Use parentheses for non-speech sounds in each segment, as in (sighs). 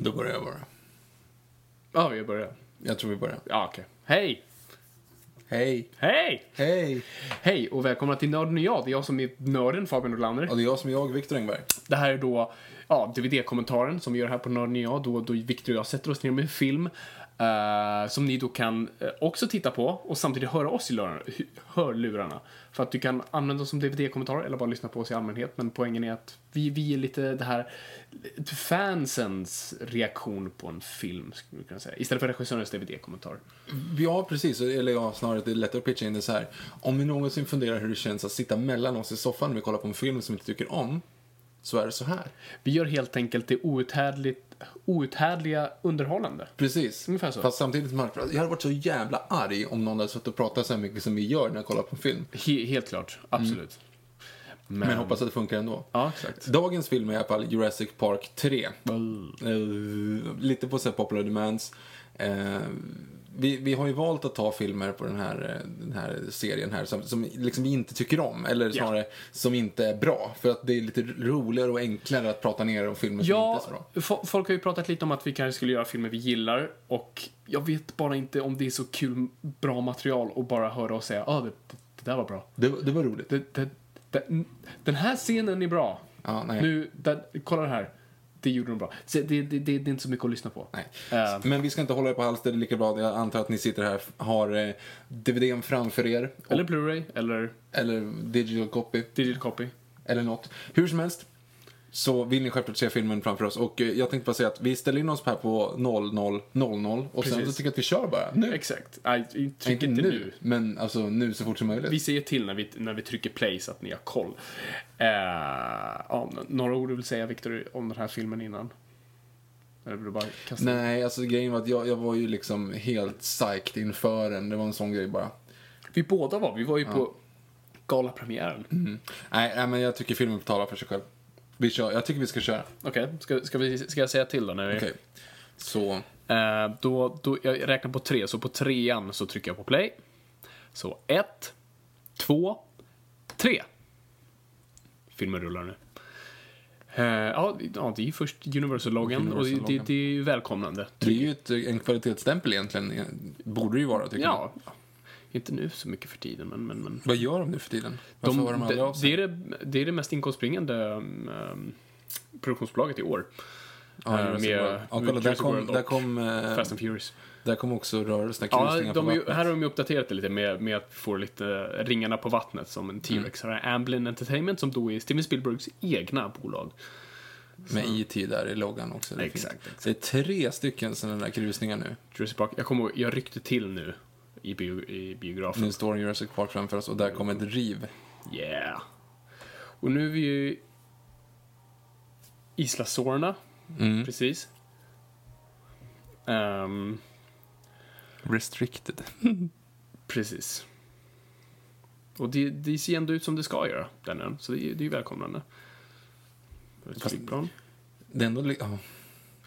Då börjar jag bara. Ja, vi börjar. Jag tror vi börjar. Ja, okej. Hej! Hej! Hej! Hej! Hej och välkomna till Nörden och jag. Det är jag som är nörden, Fabian Nordlander. Och det är jag som är jag, Viktor Engberg. Det här är då ja, DVD-kommentaren som vi gör här på Nörden och jag. Då, då Victor och jag sätter oss ner med en film eh, som ni då kan eh, också titta på och samtidigt höra oss i lörarna, hu- hörlurarna. För att du kan använda oss som DVD-kommentar eller bara lyssna på oss i allmänhet. Men poängen är att vi, vi är lite det här fansens reaktion på en film, skulle man kunna säga. Istället för regissörens DVD-kommentar. Ja, precis. Eller ja, snarare det är lättare att pitcha in det så här. Om ni någonsin funderar hur det känns att sitta mellan oss i soffan när vi kollar på en film som vi inte tycker om, så är det så här. Vi gör helt enkelt det outhärdligt, outhärdliga underhållande. Precis. Ungefär så. Fast samtidigt som man, jag hade varit så jävla arg om någon hade suttit och pratat så här mycket som vi gör när jag kollar på en film. He- helt klart, absolut. Men, hoppas att det funkar ändå. Ja, exakt. Dagens film är i alla fall Jurassic Park 3. Eh, lite på så här popular demands. Eh, vi, vi har ju valt att ta filmer på den här, eh, den här serien här som, som liksom vi inte tycker om, eller snarare som inte är bra. För att det är lite roligare och enklare att prata ner om filmer som Ja, inte är så bra. fo- folk har ju pratat lite om att vi kanske skulle göra filmer vi gillar och jag vet bara inte om det är så kul, bra material och bara höra och säga ah, det, det, det där var bra. Det, det var roligt. Det, det, det, den här scenen är bra. Ja, nej. Nu, där, kolla det här. Det gjorde de bra. Så det, det, det, det är inte så mycket att lyssna på. Nej. Eh, Men vi ska inte hålla er på halster, det är lika bra. Jag antar att ni sitter här, har eh, DVDn framför er. Och, eller Blu-ray, eller eller digital copy. digital copy. eller något. Hur som helst så vill ni självklart se filmen framför oss och eh, jag tänkte bara säga att vi ställer in oss här på 00.00 och sen Precis. så tycker jag att vi kör bara. Nu. Exakt. Nej, tryck inte inte nu, nu. men alltså nu så fort som möjligt. Vi säger till när vi, när vi trycker play så att ni har koll. Eh, ja, n- några ord du vill säga, Victor, om den här filmen innan? Eller vill du bara kasta Nej, alltså grejen var att jag, jag var ju liksom helt psyched inför den. Det var en sån grej bara. Vi båda var, vi var ju på galapremiären. Mm. Nej, nej men jag tycker filmen talar för sig själv. Vi kör, jag tycker vi ska köra. Okej, ska, ska, vi, ska jag säga till då? När vi, Okej. Så, eh, då, då? Jag räknar på tre, så på trean så trycker jag på play. Så ett, två, tre. Filmen rullar nu. Eh, ja, ja, det är ju först Universal-loggan och det, det, det är ju välkomnande. det är ju ett, eh, en kvalitetsstämpel egentligen. Borde det ju vara, tycker jag. Ja. Inte nu så mycket för tiden, men... men, men. Vad gör de nu för tiden? Varför hör de aldrig av sig? det, är det, det är det mest inkomstbringande um, um, produktionsbolaget i år. Ja, Eh, Jurassic med- World. ja, kolla, med där Jurassic kom, World där och kom, eh, Fast and Furious. där kom också rörelserna, Ja, krusningar de på är ju, vattnet. här har de ju uppdaterat det lite med, med att vi får lite ringarna på vattnet som Mm. en T-Rex. Här är Amblin Entertainment som då är Steven Spielbergs egna bolag. Med IT där i loggan också. Det är fint. Alltså. Exakt, exakt. Det är tre stycken sådana där krusningar nu. Jurassic Park. Jag kommer ihåg, jag ryckte till nu i, bio, i biografen. Nu står Jurassic Park framför oss och där kommer ett riv. Yeah. Och nu är vi ju Isla Sorna. Mm. Precis. Ehm, Restricted. precis. Och det, det ser ändå ut som det ska göra, den ön. Så det, är- det är ju välkomnande. Det är ett Fast- flygplan. Det är ändå... li- ja.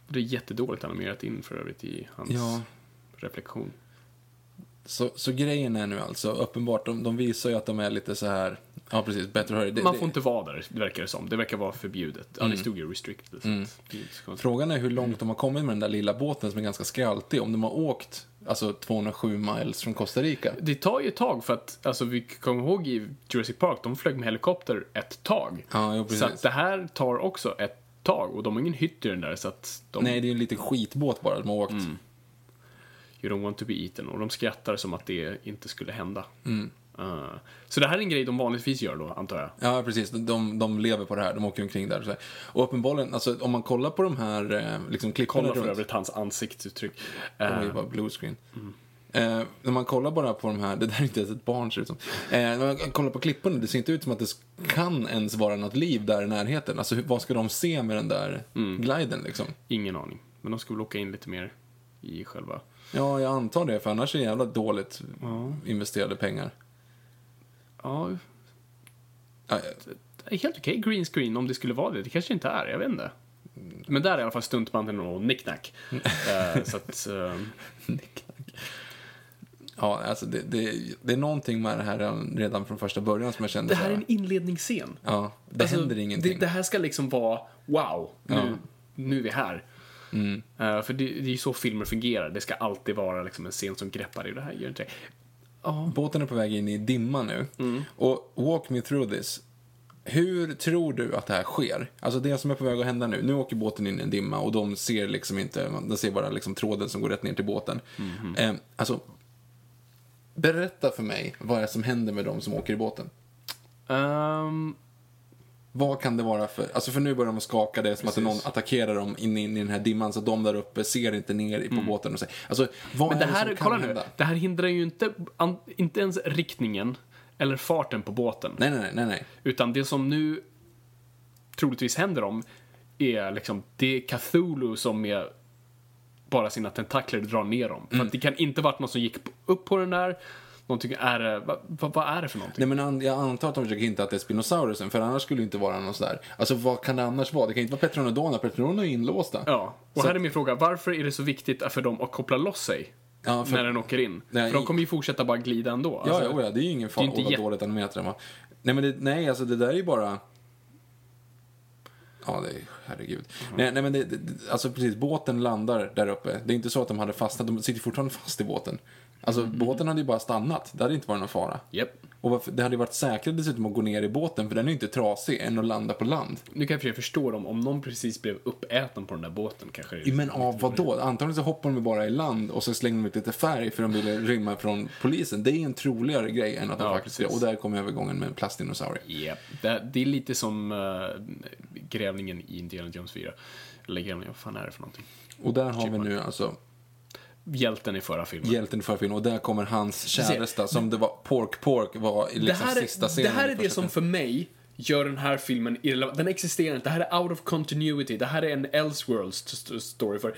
Det är jättedåligt animerat in för övrigt i hans Ja. reflektion. Så, så grejen är nu alltså, uppenbart, de, de visar ju att de är lite så här Ja, precis. Bättre hörde. Det, Man det- Mm. får inte vara där, verkar det som. Det verkar vara förbjudet. Ja, det stod ju restricted. så att det är inte så konstigt. Frågan är hur långt de har kommit med den där lilla båten som är ganska skraltig. Om de har åkt alltså 207 miles från Costa Rica. Det tar ju ett tag för att, alltså vi kommer ihåg i Jurassic Park, de flög med helikopter ett tag. Ja, jo, precis. så att det här tar också ett tag och de har ingen hytt i den där så att de, Mm. Nej, det är ju en liten skitbåt bara de har åkt. you don't want to be eaten och de skrattar som att det inte skulle hända. Mm. Eh, så det här är en grej de vanligtvis gör då, antar jag. Ja, precis. De, de lever på det här. De åker omkring där. och så här. Och uppenbarligen, alltså, om man kollar på de här eh, liksom, klipporna Kolla för runt. övrigt Mm. hans ansiktsuttryck. Eh, Oj, vad bluescreen. Eh, när man kollar bara på de här, det där är inte ens ett barn ser det ut som. Eh, när man kollar på klipporna, det ser inte ut som att det kan ens vara något liv där i närheten. Alltså hur, vad ska de se med den där Mm. gliden liksom? ingen aning. Men de ska väl åka in lite mer i själva... Ja, jag antar det, för annars är det jävla dåligt investerade pengar. Ja, Ja, det är helt okej green screen om det skulle vara det. Det kanske inte är, jag vet inte. Men där är i alla fall stuntmannen (laughs) och nicknack. Eh, så att... eh, ja alltså det, det, det är någonting med det här redan- redan från första början som jag kände det här så är här, en inledningsscen. Ja, det Alltså, händer ingenting. Det, det här ska liksom vara wow, nu, nu är vi här. Mm. Eh, för det, det är ju så filmer fungerar. Det ska alltid vara liksom en scen som greppar dig. Det här gör inte det. Båten är på väg in i dimma nu. Mm. Och walk me through this. Hur tror du att det här sker? Alltså det som är på väg att hända nu. Nu åker båten in i en dimma och de ser liksom inte, de ser bara liksom tråden som går rätt ner till båten. Mhm. Eh, alltså, berätta för mig vad det är som händer med de som åker i båten. Ehm, Vad kan det vara för, alltså för nu börjar de skaka, det är som att någon attackerar dem in, in i den här dimman så de där uppe ser inte ner på båten och säger, alltså vad Mm. men är det det här, som kan kolla nu, hända? det här hindrar ju inte, an, inte ens riktningen eller farten på båten. Nej, nej, nej, nej, nej. Utan det som nu troligtvis händer om är liksom, det är Cthulhu som med bara sina tentakler drar ner dem. Mm. För att det kan inte varit någon som gick upp på den där, någonting är det, vad, vad, vad är det för Nej någonting? men an- jag antar att de försöker hinta att det är Spinosaurusen för annars skulle det inte vara någon sådär. Alltså vad kan det annars vara? Det kan inte vara Petronodona, Petronodona är inlåsta. Ja, och här är min fråga, varför är det så viktigt för dem att koppla loss sig? Ja, för- När den åker in. Nej, för de i- kommer ju fortsätta bara glida ändå. Ja, Alltså, ja, ja, det är ju ingen det fara. är inte Åh, vad jätte- dåligt animerat den var. Nej men det, nej alltså det där är ju bara... Ja, det är, herregud. Mm. Nej, nej men det, det, alltså precis, båten landar där uppe. Det är inte så att de hade fastnat, de sitter fortfarande fast i båten. Alltså båten hade ju bara stannat, det hade inte varit någon fara. Mm. Japp. Och varför, det hade ju varit säkrare dessutom att gå ner i båten, för den är ju inte trasig, än att landa på land. Nu kan jag i och för sig förstå dem, om någon precis blev uppäten på den där båten kanske. det- Men av vad då? Antagligen så hoppar de bara i land och så slänger de ut lite färg för de ville rymma från polisen. Det är en troligare grej än att de Ja, faktiskt gör. Och precis. där kom övergången med en plastdinosaurie. Japp, det, det är lite som eh, grävlingen i Indiana Jones 4. Eller grävlingen, vad fan är det för någonting? Och där har vi nu alltså Hjälten i förra filmen. hjälten för filmen och där kommer hans käresta som det var Pork Pork var i liksom sista det scenen. här i är det första filmen. som för mig gör den här filmen irrelevant. Den existerar inte. Det här är out of continuity. Det här är en elseworld st- st- story. För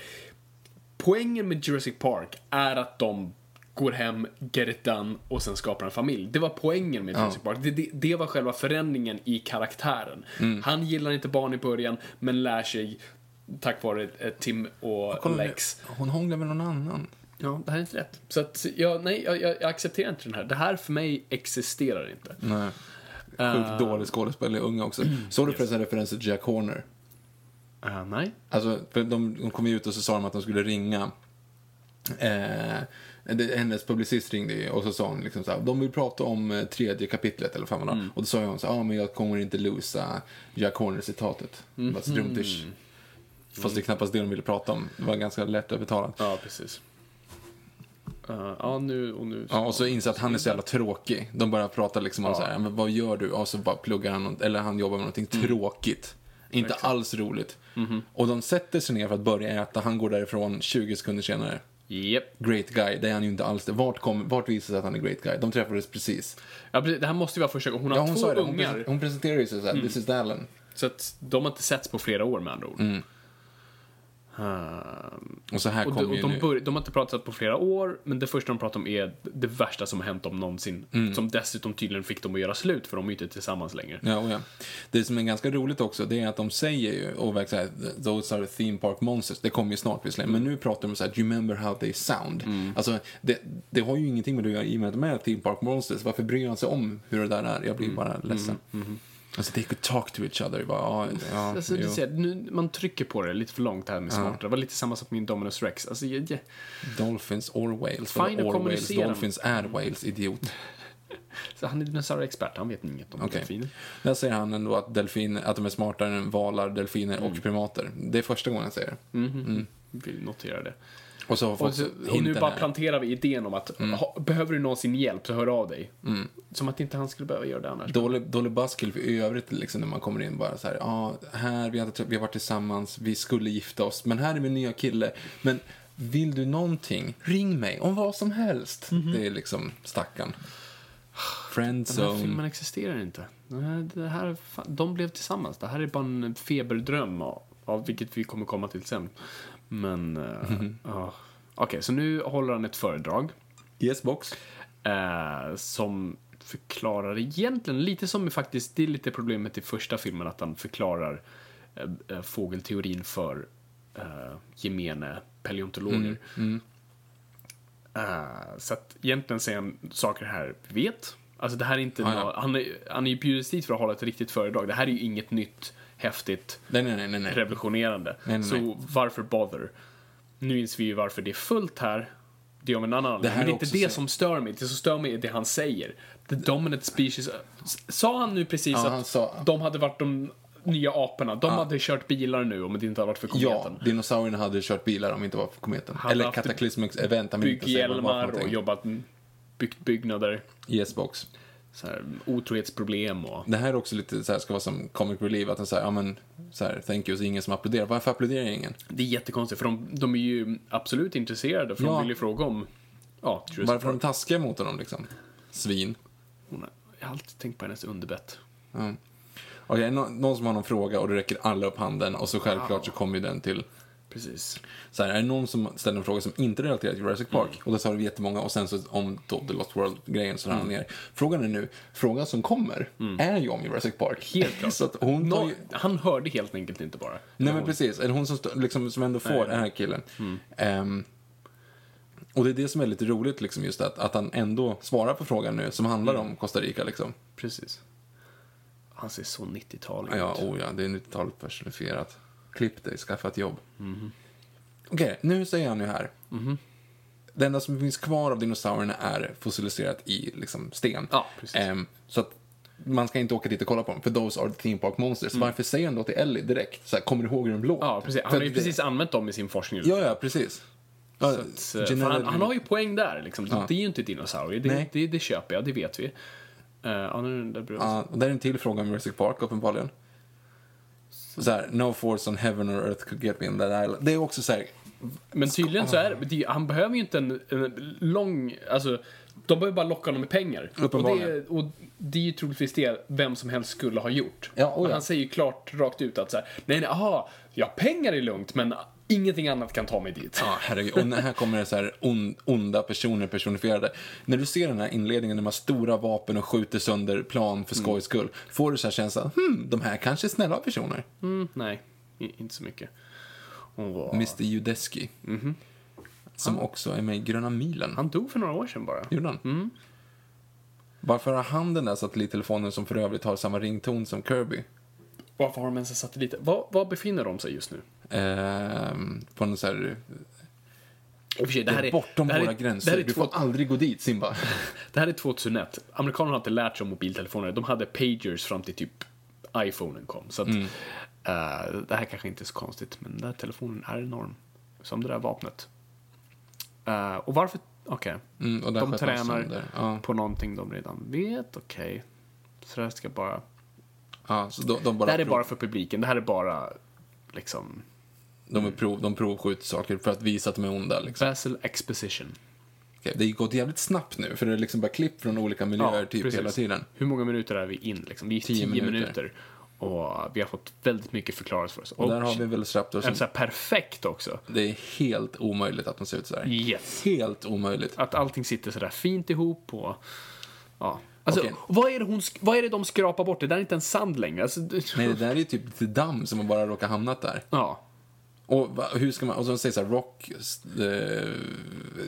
poängen med Jurassic Park är att de går hem, get it done och sen skapar en familj. Det var poängen med Jurassic Park. Det, det, det var själva förändringen i karaktären. Han gillar inte barn i början, men lär sig tack vare eh, Tim och Kolla nu, Lex. Hon hånglar med någon annan. Ja, det här är inte rätt. Så att, jag, nej, jag, jag, jag accepterar inte den här. Det här för mig existerar inte. Nej. Sjukt Eh. dålig skådespelare, unga också. Såg du förresten referensen till Jack Horner? Ah, nej. Alltså, för de, de kom ju ut och så sa de att de skulle ringa. Eh, det, hennes publicist ringde ju och så sa hon liksom så här, de vill prata om eh, tredje kapitlet eller vad fan mm. Och då sa hon så ja ah, men jag kommer inte losa Jack Horner-citatet. Det var struntish. Fast det är knappast det de ville prata om. Det var ganska lätt övertalat. Ja. Ja, precis. Eh, ja, nu och nu. och så inser att han är så jävla tråkig. De börjar prata liksom om så här, men vad gör du? Och så bara pluggar han, något- eller han jobbar med någonting Mm. tråkigt. Inte alls roligt. Mhm. Och de sätter sig ner för att börja äta. Han går därifrån 20 sekunder senare. Japp. Great guy, det är han ju inte alls. Vart, kom, vart visar det sig att han är great guy? De träffades precis. Ja, precis. Det här måste ju vara första gången. Hon har Ja, hon två sa det. Hon, ungar. Mm. presen- hon presenterade ju sig såhär, this is Dallin. Mm. Så att de har inte setts på flera år med andra ord. Ehm, Och så här och de, kom och ju de, nu- bör, de har inte pratat på flera år, men det första de pratar om är det värsta som har hänt dem någonsin. Som dessutom tydligen fick dem att göra slut, för de är ju inte tillsammans längre. Mm. Ja, och ja. Det som är ganska roligt också, det är att de säger ju, och verkar så här, those are theme park monsters, det kommer ju snart visserligen, men nu pratar de så här, do you remember how they sound? Mm. Alltså, det, det har ju ingenting med det att göra i och med att de är theme park monsters, varför bryr han sig om hur det där är? Jag blir Mm. bara ledsen. Alltså, they could talk to each other. Bara, ja, ja, (laughs) Alltså, det jo. är så här, nu, man trycker på det lite för långt här med smarta. Det var lite samma sak med Indominus Rex. Alltså, jag, jag, Dolphins or whales. Fine Vadå att or whales? kommunicera. Dolphins är whales, (laughs) idiot. så han är dinosaurieexpert, han vet inget om Okej. delfiner. Där säger han ändå att, delfin, att de är smartare än valar, delfiner Mm. och primater. Det är första gången han säger det. Vill notera det. Och så har Mm. folk Och, så, och nu hinten bara här. planterar vi idén om att ha, behöver du någonsin hjälp så hör av dig. Som att inte han skulle behöva göra det annars. Dolly, Dolly Buskill i övrigt, liksom, när man kommer in bara så här, ja, här, vi har, inte träff- vi har varit tillsammans, vi skulle gifta oss, men här är min nya kille. Men vill du någonting, ring mig om vad som helst. Det är liksom (sighs) stackarn. Mhm. Den här Friendzone. filmen existerar inte. Den här- Det här, fan, de blev tillsammans. Det här är bara en feberdröm av, av vilket vi kommer komma till sen. Men, eh, ja. Okej, så nu håller han ett föredrag. Yes box. eh, som förklarar egentligen lite som faktiskt, det är lite problemet i första filmen att han förklarar eh, eh, fågelteorin för eh, gemene paleontologer. Mm, Eh, så att egentligen säger han saker här vi vet. Alltså det här är inte Ah, ja. nå- han, är, han är ju bjudits dit för att hålla ett riktigt föredrag. Det här är ju inget nytt, häftigt, Nej, nej, nej, nej, nej. revolutionerande. Nej, nej, så nej. varför bother? Nu inser vi ju varför det är fullt här. Det är av en annan anledning. här Men är det är inte också det så- som stör mig. Det som stör mig är det han säger. The dominant species. Sa han nu precis Ja, att han sa- de hade varit de nya aporna. De hade kört bilar nu om det inte hade varit för Ja, kometen. dinosaurierna hade kört bilar om det inte var för kometen. Hade Eller haft Cataclysmic Event, han vill inte säga vad det var för Bygghjälmar och någonting. jobbat, mm, byggt byggnader. Yes box. Så här, otrohetsproblem och... Det här är också lite så här, ska vara som comic relief, att den säger ja men, så här, thank you, så är det ingen som applåderar. Varför applåderar ingen? Det är jättekonstigt för de, de är ju absolut intresserade för Ja. de vill ju fråga om... Ja, Jurassic Varför är de taskiga mot honom liksom? Svin. Hon har, jag har alltid tänkt på hennes underbett. Ja. Okej, nå- någon som har någon fråga och då räcker alla upp handen och så självklart så kommer ju den till Precis. så här, är det någon som ställer en fråga som inte relaterar till Jurassic Park? Mm. Och då sa vi jättemånga och sen så om då The Lost World-grejen så mm. ner. Frågan är nu, frågan som kommer är ju om Jurassic Park. Mm. Helt (laughs) klart. så att hon tar Nå, ju... han hörde helt enkelt inte bara. Nej men precis, eller hon som, stå- liksom, som ändå får den här killen. Mm. Ehm, och det är det som är lite roligt liksom just att, att han ändå svarar på frågan nu som handlar Mm. om Costa Rica liksom. Precis. Han ser så 90-talig Ja, ut. oh ja, det är 90-talet personifierat. Klipp dig, skaffa ett jobb. Mhm. Okej, nu säger han ju här. Det enda som finns kvar av dinosaurierna är fossiliserat i liksom, sten. Ja, precis. Ehm, så att man ska inte åka dit och kolla på dem, för those are the theme park monsters. Varför säger han då till Ellie direkt? Så här, kommer du ihåg hur de låter? Mm. Ja, precis. Han För har ju att det- precis använt dem i sin forskning. Ja, ja, precis. Ja, Så, eh, för generell- han, han har ju poäng där. Liksom. Det är ju inte dinosaurier. Det, Nej. det, det köper jag, det vet vi. Eh, ja, nu är den där brun. Ja, och där är en till fråga om Jurassic Park uppenbarligen. Så här, no force on heaven or earth could get me in that island. Det är också så här, Men tydligen så är det- det, han behöver ju inte en, en lång, alltså de behöver bara locka honom med pengar. Och det, Uppenbarligen. och det är ju troligtvis det vem som helst skulle ha gjort. Ja, oh ja. Och Han säger ju klart rakt ut att så här, nej nej, aha, ja pengar är lugnt men ingenting annat kan ta mig dit. Ja, herregud. Och när här kommer det så här on, onda personer personifierade. När du ser den här inledningen, de har stora vapen och skjuter sönder plan Mm. för skojs skull. Får du så här känslan, hmm, de här kanske är snälla personer. Mm, nej, i- inte så mycket. Hon var... Mr Judeski. Som också är med i Gröna milen. Mm-hmm. Han Mm. dog för några år sedan bara. Gjorde han? Varför har han den där satellittelefonen som för övrigt har samma rington som Kirby? Varför har de ens en satellit? Var, var befinner de sig just nu? Ehm, på någon så här... I och för sig, det här är bortom det här våra är, gränser. Det här är du två får aldrig gå dit, (laughs) Simba. Det här är 2001. Amerikanerna har inte lärt sig om mobiltelefoner. De hade pagers fram till typ iPhonen kom. Så att, Mm. eh, det här kanske inte är så konstigt, men den där telefonen är enorm. Som det där vapnet. Eh, och varför... Okej. Mm, och där de sköt de tränar sönder. Ja. på någonting de redan vet. Okej. Så det här ska bara... ja, så de, de bara Det här är prov, bara för publiken. Det här är bara liksom... de, är prov, de provskjuter saker för att visa att de är onda. Liksom. Basil exposition. Okej, Det har ju gått jävligt snabbt nu, för det är liksom bara klipp från olika miljöer typ precis. hela tiden. Hur många minuter är vi in? Liksom? Vi är 10 minuter. minuter. Och vi har fått väldigt mycket förklarat för oss. Och där har vi Velociraptor en så som... här perfekt också. Det är helt omöjligt att de ser ut så här. Yes. Helt omöjligt. Att allting sitter sådär fint ihop och... Ja. Alltså, Okej. vad, är det hon, sk- vad är det de skrapar bort? Det där är inte en sand längre. Alltså, det- Nej, det där är ju typ lite damm som bara råkar hamnat där. (laughs) Ja. Och va, hur ska man, och så säger så här, rock, eh,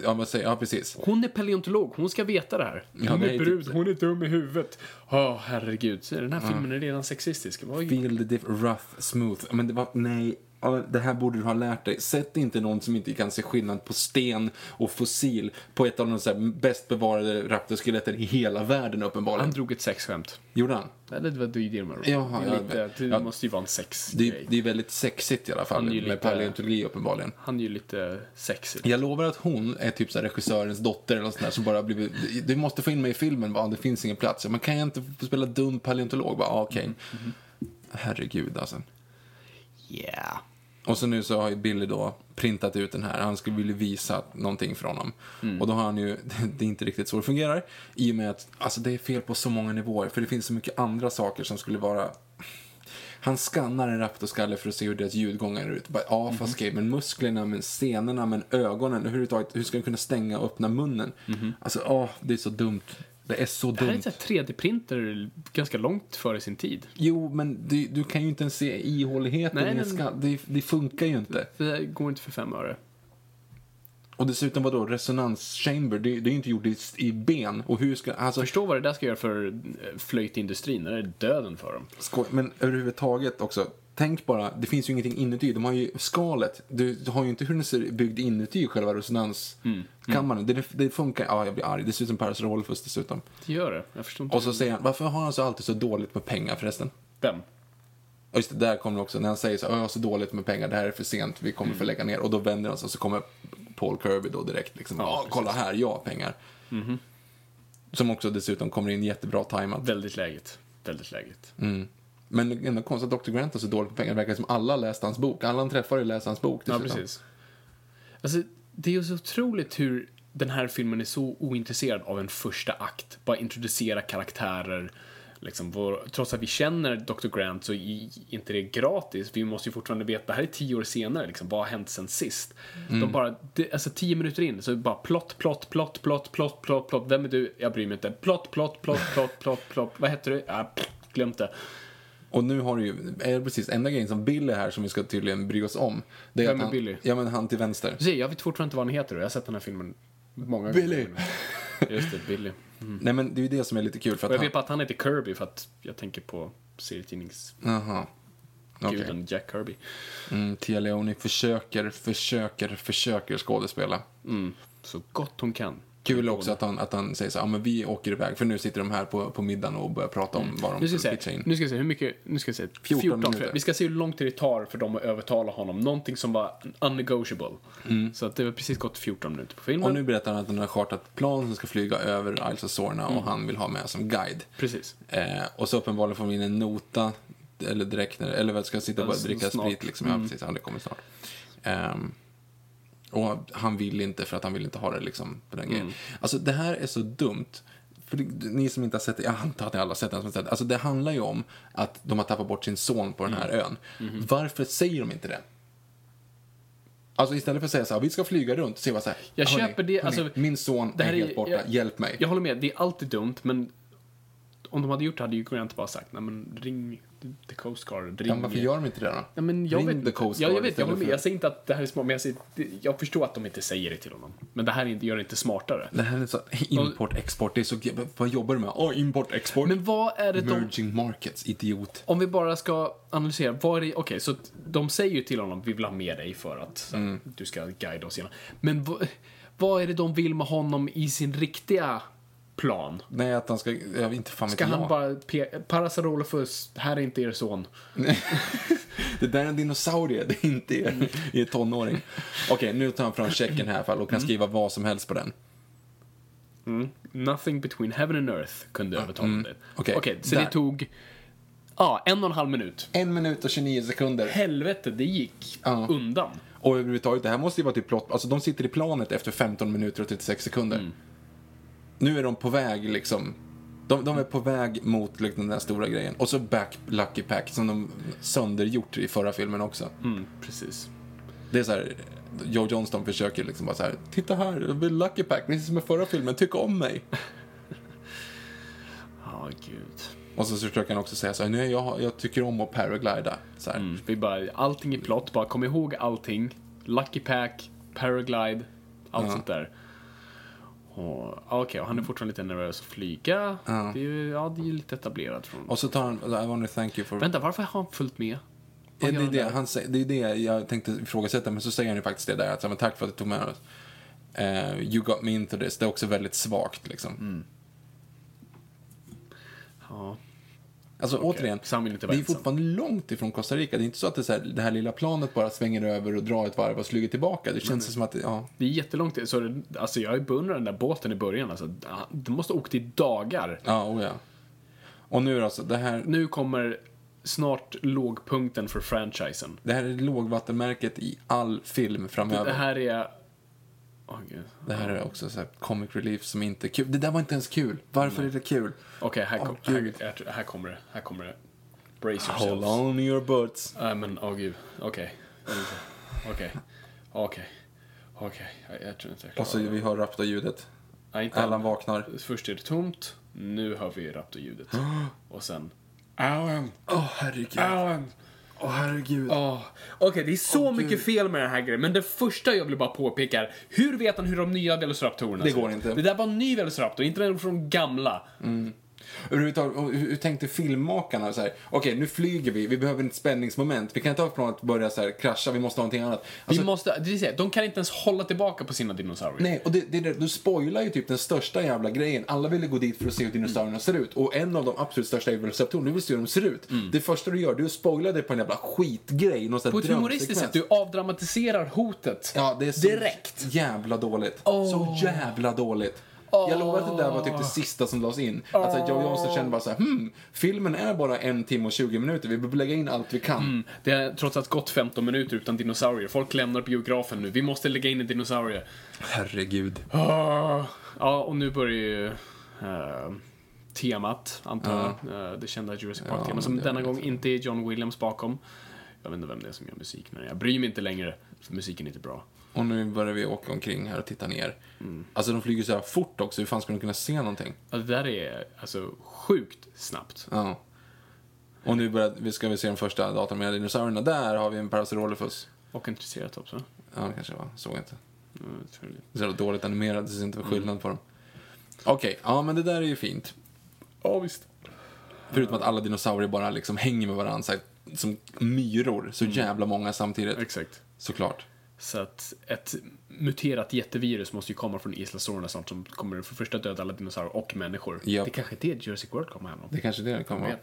ja vad säger, ja precis. Hon är paleontolog, hon ska veta det här. Hon nej, är typ brud, det. hon är dum i huvudet. Åh, herregud. Så Den här filmen är redan sexistisk. Vad är- Feel the diff, rough, smooth. Men det var, nej. ja, Det här borde du ha lärt dig. Sätt inte någon som inte kan se skillnad på sten och fossil på ett av de så här bäst bevarade raptorskeletten i hela världen Han uppenbarligen. drog ett sexskämt. Gjorde han? Eller det var du det med Jaha, det, är jag lite, vet. det Ja. måste ju vara en sex Det, är- det är väldigt sexigt i alla fall Han är med ju lite- paleontologi uppenbarligen. Han är ju lite sexy. Jag lovar att hon är typ så här regissörens dotter eller något sånt där som bara har blivit, du måste få in mig i filmen, va? det finns ingen plats. Men kan jag inte få spela dum paleontolog? Bara, ah, Mm, okej. Herregud alltså. Yeah. Och så nu så har ju Billy då printat ut den här. Han skulle vilja visa någonting för honom. Mm. Och då har han ju, (laughs) det är inte riktigt så det fungerar. I och med att, alltså det är fel på så många nivåer. För det finns så mycket andra saker som skulle vara... Han skannar en raptorskalle för att se hur deras ljudgångar är ut. Bara, ja, fast Mhm. okej, men musklerna, men senorna, men ögonen. Överhuvudtaget, hur ska han kunna stänga och öppna munnen? Alltså, ja, det är så dumt. Det är så Mhm. Det här är dumt. en 3D-printer ganska långt före sin tid. Jo, men du, du kan ju inte ens se ihåligheten Nej, i en men- skall. Det, det funkar ju inte. Det där går inte för fem öre. Och dessutom vadå, resonanschamber, det, det är ju inte gjort i, i ben. Och hur ska, alltså, Förstå vad det där ska göra för eh, flöjtindustrin. Det där är döden för dem. skoj, men överhuvudtaget också, tänk bara, det finns ju ingenting inuti. De har ju skalet, du, du har ju inte hur den ser byggd inuti själva resonanskammaren. Det, det funkar, ja jag blir arg. Dessutom Paris Rolfus dessutom. Det gör det. Jag förstår inte. Och så säger han, varför har han så alltid så dåligt med pengar förresten? Vem? Och just det, där kommer det också, när han säger så, "Ja, jag har så dåligt med pengar, det här är för sent, vi Mm. kommer få lägga ner. Och då vänder han sig och så kommer Paul Kirby då direkt liksom, ja precis. Mm-hmm. kolla här, jag har pengar. Som också dessutom kommer in jättebra tajmat. Mm. Väldigt lägligt. Väldigt lägligt. Men ändå konstigt att Dr. Grant har så dåligt med pengar, det verkar som alla har läst hans bok. Alla han träffar har ju läst hans bok Ja, dessutom. precis. Alltså, det är ju så otroligt hur den här filmen är så ointresserad av en första akt. Bara introducera karaktärer. Liksom, vår, trots att vi känner Dr. Grant så är inte det gratis. Vi måste ju fortfarande veta, det här är tio år senare, liksom, vad har hänt sen sist? De bara, det, alltså tio minuter in, så är det bara plott, plott, plott, plott, plott, plott, plott. Vem är du? Jag bryr mig inte. Plott, plott, plott, plott, plott, plott. Vad heter du? Ah, pff, glömt det. Och nu har du ju, är det precis, enda grejen som Billy här som vi ska tydligen bry oss om. Det är Vem att är han, Billy? Mm. Ja men han till vänster. Se, jag vet fortfarande inte vad han heter och jag har sett den här filmen många Billy. gånger. Just det, Billy. Nej men det är ju det som är lite kul för Och jag att vet bara att han heter Kirby för att jag tänker på serietidningsguden han... Jaha. Okej. Jack Kirby. Mm, Tia Leoni försöker, försöker, försöker skådespela. Så gott hon kan. Kul också att han, att han säger så här, "Ja, men vi åker iväg, för nu sitter de här på, på middagen och börjar prata om vad de Mm. Nu ska vi ska se, pitcha in. nu ska vi se hur mycket, nu ska vi se, 14 14, minuter. Vi ska se hur lång tid det tar för dem att övertala honom. Någonting som var unnegotiable. Så att det har precis gått 14 minuter på filmen. Mm. Och nu berättar han att han har chartrat ett plan som ska flyga över Isles of Sorna Mm. och han vill ha med som guide. Precis. Eh, och så uppenbarligen får de in en nota, eller direkt, när, eller vad ska sitta och bara Alltså, dricka snart. sprit liksom. Ja, precis, ja, det kommer snart. Ehm, och han vill inte för att han vill inte ha det liksom på den Mm. grejen. Alltså det här är så dumt. För det, ni som inte har sett det, jag antar att ni alla har sett den som har sett det. Alltså det handlar ju om att de har tappat bort sin son på den här Mm. ön. Mm-hmm. Varför säger de inte det? Alltså istället för att säga så här, vi ska flyga runt, säger man så här, Jag "Hörni, köper det, alltså, hörni, min son det här är är- helt borta, jag- hjälp mig. Jag håller med, det är alltid dumt, men om de hade gjort det hade ju Grant bara sagt, nej men ring the Coast Guard, ring... Ja, men varför gör de inte det då? Ja, men jag Ring vet, the Coast ja, Guard jag, vet, jag, istället håller med. för- jag säger inte att det här är smart, men jag, säger, jag förstår att de inte säger det till honom. Men det här är inte- gör det inte smartare. Det här är så import, export, det är så, vad jobbar du med? Åh, import, export. Men vad är det de... Merging markets, idiot. Om vi bara ska analysera, vad är det... Okej, så att de säger ju till honom, vi vill ha med dig för att så, Mm. du ska guida oss igenom. Men vad, vad är det de vill med honom i sin riktiga plan? Nej, att han ska, jag vet inte fan Ska vet jag. han bara peka, Parasarolofus, här är inte er son. (laughs) Det där är en dinosaurie, det är inte Mm. er, (laughs) er tonåring. Okej, nu tar han fram checken här i alla fall och Mm. kan skriva vad som helst på den. Nothing between heaven and earth kunde övertala det. Okej, så där. det tog ja, en och en halv minut. En minut och 29 sekunder. Helvete, det gick Ja. undan. Och överhuvudtaget, det här måste ju vara typ plott, alltså de sitter i Mm. planet efter 15 minuter och 36 sekunder. Nu är de på väg liksom De, de är på väg mot liksom, den där stora grejen. Och så Back Lucky Pack som de söndergjort i förra filmen också. Mm, precis. Det är så här, Joe Johnston försöker liksom bara så här, titta här, jag blir Lucky Pack, precis som i förra filmen, tyck om mig. Ja, gud. Och så försöker han också säga så här, nej jag, jag tycker om att paraglida. Så här. Vi bara, allting är plott, bara kom ihåg allting. Lucky Pack, Paraglide, allt sånt där. Och, Okej, och han är fortfarande lite nervös att flyga. Det, är ju, ja, det är ju lite etablerat från... Och så tar han, I wanna thank you for... Vänta, varför har han följt med? Ja, Vad det, är gör han det, där? han säger, det är det jag tänkte ifrågasätta, men så säger han ju faktiskt det där. Att, så här, men tack för att du tog med oss. Eh, you got me into this. Det är också väldigt svagt liksom. Mm. Ja. Alltså återigen, så han vill inte det vara är ensam. fortfarande långt ifrån Costa Rica. Det är inte så att det, är så här, det här lilla planet bara svänger över och drar ett varv och flyger tillbaka. Det känns som att, ja. Det är jättelångt. Så det, alltså jag beundrar den där båten i början. Alltså, det måste ha åkt i dagar. Ja, oh ja. Och nu alltså, det här, Nu kommer snart lågpunkten för franchisen. det här är lågvattenmärket i all film framöver. Det här är... Åh, gud. Det här är också så här comic relief som inte är kul. Det där var inte ens kul. Varför är det kul? Okej, här, Åh, kom, gud. här, här, här kommer det. Här kommer det. Brace Hold yourselves. on your butts. Nej, men åh gud. Okej. Okej. Okej. Okej. Jag- Jag tror inte jag Och så klarar det. vi hör rapta-ljudet. Nej, inte Allan än. vaknar. Först är det tomt. Nu hör vi (gasps) raptorljudet. Och sen... Åh herregud. Åh herregud. Ja, Okej, det är så mycket fel med den här grejen. Men det första jag vill bara påpeka är, hur vet han hur de nya Velociraptorerna Det ser går ut? inte. Mm. Det där var en ny Velociraptor, inte den från gamla. Överhuvudtaget, och hur hur tänkte filmmakarna? så här, Okej, nu flyger vi. Vi behöver ett spänningsmoment. Vi kan inte ha från att börja så här, krascha. Vi måste ha någonting annat. Alltså, Vi måste, det vill säga, de kan inte ens hålla tillbaka på sina dinosaurier. Nej, och det, det, det, du spoilar ju typ den största jävla grejen. Alla ville gå dit för att se hur dinosaurierna ser ut. Och en av de absolut största är Velociraptorn. Du vill se hur de ser ut. Det första du gör, du spoilar det på en jävla skitgrej. Någon sån här På ett humoristiskt drömsekvens. sätt, du avdramatiserar hotet. Ja, det är så Direkt. jävla dåligt. Så jävla dåligt. Jag lovar att det där var typ det sista som lades in. Alltså, Att så här, Joe Johnson kände bara så här, hmm, filmen är bara en timme och 20 minuter, vi behöver lägga in allt vi kan. Det har trots allt gått 15 minuter utan dinosaurier. Folk lämnar biografen nu. Vi måste lägga in en dinosaurie. Herregud. Ah. Ja, och nu börjar ju eh, temat, antar jag. Eh, det kända Jurassic Park-temat, som det denna vet gång inte är John Williams bakom. Jag vet inte vem det är som gör musik nu. Jag bryr mig inte längre, för musiken är inte bra. Och nu börjar vi åka omkring här och titta ner. Alltså de flyger så här fort också, hur fan ska de kunna se någonting? Ja, det där är alltså sjukt snabbt. Ja. Och nu börjar, vi ska vi se de första datorn dinosaurierna. Där har vi en Parasaurolophus. Och en triceratops, va? Ja, det kanske det var. Såg jag inte. Mm, jag tror det. Så jävla dåligt animerad, det syns inte skillnad på dem. Okej, ja men det där är ju fint. Ja, visst. Förutom att alla dinosaurier bara liksom hänger med varandra så här, som myror, så jävla många samtidigt. Mm. Exakt. Såklart. Så att ett muterat jättevirus måste ju komma från Isla Sorna snart som kommer för första döda alla dinosaurier och människor. Japp. Det kanske är det Jurassic World kommer handla om. Det är kanske är det det kommer Jag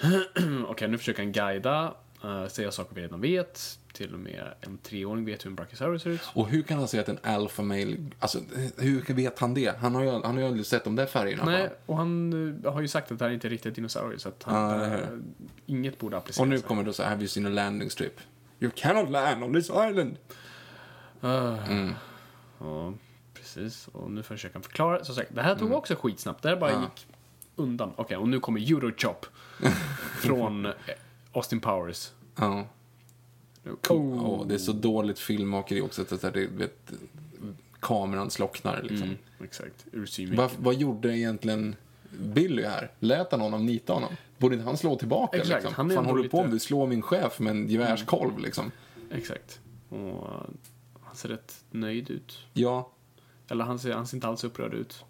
vara. vet. Mm, Okej, nu försöker han guida, eh, säga saker vi redan vet. Till och med en treåring vet hur en brachiosaurus ser ut. Och hur kan han säga att en alpha male, alltså hur vet han det? Han har ju, han har ju aldrig sett de där färgerna. Nej, bara. och han eh, har ju sagt att det här inte är riktigt dinosaurier, så att han, eh, inget borde appliceras. Och nu kommer då så här, have you seen a landing strip? You cannot land on this island! Ah. Ja, precis. Och nu försöker han förklara. Som sagt, det här tog Mm. också skitsnabbt. Det här bara gick undan. Okej, och nu kommer (laughs) Eurochop från eh, Austin Powers. Ja. Oh. Åh, det är så dåligt filmmakeri också, att det, här, det, vet, kameran slocknar liksom. Mm, exakt, ur synvinkel. Vad, vad gjorde egentligen Billy här? Lät han honom nita honom? Borde inte han slå tillbaka? Exakt, liksom? han är Fan ändå håller du på lite- Mm. med? Du slår min chef med en gevärskolv liksom. Exakt. Och eh, han ser rätt nöjd ut. Ja, Eller han ser, han ser inte alls upprörd ut.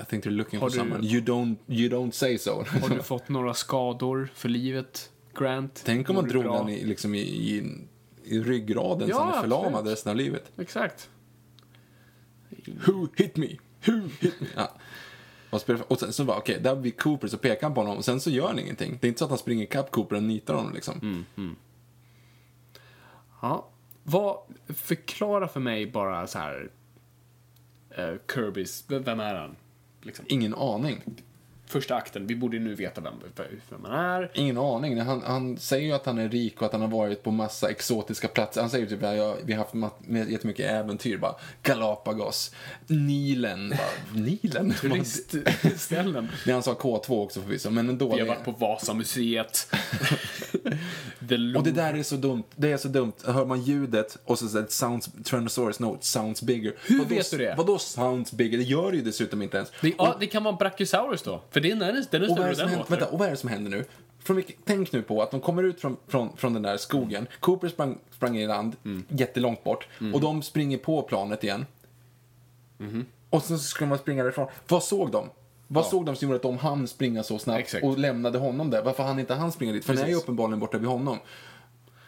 I think they're looking Har for du- someone. You don't, you don't say so. Har du fått några skador för livet, Grant? (laughs) Tänk om Mår man du drog bra? den i, liksom, i, i, i ryggraden Ja, så han är förlamad absolut. resten av livet. Exakt. Who hit me? Who hit me? Ja. Vad spelar det för- Och sen så bara, okej, där blir Cooper, så pekar han på honom och sen så gör han ingenting. Det är inte så att han springer ikapp Cooper och nitar honom liksom. Mm. Ja. Vad, förklara för mig bara så här. eh, Kirbys, v- vem är han? Liksom. Ingen aning. första akten. Vi borde ju nu veta vem, vem man är. Ingen aning. Han, han säger ju att han är rik och att han har varit på massa exotiska platser. Han säger typ att jag, vi har haft ma- med jättemycket äventyr. Bara, Galapagos, Nilen. Bara, (laughs) Nilen? Turistställen. (laughs) Det han sa K2 också förvisso, men ändå. Vi har det- varit på (laughs) Vasamuseet. The Och det Louvre. där är så dumt. Det är så dumt. Hör man ljudet och så säger det sounds, Tyrannosaurus note, sounds bigger. Hur vadå, vet du det? Vadå sounds bigger? Det gör det ju dessutom inte ens. Det, ja, det kan vara en Brachiosaurus då. För den är, den är Och vad, är större det som händer, än den låter. vänta, och vad är det som händer nu? Från vilket, tänk nu på att de kommer ut från, från, från den där skogen. Cooper sprang, sprang i land Mm. jättelångt bort. Och de springer på planet igen. Mm-hmm. Och sen så skulle man springa därifrån. Vad såg de? Vad såg de som gjorde att de hann springa så snabbt Exakt. och lämnade honom där? Varför hann inte han springa dit? För den är ju Precis. uppenbarligen borta vid honom.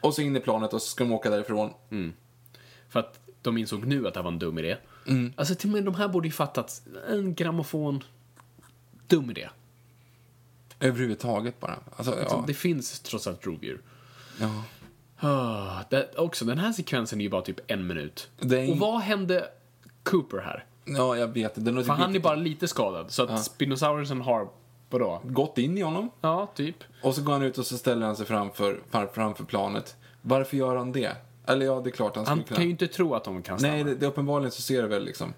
Och så in i planet och så ska de åka därifrån. Mm. För att de insåg nu att det här var en dum idé. Mm. Alltså till och med de här borde ju fattat en grammofon dum idé. Överhuvudtaget bara. Alltså, ja. Det finns trots allt rovdjur. Ja. Ah, det, också, den här sekvensen är ju bara typ en minut. Det är- Och vad hände Cooper här? ja, jag vet. Den har För han är typ bara lite skadad, så att Spinosaurusen har, vadå? gått in i honom. Ja, typ. Och så går han ut och så ställer han sig framför, fram- framför planet. Varför gör han det? Eller ja, Typ det är klart han skulle Han kunna. kan ju inte tro att de kan stanna. Nej, det, det, uppenbarligen så ser det väl liksom.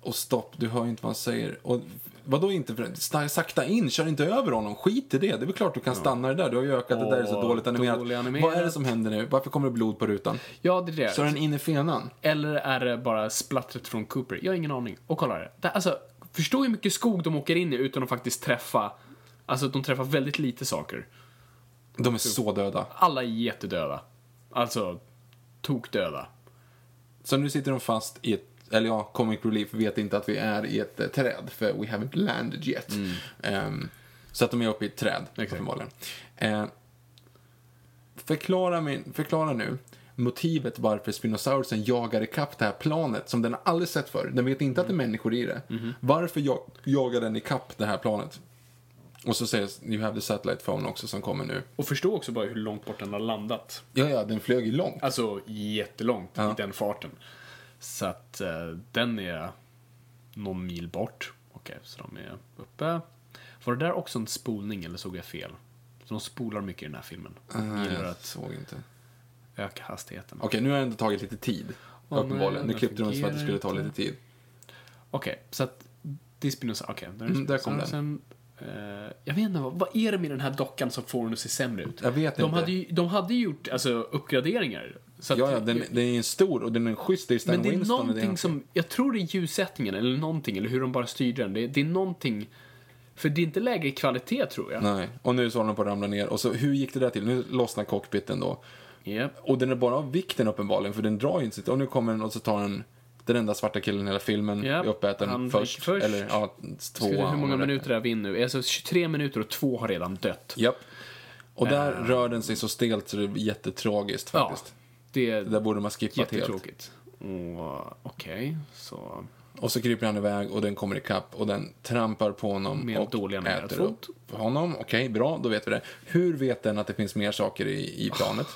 Och stopp, du hör ju inte vad han säger. Och vadå inte? för- sta- Sakta in, kör inte över honom. Skit i det. Det är väl klart du kan stanna det där. Du har ju ökat det där, det är så Åh, dåligt animerat. dåligt animerat. Vad är det som händer nu? Varför kommer det blod på rutan? Ja, det är det. Så är den in i fenan? Eller är det bara splattret från Cooper? Jag har ingen aning. Och kolla det. det alltså, förstå hur mycket skog de åker in i utan att faktiskt träffa... Alltså, de träffar väldigt lite saker. De är så döda. Alla är jättedöda. Alltså, tokdöda. Så nu sitter de fast i ett, eller ja, Comic Relief vet inte att vi är i ett eh, träd, för we haven't landed yet. Mm. Ehm, så att de är uppe i ett träd, uppenbarligen. Eh, förklara, min, förklara nu motivet varför Spinosaurusen jagar ikapp det här planet som den har aldrig sett förr. Den vet inte att det är Mm. människor i det. Mm-hmm. Varför jag, jagar den ikapp det här planet? Och så sägs You have the satellite phone också som kommer nu. Och förstå också bara hur långt bort den har landat. Ja, ja, den flög ju långt. Alltså, jättelångt Ja. i den farten. Så att eh, den är någon mil bort. Okej, så de är uppe. Var det där också en spolning eller såg jag fel? De spolar mycket i den här filmen. Nej, Gillar Ah, jag att såg inte. öka hastigheten. Okej, nu har det ändå tagit lite tid. nej, uppenbarligen. Nu den klippte de så att det skulle fungerar ta lite tid. Okej, så att det är Spinoza. Okej, där, Mm, där kom den. Sen, eh, jag vet inte, vad, vad är det med den här dockan som får den att se sämre ut? Jag vet de inte. Hade ju, de hade ju gjort alltså, uppgraderingar. Så att, Ja, ja, den, den är ju stor och den är schysst. Det är Stan men det är Winston. och någonting som, jag tror det är ljussättningen eller någonting, eller hur de bara styrde den. Det, det är någonting, för det är inte lägre kvalitet tror jag. Nej, och nu så håller den på att ramla ner. Och så, hur gick det där till? Nu lossnar cockpiten då. Japp. Och den är bara av vikten uppenbarligen, för den drar ju inte sitt. Och nu kommer den och så tar den den enda svarta killen i hela filmen, Ja, är uppäten han först, gick först. Eller ja, två. Ska vi se hur många minuter är vi in nu? Alltså 23 minuter och två har redan dött. Japp. Och där Eh. rör den sig så stelt så det är jättetragiskt faktiskt. det Det är där borde man skippat helt. jättetråkigt. Och, Okej, så Och så kryper han iväg och den kommer ikapp och den trampar på honom Med en och dålig animerad äter upp fot. honom. Okej, bra, då vet vi det. Hur vet den att det finns mer saker i, i planet?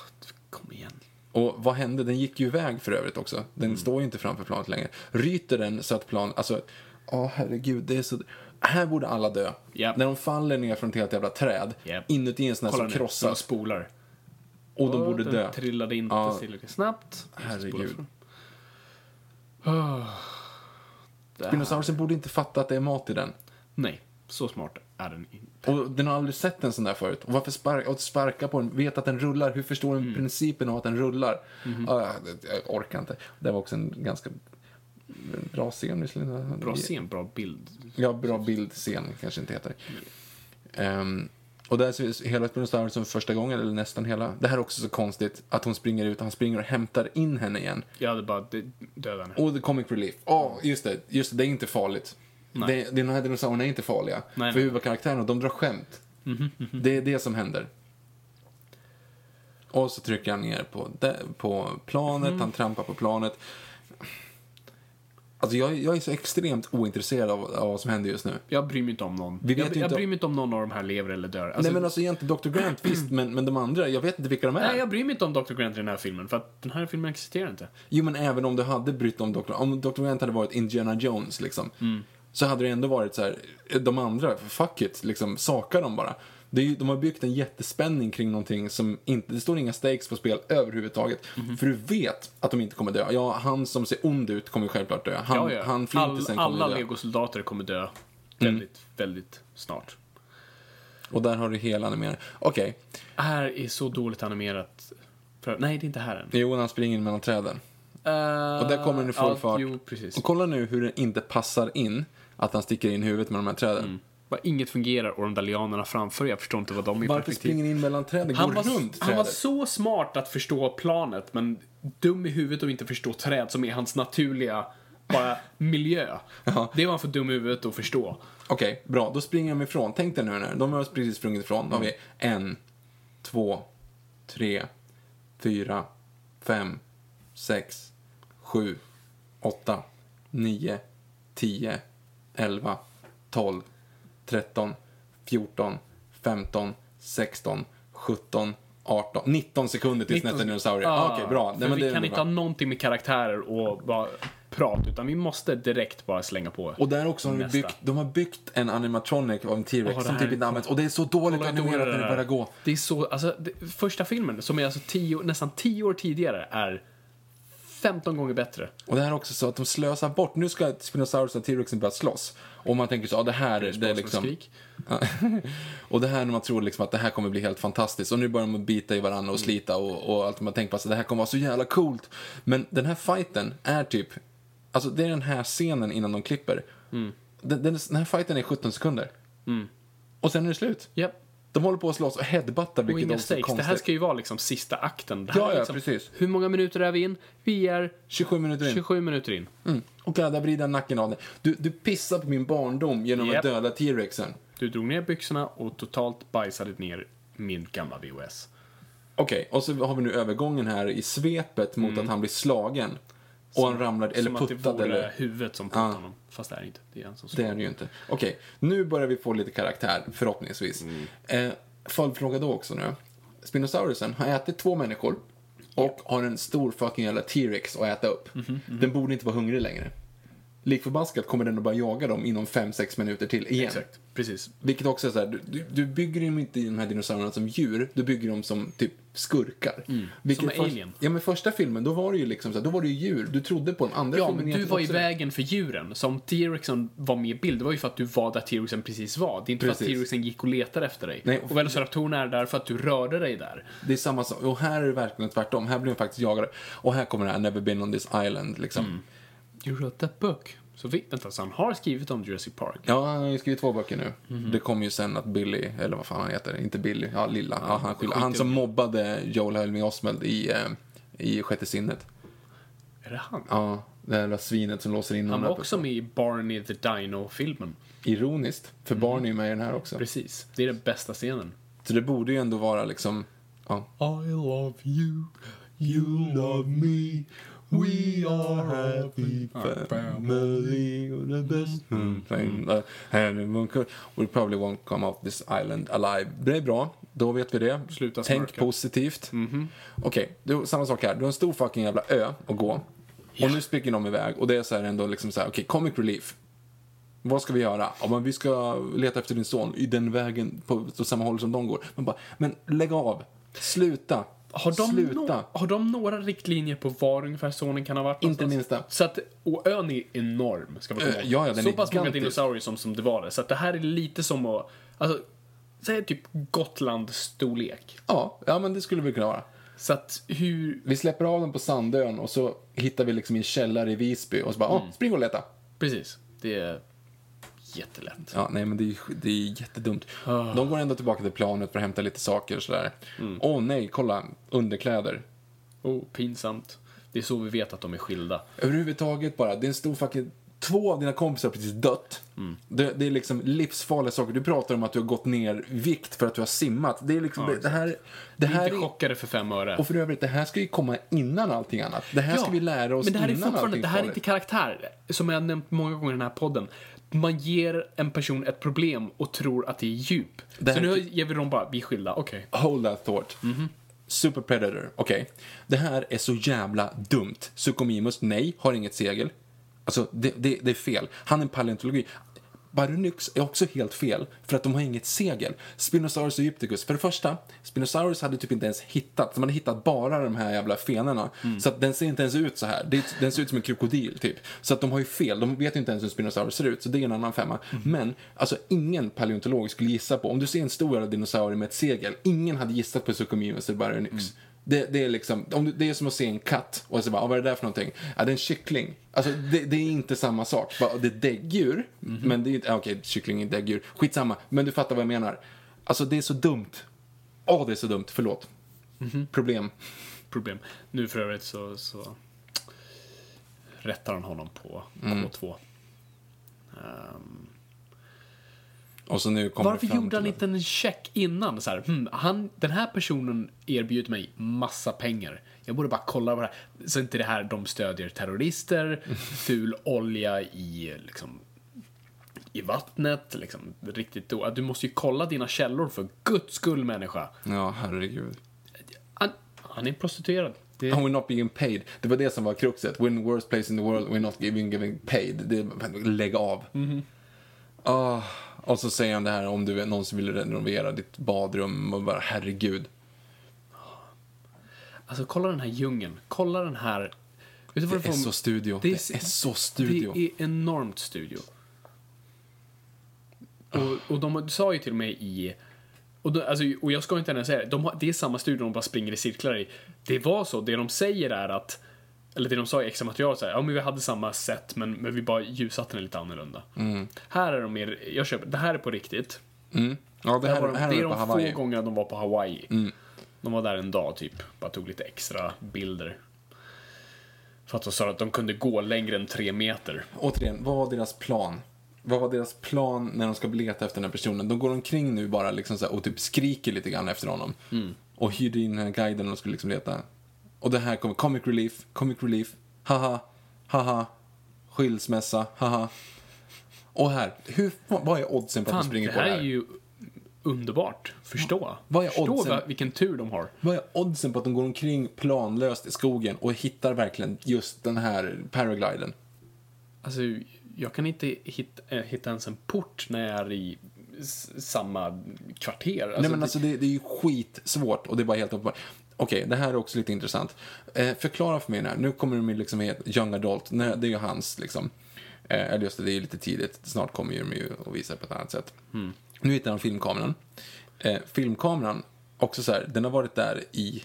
kom igen. Och vad hände? Den gick ju iväg för övrigt också. Den Mm. står ju inte framför planet längre. Ryter den så att planet, alltså, ja herregud, det är så... Här borde alla dö. Japp. När de faller ner från ett helt jävla träd, Japp. inuti en sån här Kolla som nu, de krossas, spolar. och de borde den dö. trillade inte Ja. tillräckligt snabbt. Herregud. Det här- Spinosaurusen borde inte fatta att det är mat i den. Nej, så smart är den inte. Och den har aldrig sett en sån där förut. Och varför sparka, och sparka på den? Vet att den rullar. Hur förstår den Mm. principen av att den rullar? Mm-hmm. Ah, jag, jag orkar inte. Det var också en ganska bra scen visserligen. Bra scen, bra bild. Ja, bra bildscen kanske inte heter. Ehm, och där syns hela Spinosaurusen som första gången, eller nästan hela. Det här är också så konstigt att hon springer ut och han springer och hämtar in henne igen. Jag hade bara d- dödat henne. Och the comic relief. Ja, just det. Just det, det är inte farligt. Det, det, de här dinosaurierna är inte farliga. nej. för huvudkaraktärerna, de drar skämt. Det är det som händer. Och så trycker han ner på, de- på planet, han trampar på planet. Alltså jag, jag är så extremt ointresserad av, av vad som händer just nu. Alltså, Jag bryr mig inte om någon. Vi vet jag ju jag inte- bryr mig inte om någon av de här lever eller dör. Alltså, Nej men alltså egentligen Dr. Grant (clears throat) visst, men, men de andra, jag vet inte vilka de är. nej, jag bryr mig inte om Dr. Grant i den här filmen, för att den här filmen existerar inte. Mm. Jo men även om du hade brytt om Dr. Om Dr. Grant hade varit Indiana Jones liksom. så hade det ändå varit så här, eh, de andra, fuck it, liksom saka dem bara. Det är ju, de har byggt en jättespänning kring någonting som inte, det står inga stakes på spel överhuvudtaget. Mhm. För du vet att de inte kommer dö. Ja, han som ser ond ut kommer ju självklart dö. Han, Ja, ja. han All, flintisen kommer alla ju dö. Mm. legosoldater kommer dö väldigt, väldigt snart. Och där har du hela animeringen. Okej, Det här är så dåligt animerat. För, nej, det är inte här än. Jo, när han springer mellan träden. Eh, Och där kommer den i full ja, fart. Eh, Jo, precis. Och kolla nu hur den inte passar in att han sticker in huvudet mellan de här träden. Bara inget fungerar och de där lianerna framför, jag förstår inte vad de är i Varför perspektiv. springer ni in mellan träden? Han Gå runt var, han trädet. var så smart att förstå planet, men dum i huvudet och inte förstå träd som är hans naturliga bara (laughs) miljö. Det var han för dum i huvudet att förstå. Okej, bra. Då springer de ifrån. Tänk dig nu när de har precis sprungit ifrån. Då har vi en, två, tre, fyra, fem, sex, sju, åtta, nio, tio, elva, tolv, tretton, fjorton, femton, sexton, sjutton, arton, nitton sekunder tills 19 nästa dinosaurie. Ah, Okej, bra. Nej, för men vi det är kan bra. inte ha någonting med karaktärer och bara prat, utan vi måste direkt bara slänga på. Och där också har de Nästa. byggt, de har byggt en animatronic av en T-Rex Ja, det som här typ är inte används. Och det är så dåligt Kolla hur animerat dålig när den det är. börjar gå. Det är så, alltså, det, första filmen, som är alltså tio, nästan tio år tidigare, är 15 gånger bättre. Och det här är också så att de slösar bort. Nu ska Spinosaurus och T-Rexen börja slåss. Och man tänker så, ja det här det är Sponsor liksom... skrik. Ja. (laughs) och det här när man tror liksom att det här kommer bli helt fantastiskt. Och nu börjar de bita i varandra Mm. och slita och, och allt man tänker på. Alltså det här kommer vara så jävla coolt. Men den här fighten är typ... Alltså det är den här scenen innan de klipper. Mm. Den, den, den här fighten är 17 sekunder. Och sen är det slut. Japp. De håller på att slåss och headbuttar Och vilket inga också är stakes. konstigt. Det här ska ju vara liksom sista akten. Det här Ja, är ja, liksom, precis. Hur många minuter är vi in? Vi är 27 minuter in. 27 minuter in. Mm. Och där vrider han nacken av dig. Du, du pissar på min barndom genom att Japp. döda T-rexen. Du drog ner byxorna och totalt bajsade ner min gamla VHS. Okej, och så har vi nu övergången här i svepet mot att han blir slagen. Och han ramlar, eller Mm. som att det puttad vore eller... huvudet som puttade Ja. honom. Fast det är det inte. Det är han som Det är det ju inte. Okej, nu börjar vi få lite karaktär, förhoppningsvis. Mm. Eh, följdfråga då också nu. Spinosaurusen har ätit två människor och har en stor fucking jävla T-rex att äta upp. Mhm, Den borde inte vara hungrig längre. Likförbaskat kommer den att börja jaga dem inom 5-6 minuter till igen. Exakt. Precis. Vilket också är så här, du- du, du bygger dem inte i de här dinosaurierna som djur, du bygger dem som typ skurkar. Vilket Mm. Som först- Alien. Ja men första filmen, då var det ju liksom så här, då var det ju djur, du trodde på dem. Andra Ja, filmen men du egentligen var i också- vägen för djuren. Så om T-rexen var med i bild, det var ju för att du var där T-rexen precis var. Det är inte för att Precis. T-rexen gick och letade efter dig. Nej, och- och Velociraptorn är där för att du rörde dig där. Det är samma sak, och här är det verkligen tvärtom, här blir de faktiskt jagade. Och här kommer det här, never been on this island liksom. Mm. You wrote that book. Så vi, vänta, så han har skrivit om Jurassic Park. Ja, han har ju skrivit två böcker nu. Mhm. Det kom ju sen att Billy, eller vad fan han heter, inte Billy, ja lilla, ja, han, skyller- han som mobbade Joel Helming Osmond i, eh, i Sjätte sinnet. Är det han? Ja, det jävla svinet som låser in Han honom var där också med i Barney the Dino-filmen. Ironiskt, för barn är ju med i den här också. Mm. Precis. Det är den bästa scenen. Så det borde ju ändå vara liksom, ja. I love you, you love me, we are happy family, the best Mm. thing that anyone could- We probably won't come off this island alive. Det är bra, då vet vi det. Sluta Tänk snarka. Mhm. positivt. Okej, du- samma sak här. Du har en stor fucking jävla ö att gå. Och nu spricker de iväg och det är så här ändå liksom så här, okej, comic relief. Vad ska vi göra? Ja, men vi ska leta efter din son i den vägen på, på samma håll som de går. Men bara, men lägg av. Sluta. Har de, Sluta. no- har de några riktlinjer på var ungefär sonen kan ha varit? Inte någonstans? minsta. Så att, och ön är enorm, ska man komma Ö, ihåg. ja, ja, den Så är pass många gigantisk. dinosaurier som, som det var där. Så att det här är lite som att, alltså, säg typ Gotland-storlek. Ja, ja, men det skulle vi kunna vara. Så att hur, Vi släpper av dem på Sandön och så hittar vi liksom en källare i Visby och så bara, Mm. åh, spring och leta. precis. Det är jättelätt. Ja, nej men det är, ju- det är jättedumt. Ah. De går ändå tillbaka till planet för att hämta lite saker och sådär. Åh Mm. nej, kolla, underkläder. Oh, pinsamt. Det är så vi vet att de är skilda. Överhuvudtaget bara, det är en stor fucking... Två av dina kompisar har precis dött. Mm. Det, det är liksom livsfarliga saker. Du pratar om att du har gått ner i vikt för att du har simmat. Det är liksom, det, det här... Det Vi är här inte är, chockade för fem öre. och för övrigt, det här ska ju komma innan allting annat. Det här ska vi lära oss Men det här är innan fortfarande, allting det här är farligt. inte karaktär. Som jag har nämnt många gånger i den här podden. Man ger en person ett problem och tror att det är djup. Det här Så nu är- typ- ger vi dem bara, vi är skilda, okej. Hold that thought. Mhm. Super Predator, okej. Det här är så jävla dumt. Sukomimus, nej, har inget segel. Alltså, det, det, det är fel. Han är en paleontologi. Baryonyx är också helt fel, för att de har inget segel. Spinosaurus egypticus, för det första, Spinosaurus hade typ inte ens hittat, de hade hittat bara de här jävla fenorna. Mm. Så att den ser inte ens ut så här. Det- Den ser ut som en krokodil, typ. Så att de har ju fel, de vet ju inte ens hur Spinosaurus ser ut, så det är en annan femma. Men, alltså ingen paleontolog skulle gissa på, om du ser en stor jävla dinosaurie med ett segel, ingen hade gissat på Suchomimus eller Baryonyx. Mm. Det, det, är liksom, om du, det är som att se en katt och så bara, "Ah, vad är det där för någonting? Ja, det är en kyckling. Alltså, det, det är inte samma sak. Bara, Det är däggdjur, Mhm. men det är inte, ah, okej, kyckling är däggdjur. Skitsamma, men du fattar vad jag menar. Alltså, det är så dumt. Åh, det är så dumt, förlåt. Mhm. Problem. problem. Nu för övrigt så, så rättar han honom på Mm. K2. Ehm, Och så nu kommer varför det fram gjorde han till inte en check innan? Så här, hmm, han, den här personen erbjuder mig massa pengar. Jag borde bara kolla vad det här... Så inte det här de (laughs) stödjer terrorister, ful olja i liksom, i vattnet. Liksom, riktigt då. Du måste ju kolla dina källor för guds skull människa. att- Ja, herregud. Han, han är prostituerad. Det, And we're not being paid. Det var det som var kruxet. We're in the worst place in the world, we're not being giving paid. Det, lägg av. Mm-hmm. Ah, och så säger han det här om du är någon som vill renovera ditt badrum och bara herregud. Alltså kolla den här djungeln. Kolla den här... Vet du vad Det är får- så studio. Det är så studio. Det är enormt studio. Och, och de sa ju till mig i... Och, de, alltså, och jag ska inte ens säga det. De har, det är samma studio de bara springer i cirklar i. Det var så. Det de säger är att... Eller det de sa i extra material så här, ja men vi hade samma sätt men, men vi bara ljussatte den lite annorlunda. Här är de mer, jag köper, det här är på riktigt. Mm. Ja, det Det, här, var de, här det är är det på de Hawaii. Mm. få gångerna de var på Hawaii. De var där en dag typ, bara tog lite extra bilder. För att de sa att de kunde gå längre än tre meter. Återigen, vad var deras plan? Vad var deras plan när de ska leta efter den här personen? De går omkring nu bara liksom så här, och typ skriker lite grann efter honom. Mm. Och hyrde in den här guiden och skulle liksom leta. Och det här kommer comic relief, comic relief, haha, haha, skilsmässa, haha. Och här, hur, vad är oddsen på att Fan, de springer Alltså, det på här är ju underbart. Förstå. Vad är Förstå oddsen? vad- vilken tur de har. Vad är oddsen på att de går omkring planlöst i skogen och hittar verkligen just den här paragliden? Alltså, jag kan inte hitta, eh, hitta ens en port när jag är i s- samma kvarter. Alltså, Nej men alltså det, det är ju skitsvårt och det är bara helt uppenbart. Okej, det här är också lite intressant. Eh, förklara för mig den här. Nu kommer det med liksom i ett Young Adult. Nej, det är ju hans liksom. Eh, Eller just det, det är ju lite tidigt. Snart kommer ju de ju och visar på ett annat sätt. Hmm. Nu hittar han filmkameran. Eh, filmkameran, också så här, den har varit där i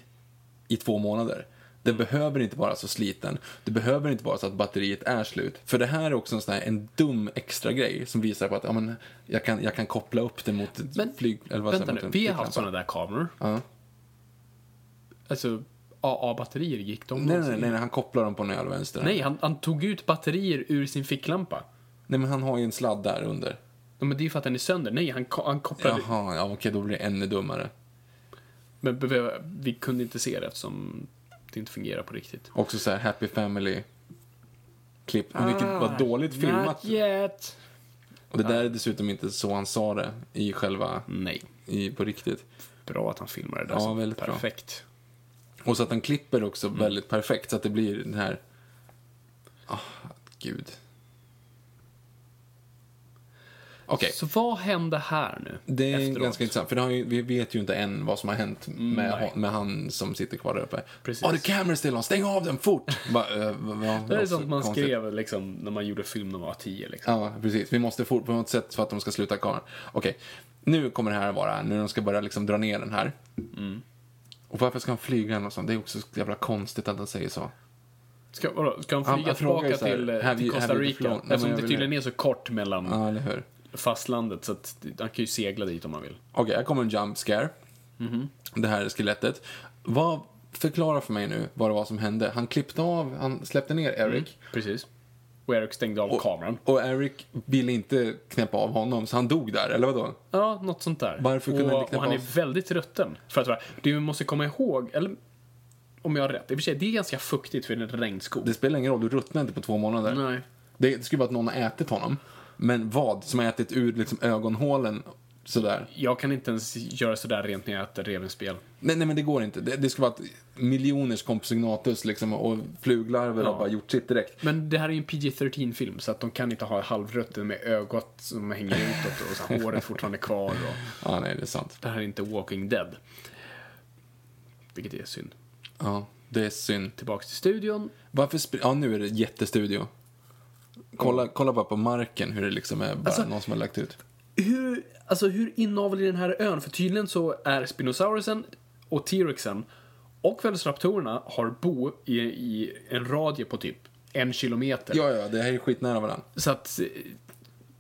i två månader. Den Hmm. behöver inte vara så sliten. Det behöver inte vara så att batteriet är slut. För det här är också en sån här, en dum extra grej som visar på att ja, men, jag, kan, jag kan koppla upp det mot ett Men, flyg... Eller vad säger typ- Vänta man, nu, mot en vi har haft ficklampa. sådana där kameror. Ja. Alltså, AA-batterier gick de Nej, nej, någonsin? nej, nej, han kopplar dem på någon jävla vänster. Nej, han, han tog ut batterier ur sin ficklampa. nej, men han har ju en sladd där under. Ja, Men det är ju för att den är sönder. Nej, han, ko- han kopplade... Jaha, ja, okej, då blir det ännu dummare. Men be- vi kunde inte se det eftersom det inte fungerar på riktigt. Också så här, Happy Family-klipp. vilket Ah. var dåligt filmat. Not yet. Och det där är dessutom inte så han sa det i själva... Nej. I, på riktigt. Bra att han filmar det där. Ja, så väldigt bra. perfekt. Och så att han klipper också Mm. väldigt perfekt så att det blir den här... Ah, gud. Okej, Så vad hände här nu? det är efteråt? ganska intressant. För det har ju, vi vet ju inte än vad som har hänt med, nej. ha- med han som sitter kvar där uppe. Precis. Har du kameror still on? Stäng av den fort! (laughs) Bara, eh, va- va- Det är också sånt man konstigt. skrev liksom, när man gjorde film när man var tio. Liksom. Ja, precis. Vi måste fort på något sätt för att de ska sluta kameran. Okej, nu kommer det här vara, nu de ska börja liksom dra ner den här. Mm. Och varför ska han flyga någonstans? Det är också så jävla konstigt att han säger så. Mm. Ska, vadå, ska han Ja, flyga jag frågar tillbaka så här, till, have eh, till you- have Costa you Rica? flown? Nej, men Eftersom jag det vill- tydligen är så kort mellan Ja, eller hur? fastlandet så att han kan ju segla dit om han vill. Okej, här kommer en jump scare. Mhm. Det här är skelettet. Vad, förklara för mig nu vad det var som hände. Han klippte av, han släppte ner Mm. Eric. Precis. Och Eric stängde av kameran. Och Eric ville inte knäppa av honom, så han dog där, eller vadå? Ja, något sånt där. Varför kunde han och, inte knäppa och han är av? väldigt rutten. För att vara- det vi måste komma ihåg, eller om jag har rätt, i och för sig, det är ganska fuktigt för det är en regnskog. Det spelar ingen roll, du ruttnade inte på två månader. Nej. Det, det skulle vara att någon har ätit honom. Men vad? Som har ätit ur liksom, ögonhålen sådär. Jag kan inte ens göra sådär rent när jag äter revbensspjäll. Nej, nej, men det går inte. Det, det skulle vara att miljoners kompsognathus liksom, och fluglarver har bara gjort sitt direkt. Men det här är ju en PG-13-film så att de kan inte ha halvrötten med ögat som hänger utåt och så här, håret fortfarande kvar. Och... Ja, nej, det är sant. Det här är inte Walking Dead. Vilket är synd. Ja, det är synd. Tillbaks till studion. Varför spr- Ja, nu är det jättestudio. Kolla, kolla bara på marken, hur det liksom är bara Alltså- någon som har lagt ut. Hur, alltså, hur inavel är den här ön? För tydligen så är Spinosaurusen och T-rexen och Velociraptorerna har bo i, i en radie på typ en kilometer. Ja, ja, det här är skitnära varandra. Så att eh,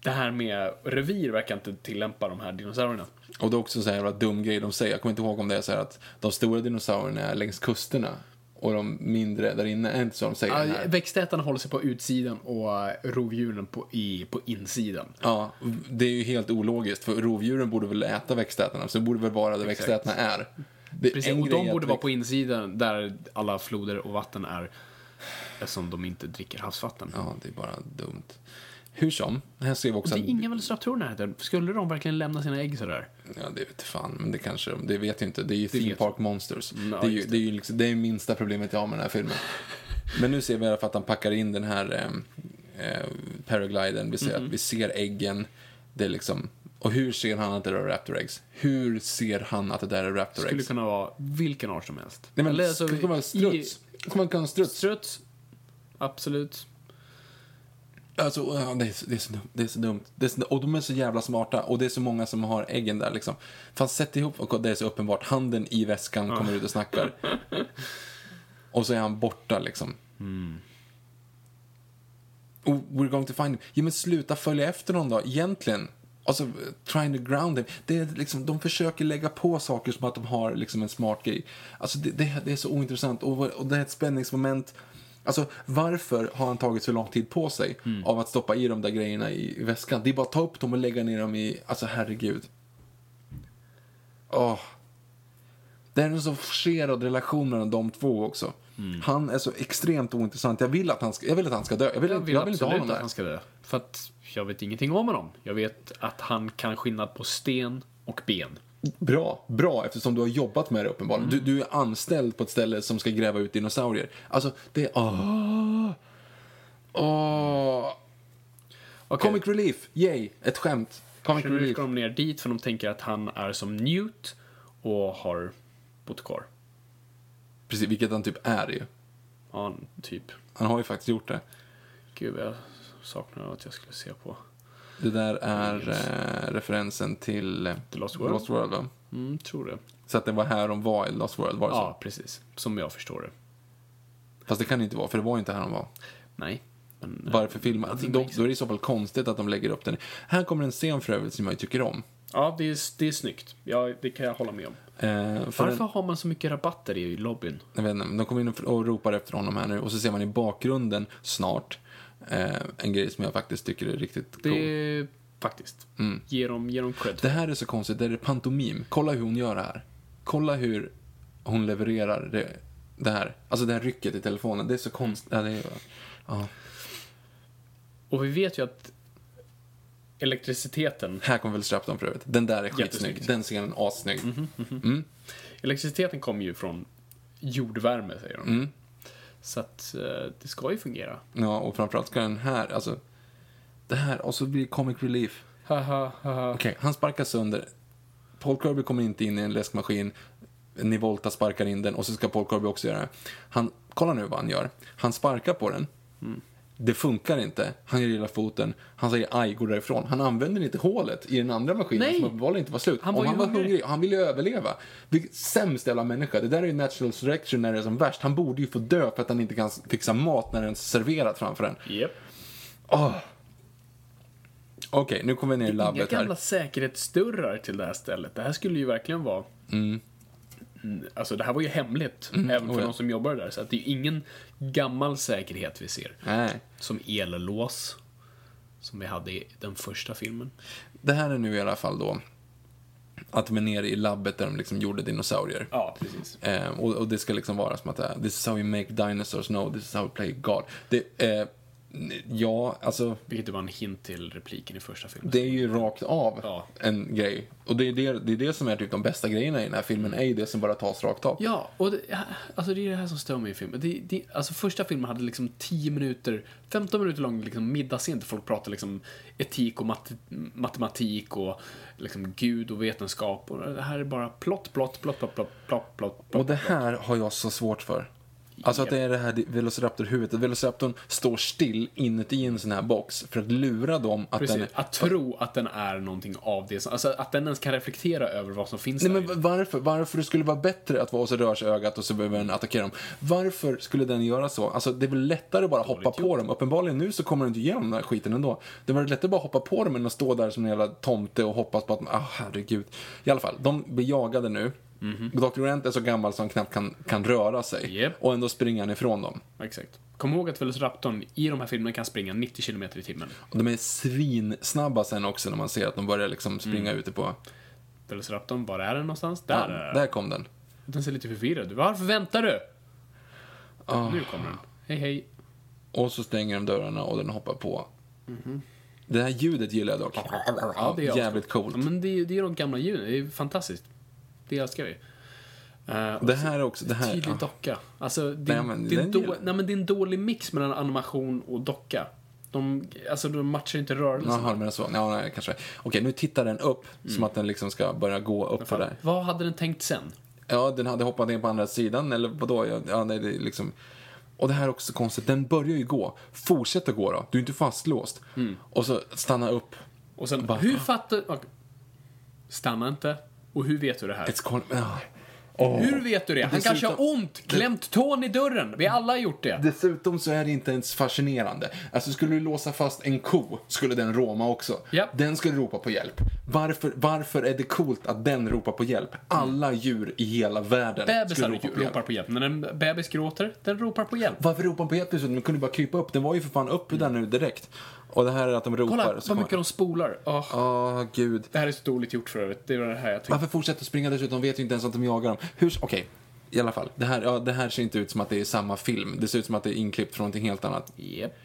det här med revir verkar inte tillämpa de här dinosaurierna. Och det är också så här jävla dum grej de säger. Jag kommer inte ihåg om det är så här att de stora dinosaurierna är längs kusterna och de mindre där inne. Är inte så de säger? den Ja, här? växtätarna håller sig på utsidan och eh, rovdjuren på, i, på insidan. Ja, det är ju helt ologiskt för rovdjuren borde väl äta växtätarna, så det borde väl vara där växtätarna är. Det är Precis, en och grej de att borde växt- vara på insidan där alla floder och vatten är eftersom de inte dricker havsvatten. Ja, det är bara dumt. Hur som, här ser vi också Det att... är inga velociraptorer här. där. Skulle de verkligen lämna sina ägg sådär? Ja, det vet fan, men det kanske de... Det vet ju inte. Det är ju Theme vet- Park Monsters. Ja, det är ju just det. är ju liksom, det är minsta problemet jag har med den här (laughs) filmen. men nu ser vi i alla fall att han packar in den här eh, eh, paraglidern. Vi ser, Mm-hmm. att vi ser äggen. Det är liksom... Och hur ser han att det där är Raptor Eggs? Hur ser han att det där är Raptor Skulle Eggs? kunna vara vilken art som helst. Nej, men Eller, alltså, det kommer vara i- struts. Det kommer vara en struts. Struts. Absolut. Alltså, ja, det, är så, det, är så dumt, det är så dumt. Det är så, och de är så jävla smarta. Och det är så många som har äggen där liksom. Fast sätt ihop, och det är så uppenbart. Handen i väskan kommer ut och snackar. och så är han borta liksom. Oh, we're going to find him. Ja, men sluta följa efter honom då, egentligen. Alltså, trying to ground him. Det är liksom, de försöker lägga på saker som att de har liksom en smart grej. Alltså, det, det, det är så ointressant och, och det är ett spänningsmoment. Alltså, varför har han tagit så lång tid på sig Mm. av att stoppa i de där grejerna i, i väskan? Det är bara att ta upp dem och lägga ner dem i... Alltså, herregud. Åh. Det är en så forcerad relation mellan de två också. Mm. Han är så extremt ointressant. Jag vill att han ska, jag vill att han ska dö. Jag vill, Jag inte- vill, jag vill inte ha absolut honom att där. han ska dö. För att jag vet ingenting om honom. Jag vet att han kan skillnad på sten och ben. Bra, bra eftersom du har jobbat med det uppenbarligen. Mm. Du, du är anställd på ett ställe som ska gräva ut dinosaurier. Alltså, det är... Åh! Åh! Okej. Comic relief, yay! Ett skämt. Comic Så nu relief. ska de ner dit för de tänker att han är som Newt och har bott kvar. Precis, vilket han typ är ju. Ja, han- typ. Han har ju faktiskt gjort det. Gud, jag saknar att jag skulle se på. Det där är eh, referensen till eh, The Lost World. Lost World va? Mm, tror det. Så att det var här de var i Lost World, var det Ja, precis. Som jag förstår det. så? Fast det kan det inte vara, för det var ju inte här de var. Nej. Men, Varför filma? Då, då är det i så fall konstigt att de lägger upp den. Här kommer en scen för övrigt som jag tycker om. ja, det är, det är snyggt. Ja, det kan jag hålla med om. Eh, för Varför den- har man så mycket rabatter i lobbyn? Jag vet inte, men de kommer in och ropar efter honom här nu och så ser man i bakgrunden snart eh, en grej som jag faktiskt tycker är riktigt cool. Det Det... är faktiskt. Ge, dem, ge dem cred. här är så konstigt, det är pantomim. Kolla hur hon gör det här. Kolla hur hon levererar det, det här. Alltså det här rycket i telefonen, det är så konstigt. Ja, det är... ja. Och vi vet ju att elektriciteten Här kommer väl Strapton för övrigt. Den där är skitsnygg. Jättesnygg. Mhm. Den scenen är assnygg. Elektriciteten kommer ju från jordvärme, säger de. Mm. Så att eh, det ska ju fungera. Ja, och framförallt ska den här, alltså. Det här, och så blir det comic relief. Haha, haha. Okej, han sparkar sönder. Paul Kirby kommer inte in i en läskmaskin. Nivolta sparkar in den och så ska Paul Kirby också göra det. Han, kolla nu vad han gör. Han sparkar på den. Det funkar inte. Han gör illa foten. Han säger aj, går därifrån. Han använder inte hålet i den andra maskinen Nej. som uppenbarligen inte var slut. Han Om var ju han var hungrig. hungrig. Han ville ju överleva. Vilket sämst jävla människa. Det där är ju natural selection när det är som värst. Han borde ju få dö för att han inte kan fixa mat när den är serverad framför en. Japp. Åh. Okej, nu kommer vi ner i Inga labbet här. gamla säkerhetsdörrar till det här stället. Det här skulle ju verkligen vara... Mm, Alltså det här var ju hemligt, även för oh ja. de som jobbar där. Så att det är ju ingen gammal säkerhet vi ser. Nej. Som ellås, som vi hade i den första filmen. Det här är nu i alla fall då att de är nere i labbet där de liksom gjorde dinosaurier. Ehm, Ja, precis. Eh, och, och det ska liksom vara som att eh, this is how we make dinosaurs, no this is how we play God. Det, eh, Ja, alltså. Vilket var en hint till repliken i första filmen. Det är ju rakt av Ja. en grej. Och det är det, det är det som är typ de bästa grejerna i den här filmen, är ju det som bara tas rakt av. Ja, och det, alltså det är det här som stör mig i filmen. Det, det, alltså första filmen hade liksom 10 minuter, 15 minuter lång liksom middagsscen där folk pratar liksom etik och mat, matematik och liksom gud och vetenskap. Och det här är bara plott, plott, plott, plott, plott, plott, plott. Och plott. det här har jag så svårt för. Alltså att det är det här Velociraptor-huvudet. Velociraptorn står still inuti en sån här box för att lura dem att Precis, den... att tro att den är någonting av det som, alltså att den ens kan reflektera över vad som finns Nej där. men inne. va- varför? Varför det skulle vara bättre att vara och så rör sig ögat och så behöver den attackera dem? Varför skulle den göra så? Alltså det är väl lättare att bara hoppa på dem. Uppenbarligen nu så kommer den inte igenom den här skiten ändå. Det var lättare att bara hoppa på dem än att stå där som en jävla tomte och hoppas på att, ah herregud. I alla fall, de blir jagade nu. Dr. Rent är så gammal så han knappt kan, kan röra sig. Mhm. Japp. Och ändå springer han ifrån dem. Exakt. Kom ihåg att Velociraptorn i de här filmerna kan springa 90 km i timmen. Och de är svinsnabba sen också när man ser att de börjar liksom springa ute på... Velociraptorn, var är den någonstans? Mm. Där är den. Där kom den. Den ser lite förvirrad ut. Varför väntar du? Ah. Nu kommer den. Hej, hej. Och så stänger de dörrarna och den hoppar på. Det här ljudet gillar jag dock. Ja, jag jävligt älskar. coolt. Mhm. Ja, men alltså, det, är- det är de gamla djuren. Det är fantastiskt. Det älskar vi. Eh, och Det här är också... Det här, Tydlig ja. docka. Alltså, det, är- Nej, men det, är den en då, gillar jag. nej, men det är en dålig mix mellan animation och docka. De, alltså, de matchar inte rörelsen. Jaha, men så. Ja, nej, kanske. Okej, nu tittar den upp Mm. som att den liksom ska börja gå upp för där. Vad hade den tänkt sen? Ja, den hade hoppat ner på andra sidan eller vadå? Ja, Ja, nej, det är liksom... Och det här är också konstigt. Den börjar ju gå. Fortsätt att gå då. Du är inte fastlåst. Mm. Och så stanna upp. Och sen, hur "Ah." fattar... okej. Stanna inte. Och hur vet du det här? It's call... Ah. Hur vet du det? Han Dessutom- kanske har ont, klämt tån i dörren. Vi alla har gjort det. Dessutom så är det inte ens fascinerande. Alltså skulle du låsa fast en ko skulle den råma också. Japp. Den skulle ropa på hjälp. Varför, varför är det coolt att den ropar på hjälp? Alla djur i hela världen Bebisar skulle ropa på hjälp. ropar på hjälp. När en bebis gråter, den ropar på hjälp. Varför ropar de på hjälp? Den kunde bara krypa upp. Den var ju för fan uppe där nu direkt. Och det här är att de ropar. Kolla så vad kommer- mycket de spolar. Åh, Ah, gud. Det här är så dåligt gjort för övrigt. Det var det här jag tyckte. Varför fortsätter de springa dessutom? De vet ju inte ens att de jagar dem. Hur... Okej. I alla fall, det här, ja, det här ser inte ut som att det är samma film. Det ser ut som att det är inklippt från någonting helt annat. Yep.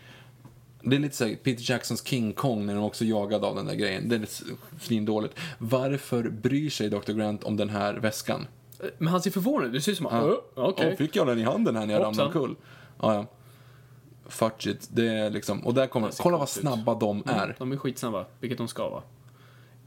Det är lite såhär Peter Jacksons King Kong när de också är jagade av den där grejen. Det är s- svindåligt. Varför bryr sig Dr. Grant om den här väskan? Ah. Men han ser förvånad ut. Det ser ut som att... "Åh, Oh, Okej. Åh, fick jag den i handen här när jag Hoppsan. ramlade omkull? Ah, Ja, ja. Fudge it. Det är liksom, och där kommer de. Kolla vad snabba de är. Mm, De är skitsnabba, vilket de ska vara.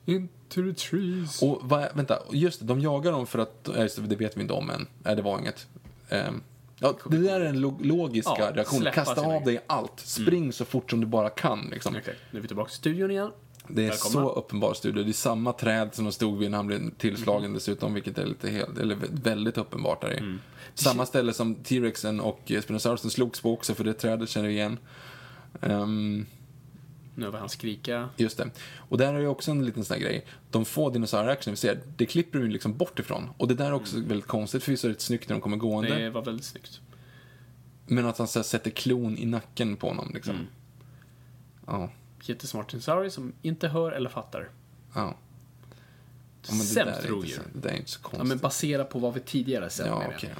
Into the trees. Och vad, vänta, just det, de jagar dem för att, ja, just det, det vet vi inte om än. Nej, det var inget. Ehm, ja, det där är den lo- logiska Ja, reaktionen. släppa Kasta sina av dig allt. Spring så fort som du bara kan. Liksom. Okej, nu är vi tillbaka i studion igen. Det är Välkomna. så uppenbar studio. Det är samma träd som de stod vid när han blev tillslagen dessutom, vilket är lite helt, eller vä- väldigt uppenbart där i. Samma ställe som T-Rexen och eh, Spinosaurusen slogs på också, för det trädet känner vi igen. Ehm, Nu var han skrika. just det. Och där är ju också en liten sån här grej. De få dinosaurier-action vi ser, det klipper de ju liksom bort ifrån. Och det där är också väldigt konstigt, för vi ser det snyggt när de kommer gående. Mm. Det var väldigt snyggt. Men att han så här, sätter klon i nacken på honom liksom. Mm. Ja, Jättesmart dinosaurie som inte hör eller fattar. ja. Ja, men det där är Sämst inte rovdjur. så- Det där är inte så konstigt. Ja, men basera på vad vi tidigare sett Ja, med okej.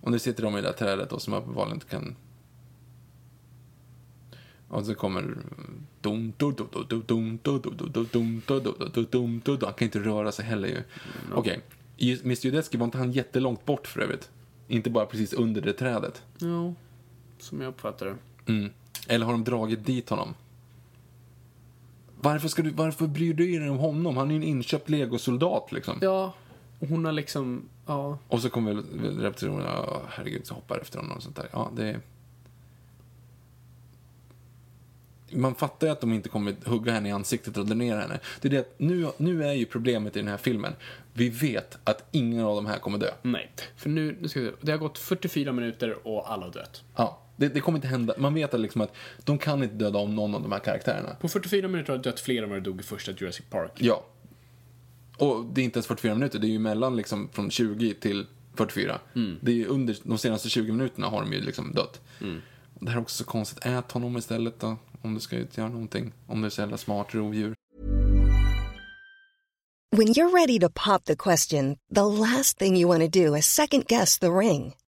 Och nu sitter de i det där trädet och som uppenbarligen inte kan... Och så kommer... dum, dum, dum, dum, dum, dum, dum, dum, dum, dum, dum, dum, dum, dum, dum, dum. Han kan inte röra sig heller ju. Okej. Ju- Mr Judeski var inte han jättelångt bort för övrigt? Inte bara precis under det trädet? det. Ja, som jag uppfattar det. Mm. Eller har de dragit dit honom? Varför, ska du, varför bryr du dig om honom? Han är ju en inköpt legosoldat liksom. Ja, och hon har liksom... Ja, Och så kommer väl- väl repetitionerna, ja, herregud, så hoppar efter honom och sånt där. Ja, det... är- Man fattar ju att de inte kommer hugga henne i ansiktet och dränera henne. Det är det att nu, nu är ju problemet i den här filmen, vi vet att ingen av de här kommer dö. nej. För nu, nu ska vi se. Det har gått 44 minuter och alla har dött. Ja, det, det kommer inte hända. Man vet att, liksom att de kan inte döda om någon av de här karaktärerna. På 44 minuter har det dött fler än vad det dog i första Jurassic Park. Ja. Och det är inte ens 44 minuter, det är ju mellan liksom från 20 till 44. Det är ju under de senaste 20 minuterna har de ju liksom dött. Och Det här är också så konstigt. Ät honom istället då, om du ska ut och göra någonting. Om du är så jävla smart rovdjur. When you're ready to pop the question, the last thing you want to do is second guess the ring.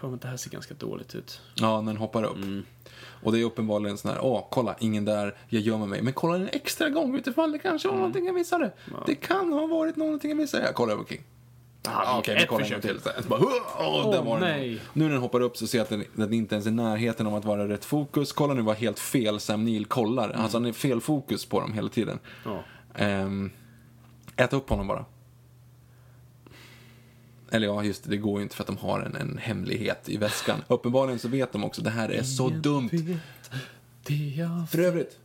Fan, men det här ser ganska dåligt ut. Ja, när den hoppar upp. Mm. Och det är uppenbarligen sån här, åh, kolla, ingen där, jag gömmer mig. Men kolla en extra gång utifall det kanske Mm. var någonting jag missade. Det kan ha varit någonting jag missade. Jag kollar över King. Ah, Okej, vi ett kollar en gång försök till. Så här, så bara, åh, där Åh, var den. nej. Nu när den hoppar upp så ser jag att den, den inte ens är i närheten om att vara rätt fokus. Kolla nu vad helt fel Sam Neill kollar. Alltså han är fel fokus på dem hela tiden. Mm. Ja. Ehm, äta upp honom bara. Eller ja, just det, det går ju inte för att de har en, en hemlighet i väskan. (laughs) Uppenbarligen så vet de också, det här är så dumt. Det jag... För övrigt,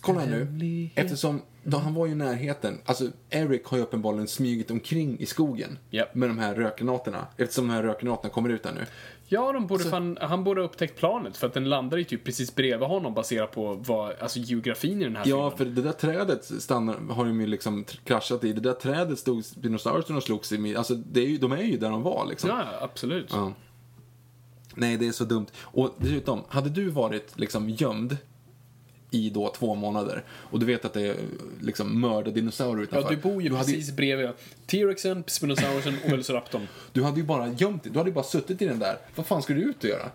kolla här nu. Hemlighet. Eftersom då han var ju i närheten. Alltså, Eric har ju uppenbarligen smugit omkring i skogen Japp. med de här rökgranaterna. Eftersom de här rökgranaterna kommer ut här nu. Ja, de borde fan, han borde ha upptäckt planet för att den landar ju typ precis bredvid honom baserat på vad, alltså geografin i den här Ja, filmen. för det där trädet stannar, har de ju liksom tr- kraschat i. Det där trädet stod dinosaurierna och slogs i. Alltså, det är ju, de är ju där de var liksom. Ja, ja, absolut. Ja. Typ. Nej, det är så dumt. Och dessutom, hade du varit liksom gömd i då två månader och du vet att det är liksom mördardinosaurier Ja, utanför. du bor ju du hade, precis bredvid T-rexen, Spinosaurusen och Velociraptorn. (laughs) Du hade ju bara gömt dig. Du hade ju bara suttit i den där. Vad fan skulle du ut och göra?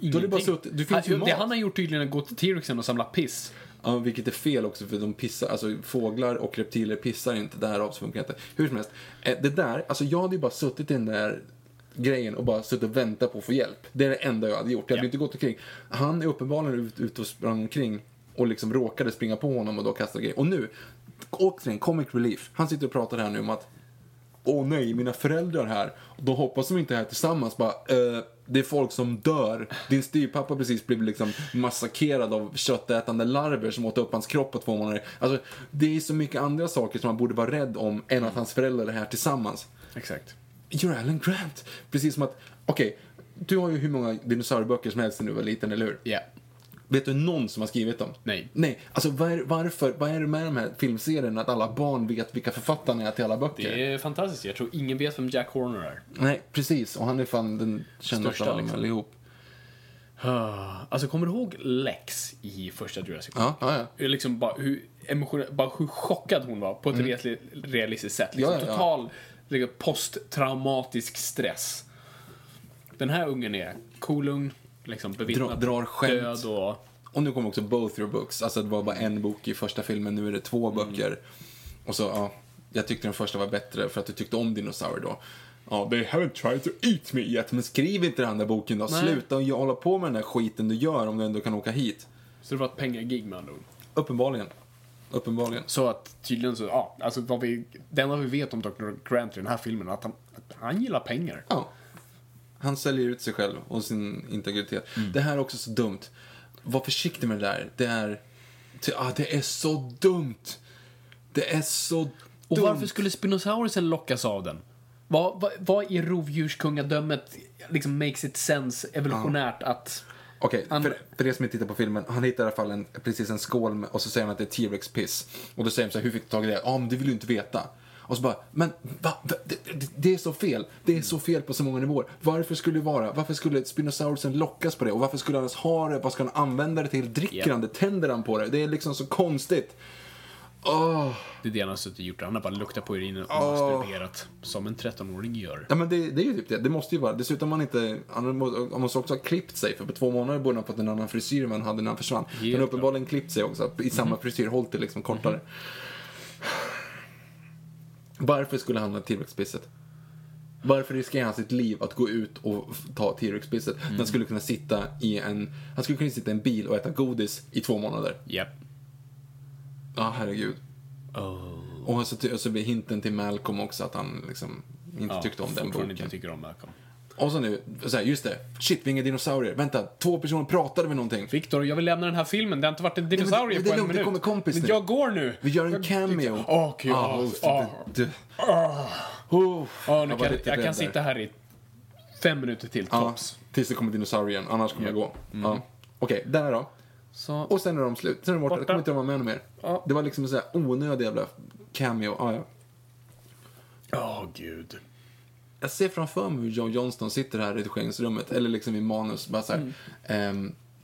du hade bara suttit. Du finns ju han, mat. Ah, det han har gjort tydligen är att gå till T-rexen och samla piss. Ja, vilket är fel också för de pissar, alltså fåglar och reptiler pissar inte, därav så funkar det inte. Hur som helst, eh, det där, alltså jag hade ju bara suttit i den där grejen och bara suttit och väntat på att få hjälp. Det är det enda jag hade gjort, jag hade Ja. inte gått omkring. Han är uppenbarligen ut- ute och sprang omkring och liksom råkade springa på honom och då kastade grejer. Och nu, återigen, comic relief. Han sitter och pratar här nu om att Åh nej, mina föräldrar här. De hoppas de inte är här tillsammans. Bara, eh, det är folk som dör. Din styvpappa har precis blivit liksom massakrerad av köttätande larver som åt upp hans kropp på två månader. Alltså, det är så mycket andra saker som man borde vara rädd om än att hans föräldrar är här tillsammans. Exakt. You're Alan Grant. Precis som att, okej, du har ju hur många dinosaurieböcker som helst när du var liten, eller hur? Ja. Vet du någon som har skrivit dem? Nej. Nej, alltså vad är, varför, vad är det med de här filmserierna att alla barn vet vilka författarna är till alla böcker? Det är fantastiskt. Jag tror ingen vet vem Jack Horner är. Nej, precis. Och han är fan den kändaste Största, av dem liksom. allihop. Ah, Alltså, kommer du ihåg Lex i första Jurassic Park? Ja, ja, ja. Hur Liksom bara hur, emotionell, bara hur chockad hon var på ett reali- realistiskt sätt. Liksom Ja, ja, ja. Total liksom, posttraumatisk stress. Den här ungen är kolugn, liksom bevittnat Dra- drar skämt. död och... Och nu kommer också both your books. Alltså det var bara en bok i första filmen, nu är det två Mm. böcker. Och så, ja. Jag tyckte den första var bättre för att du tyckte om dinosaurier då. Ja, they haven't tried to eat me yet. Men skriv inte den andra boken då. Nej. Sluta och jag hålla på med den där skiten du gör om du ändå kan åka hit. Så det var ett pengagig med andra ord. Uppenbarligen. Uppenbarligen. Så att tydligen så, ja, alltså vad vi, det enda vi vet om Dr. Grant i den här filmen är att han, att han gillar pengar. Ja. Han säljer ut sig själv och sin integritet. Mm. Det här är också så dumt. Var försiktig med det där. Det är... Ty- Ah, det är så dumt! Det är så dumt. Och varför skulle Spinosaurusen lockas av den? Vad, vad, vad i rovdjurskungadömet liksom makes it sense evolutionärt att... Okej, Han- för, för er som inte tittar på filmen, han hittar i alla fall en, precis en skål med, och så säger han att det är T-Rex piss. Och då säger de så här, hur fick du tag i det? Ja, men det vill du inte veta. Och så bara, men va, va, det, det- det är så fel. Det är så fel på så många nivåer. Varför skulle det vara? Varför skulle Spinosaurusen lockas på det? Och varför skulle han ens ha det? Vad ska han använda det till? Dricker Ja. han det? Tänder han på det? Det är liksom så konstigt. Det är det han har suttit och gjort. Han har bara luktat på urinen och masturberat. Som en 13-åring gör. Ja men det, det är ju typ det. Det måste ju vara. Dessutom har han inte, han må- han måste också ha klippt sig för på två månader borde han fått en annan frisyr än vad han hade när han försvann. Men han har uppenbarligen klippt sig också i Mm-hmm. samma frisyr, hållit det liksom kortare. Varför skulle han ha T-Rex-pisset? Varför riskerar han sitt liv att gå ut och f- ta T-Rex-pisset? när Mm. Han skulle kunna sitta i en, han skulle kunna sitta i en bil och äta godis i två månader. Japp. Ja, herregud. Oh. Och så, ty- så blir hinten till Malcolm också att han liksom inte Ja, tyckte om den fortfarande boken. inte tycker om Malcolm. Och så nu, så här, just det, shit vi är inga dinosaurier, vänta, två personer pratade med någonting. Viktor, jag vill lämna den här filmen. Det har inte varit en men det- dinosaurie det är på en lugnt, det minut. kommer kompis men nu. jag går nu. Vi gör en cameo. Åh, gud. Ah, Åh. uff, det- det- Oh, Ja, var nu kan, lite jag rädd där. kan sitta här i fem minuter till, typ. Ja, tops. Mm. tills det kommer dinosaurien, annars kommer jag gå. Ja. Okej, där då. Så, Och sen är de slut, sen är de borta, Borta. det kommer inte de vara med ännu mer. Ja. Det var liksom en sån här onödig jävla cameo. Ah, ja. åh gud. Jag ser framför mig hur Joe Johnston sitter här i redigeringsrummet, eller liksom i manus, bara såhär,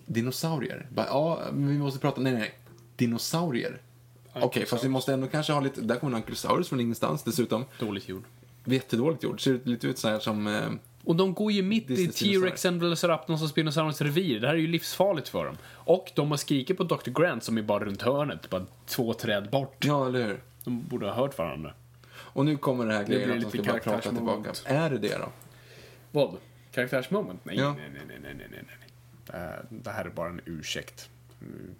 dinosaurier. Bara, ja, men vi måste prata, nej, nej, nej. dinosaurier. Okej, fast vi måste ändå kanske ha lite, där kommer en ankylosaurus från ingenstans dessutom. Dåligt gjord. Jättedåligt gjort, ser lite ut så här som, eh, Och de går ju mitt i Disneys T-Rexen, Velociraptorns och Spinosaurus revir. Det här är ju livsfarligt för dem. Och de har skrikit på Dr. Grant som är bara runt hörnet, bara två träd bort. ja eller hur. De borde ha hört varandra. Och nu kommer det här grejen blir att de lite ska bara prata karaktärsmoment. tillbaka. Är det det då? Vad? Karaktärsmoment? Nej, Ja. nej, nej, nej, nej, nej, nej, nej. Det här- Det här är bara en ursäkt. Mm.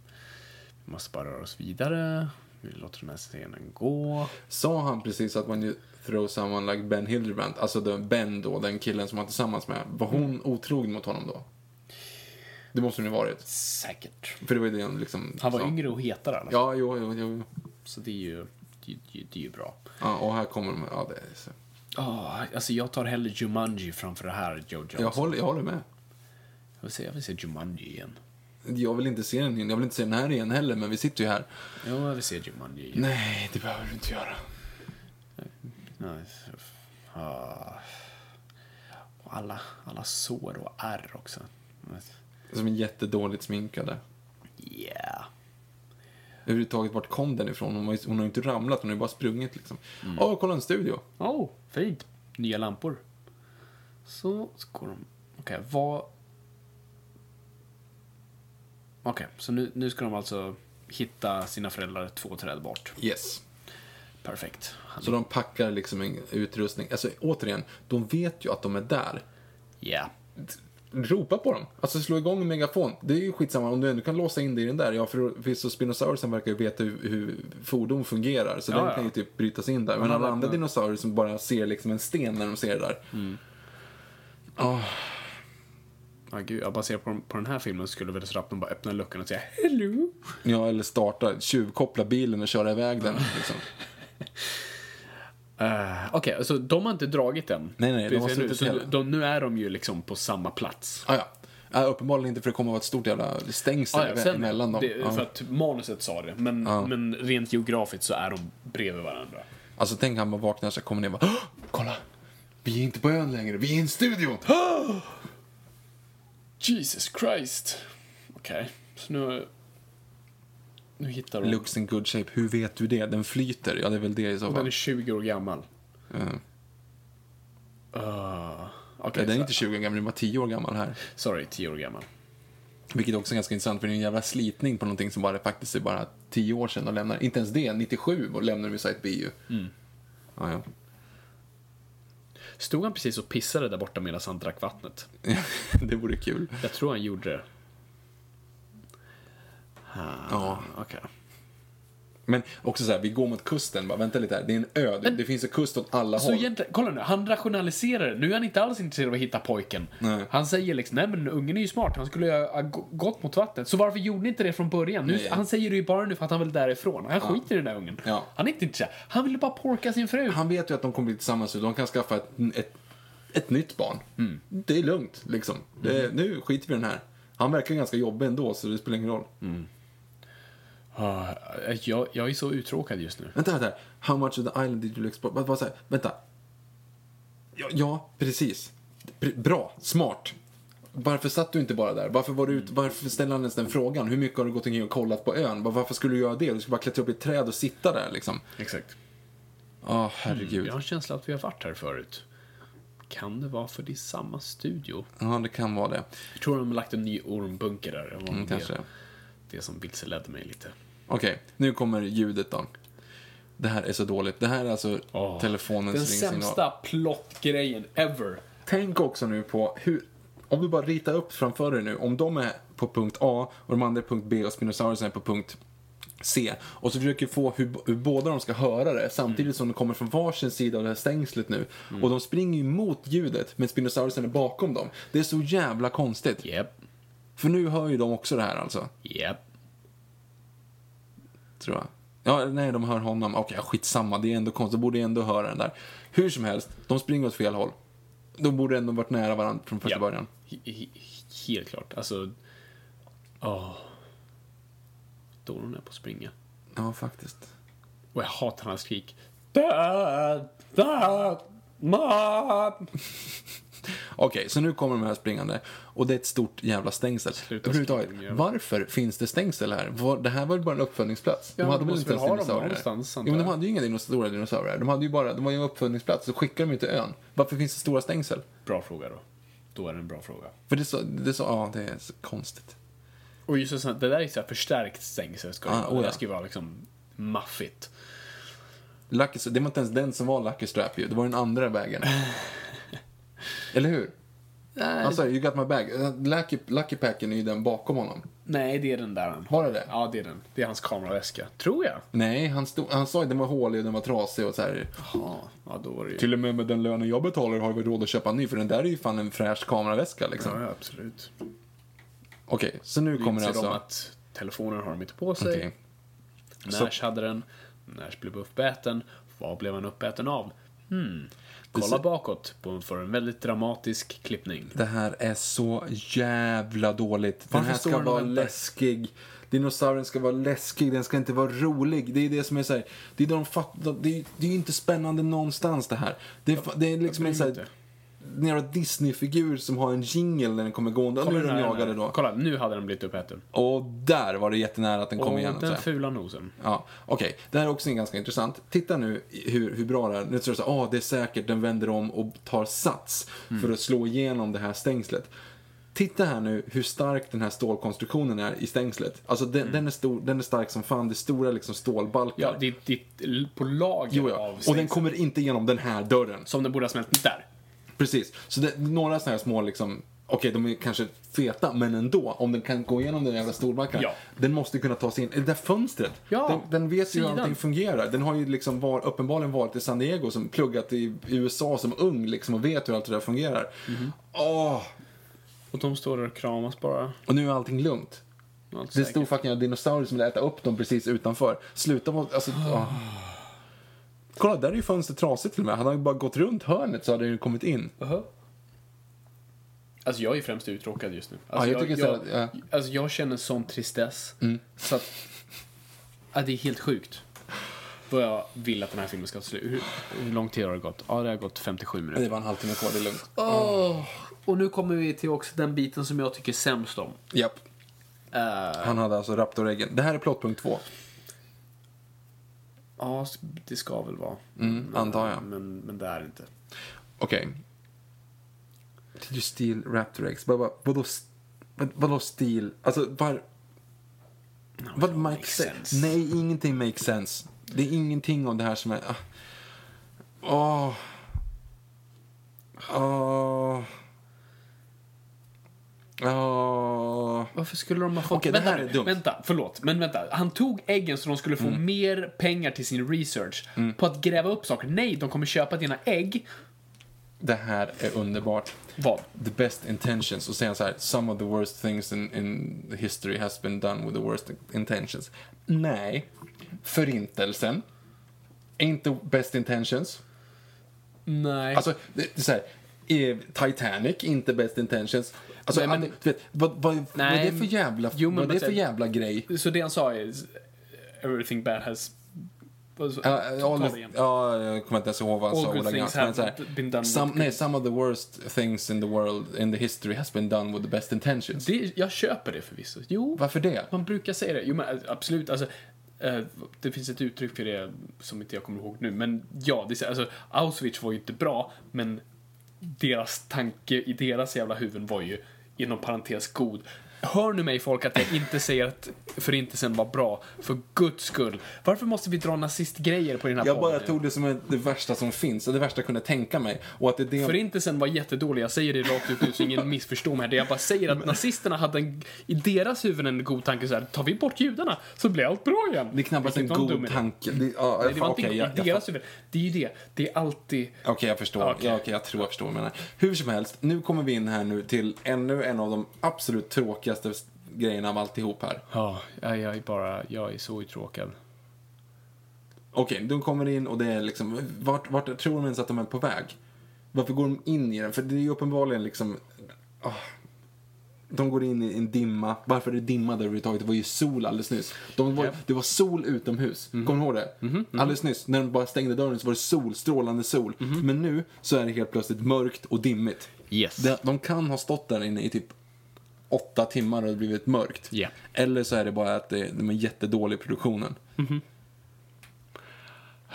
Vi måste bara röra oss vidare. Vi låter den här scenen gå. Sa han precis att man ju throw someone like Ben Hildebrand, alltså den Ben då, den killen som han är tillsammans med, var hon otrogen mot honom då? Det måste hon ju varit. Säkert. För det var ju det han liksom Han var sa. yngre och hetare i alla fall. Ja, jo, jo, jo. Så det är ju, det, det, det är ju bra. Ja, och här kommer de. Ja, det är så. Oh, alltså jag tar hellre Jumanji framför det här, Joe Johnson. jag, Jag, håller, jag håller med. vill se, jag vill se Jumanji igen. Jag vill inte se den igen. Jag vill inte se den här igen heller, men vi sitter ju här. Ja, jag vill se Jumanji igen. Eh, Nej, det behöver du inte göra. Nej. Ah. Och Alla, alla sår och ärr också. Som är jättedåligt sminkade. Yeah. Överhuvudtaget, vart kom den ifrån? Hon, var ju, hon har ju inte ramlat, hon har ju bara sprungit liksom. Mm. Åh, kolla en studio! Oh, fint. Nya lampor. Så, så går de... Okej, vad... Okej, så nu, nu ska de alltså hitta sina föräldrar två träd bort. Yes. Perfekt. Han- Så de packar liksom en utrustning. Alltså, återigen, de vet ju att de är där. Yeah. ropa på dem. Alltså slå igång en megafon. Det är ju skitsamma om du ändå kan låsa in dig i den där. Ja, för förvisso spinosaurusen verkar ju veta hur, hur fordon fungerar. Så Ja, den ja. kan ju typ brytas in där. Men alla andra dinosaurier som bara ser liksom en sten när de ser det där. Mm. Ja, gud, jag baserar på, på den här filmen så skulle väl raptorn bara öppna luckan och säga Hello! Ja, eller starta, tjuvkoppla bilen och köra iväg den. Liksom. Eh, Okej, så de har inte dragit den. Nej, nej, de har Precis nu, suttit så hela. de, Nu är de ju liksom på samma plats. Ah, ja. Ja, uppenbarligen inte för det kommer att vara ett stort jävla stängsel Ah, ja, sen- mellan dem. Det, Ja. För att manuset sa det, men, men rent geografiskt så är de bredvid varandra. Alltså tänk han bara vaknar så kommer ner och bara "Åh, Kolla! Vi är inte på ön längre, vi är i en studio! Jesus Christ! Okej, så nu... Nu hittar de... Looks in good shape, hur vet du det? Den flyter, ja det är väl det i så Och fall. den är 20 år gammal. Ja. Uh, Nej, Okej, den är så- inte 20 år gammal, den var 10 år gammal här. sorry, 10 år gammal. Vilket också är ganska intressant, för det är en jävla slitning på någonting som bara faktiskt är bara 10 år sedan de lämnar. Inte ens det, 97 och lämnar de ju Site B ju. Ja, (laughs) ja. Stod han precis och pissade där borta medan han drack vattnet? det vore kul. Jag tror han gjorde det. Ah, Ja. Okej. Men också så här, vi går mot kusten, bara vänta lite här, det är en ö, det, det finns en kust åt alla Så håll. Alltså, egentligen, kolla nu, han rationaliserar det. Nu är han inte alls intresserad av att hitta pojken. Nej. Han säger liksom, nej men ungen är ju smart, han skulle ju ha gå- gått mot vattnet. Så varför gjorde ni inte det från början? Nu, Nej. han säger det ju bara nu för att han vill därifrån. Han skiter i den där ungen. Ja. Han är inte intresserad. Han ville bara porka sin fru. Han vet ju att de kommer bli tillsammans och de kan skaffa ett, ett, ett nytt barn. Det är lugnt, liksom. Det, Nu skiter vi i den här. Han verkar ganska jobbig ändå, så det spelar ingen roll. Ah, Jag, jag är så uttråkad just nu. Vänta, vänta. How much of the island did you explore? Vad- vad sa jag? Vänta. Ja, ja precis. Pr- bra, smart. Varför satt du inte bara där? Varför, var du ut, varför ställde han ens den frågan? Hur mycket har du gått omkring och kollat på ön? Var- Varför skulle du göra det? Du skulle bara klättra upp i ett träd och sitta där liksom. Exakt. Ja, herregud. Jag har en känsla att vi har varit här förut. Kan det vara för det är samma studio? Ja, det kan vara det. Jag tror de har lagt en ny ormbunker där. Det var Mm, det, kanske. det som vilseledde mig lite. Okej, nu kommer ljudet då. Det här är så dåligt. Det här är alltså Åh, telefonens Den ringsignal. sämsta plottgrejen ever. Tänk också nu på hur, om du bara ritar upp framför dig nu, om de är på punkt A och de andra är punkt B och Spinosaurus är på punkt C. Och så försöker du få hur, hur båda de ska höra det samtidigt som de kommer från varsin sida av det här stängslet nu. Och de springer ju mot ljudet men Spinosaurusen är bakom dem. Det är så jävla konstigt. Japp, För nu hör ju de också det här alltså, japp. tror jag. Ja, nej, de hör honom. Okej, skitsamma. Det är ändå konstigt. De borde ju ändå höra den där. Hur som helst, de springer åt fel håll. De borde ändå varit nära varandra från första Ja. början. He- he- Helt klart. Alltså... Åh. Då hon är på att springa. Ja, faktiskt. Och jag hatar hans skrik. Död! Död! Man! Okej, så nu kommer de här springande och det är ett stort jävla stängsel. Sluta Överhuvudtaget, skrika, din jävel. varför finns det stängsel här? Var, det här var ju bara en uppfödningsplats. Ja, men de väl måste ens väl ha dem dinosaurier här? någonstans, Jo, antar men de jag. hade ju inga dinos- stora dinosaurier här. De, hade ju bara, de var ju en uppfödningsplats, så skickade de ju till ön. Varför finns det stora stängsel? Bra fråga då. Då är det en bra fråga. För det är så, det är så ja, det är så konstigt. Och just en sån- det där är ju så här förstärkt stängsel. Ska det Ah, vara. oh Det där ja. ska ju vara liksom maffigt. Lucky, det var inte ens den som var Lucky Strap ju, det var den andra (laughs) vägen. Eller hur? Han sa you got my bag. Lucky, Lucky Packen är ju den bakom honom. Nej, det är den där han. Var det det? Ja, det är den. Det är hans kameraväska. Tror jag. Nej, han, stod, han sa ju den var hålig och den var trasig och så här. Jaha. Ja, då var det ju... Till och med med den lönen jag betalar har vi råd att köpa en ny, för den där är ju fan en fräsch kameraväska liksom. Ja, ja, absolut. Okej, så nu Nu kommer kommer det inser alltså... de att telefonen har de inte på sig. Okej. Nash hade den. Nash blev uppäten. Vad blev han uppäten av? Hmm. Kolla ser- bakåt på, för en väldigt dramatisk klippning. Det här är så jävla dåligt. Den Varför här står ska den och vara väntar? läskig. Dinosaurien ska vara läskig, den ska inte vara rolig. Det är det som är såhär, det är de fatt- de- det är, det är ju inte spännande någonstans det här. Det är, fa- det är liksom en bryr mig såhär, en jävla Disney-figur som har en jingle när den kommer gående. Och nu är den de här, jagade den här. då. Kolla, nu hade den blivit uppäten. Och där var det jättenära att den kom Och igen. så den här. fula nosen. Ja, okej. Det här är också ganska intressant. Titta nu i- hur, hur bra det är. Nu tror jag så här, ah, det är säkert, den vänder om och tar sats Mm. för att slå igenom det här stängslet. Titta här nu hur stark den här stålkonstruktionen är i stängslet. Alltså den, den, är, stor, den är stark som fan, det är stora liksom stålbalkar. Mm. Ja, det är ditt, på lager Jo, av ja. Och den stängsel. kommer inte igenom den här dörren. Som den borde ha smält där. Precis. Så det, några sådana här små liksom, okej de är kanske feta, men ändå. Om den kan gå igenom den jävla storbacken. Ja. Den måste kunna ta sig in. Det där fönstret. Ja, den, den vet ju hur sidan. allting fungerar. Den har ju liksom var, uppenbarligen varit i San Diego, som pluggat i USA som ung liksom och vet hur allt det där fungerar. Åh! Och de står där och kramas bara. Och nu är allting lugnt. Allt Det säkert. stod fucking dinosaurier som ville äta upp dem precis utanför. Sluta vara... (sighs) Alltså, åh. Kolla, där är ju fönstret trasigt till och med. Hade han bara gått runt hörnet så hade det ju kommit in. Aha. Alltså jag är främst uttråkad just nu. Alltså, Ja, Mm. jag tycker jag, så här, alltså jag känner sån tristess. Så att, ja, det är helt sjukt. Vad jag vill att den här filmen ska sluta. Hur, hur lång tid har det gått? Ja, det har gått 57 minuter. Det var en halvtimme kvar, det är lugnt. Åh, Och nu kommer vi till också den biten som jag tycker sämst om. Japp. Han hade alltså raptoräggen. Det här är plottpunkt två. Ja, det ska väl vara. Mm, antar jag. Men, men det är inte. Okej. Did you steal raptor eggs? Vad- vad- Vadå, s- vad- vadå steal? Alltså, var... Vad don't makes make sense? sense. Nej, ingenting makes sense. Det är ingenting av det här som är... ah. Åh. Åh. Åh. Varför skulle de ha fått... Okej, det vänta, här är nu, dumt. Mm. vänta, förlåt. Men vänta. Han tog äggen så de skulle få mer pengar till sin research på att gräva upp saker. Nej, de kommer köpa dina ägg. Det här är underbart. Vad? the best intentions och säga så här, some of the worst things in, in history has been done with the worst intentions. Nej, förintelsen är inte best intentions. Nej. Alltså, det, det är så här, eh, Titanic, inte best intentions. Alltså, Nej, men- att- du vet, vad, vad, vad är Nej, det för jävla, jo, men vad är det men- för jävla grej? så det han sa är... everything bad has... vad så- Ja, ta all det the- igen. ja, jag kommer inte ens ihåg vad han All sa good ordagrant. things men have så här, been done with Some, good- nej, some of the worst things in the world, in the history, has been done with the best intentions. Det, jag köper det förvisso. Jo, Varför det? man brukar säga det. Jo, men eh, absolut. Alltså, eh, det finns ett uttryck för det som inte jag kommer ihåg nu. Men ja, det, är så- alltså, Auschwitz var ju inte bra, men deras tanke i deras jävla huvuden var ju, inom parentes, god. Hör nu mig folk att jag inte säger att förintelsen var bra, för guds skull. Varför måste vi dra nazistgrejer på den här Jag podden bara nu? tog det som ett- det värsta som finns, och det värsta jag kunde tänka mig. Och att det är det... Förintelsen var jättedålig, jag säger det rakt ut nu så ingen missförstår mig här. Det Jag bara säger att nazisterna hade en, i deras huvuden en god tanke så här, tar vi bort judarna så blir allt bra igen. Det är knappast en Vilket var dum god idé. tanke. Det, ja, Nej, det var fan, inte okej, i jag, jag, deras huvuden. Det är ju det, det är alltid... Okej, jag förstår. Okej. Ja, okej, jag tror jag förstår vad du menar. Hur som helst, nu kommer vi in här nu till ännu en av de absolut tråkigaste grejerna av alltihop här. Ja, jag är bara, jag är så uttråkad. Okej, de kommer in och det är liksom, vart, vart tror de ens att de är på väg? Varför går de in i den? För det är ju uppenbarligen liksom, ah. de går in i en dimma. Varför är det dimma där överhuvudtaget? Det var ju sol alldeles nyss. De var, Det var sol utomhus, kommer du ihåg det? Alldeles nyss, när de bara stängde dörren så var det sol, strålande sol. Men nu så är det helt plötsligt mörkt och dimmigt. Yes. De, de kan ha stått där inne i typ åtta timmar och det har blivit mörkt. Ja. Eller så är det bara att det, de är jättedålig i produktionen. (sighs)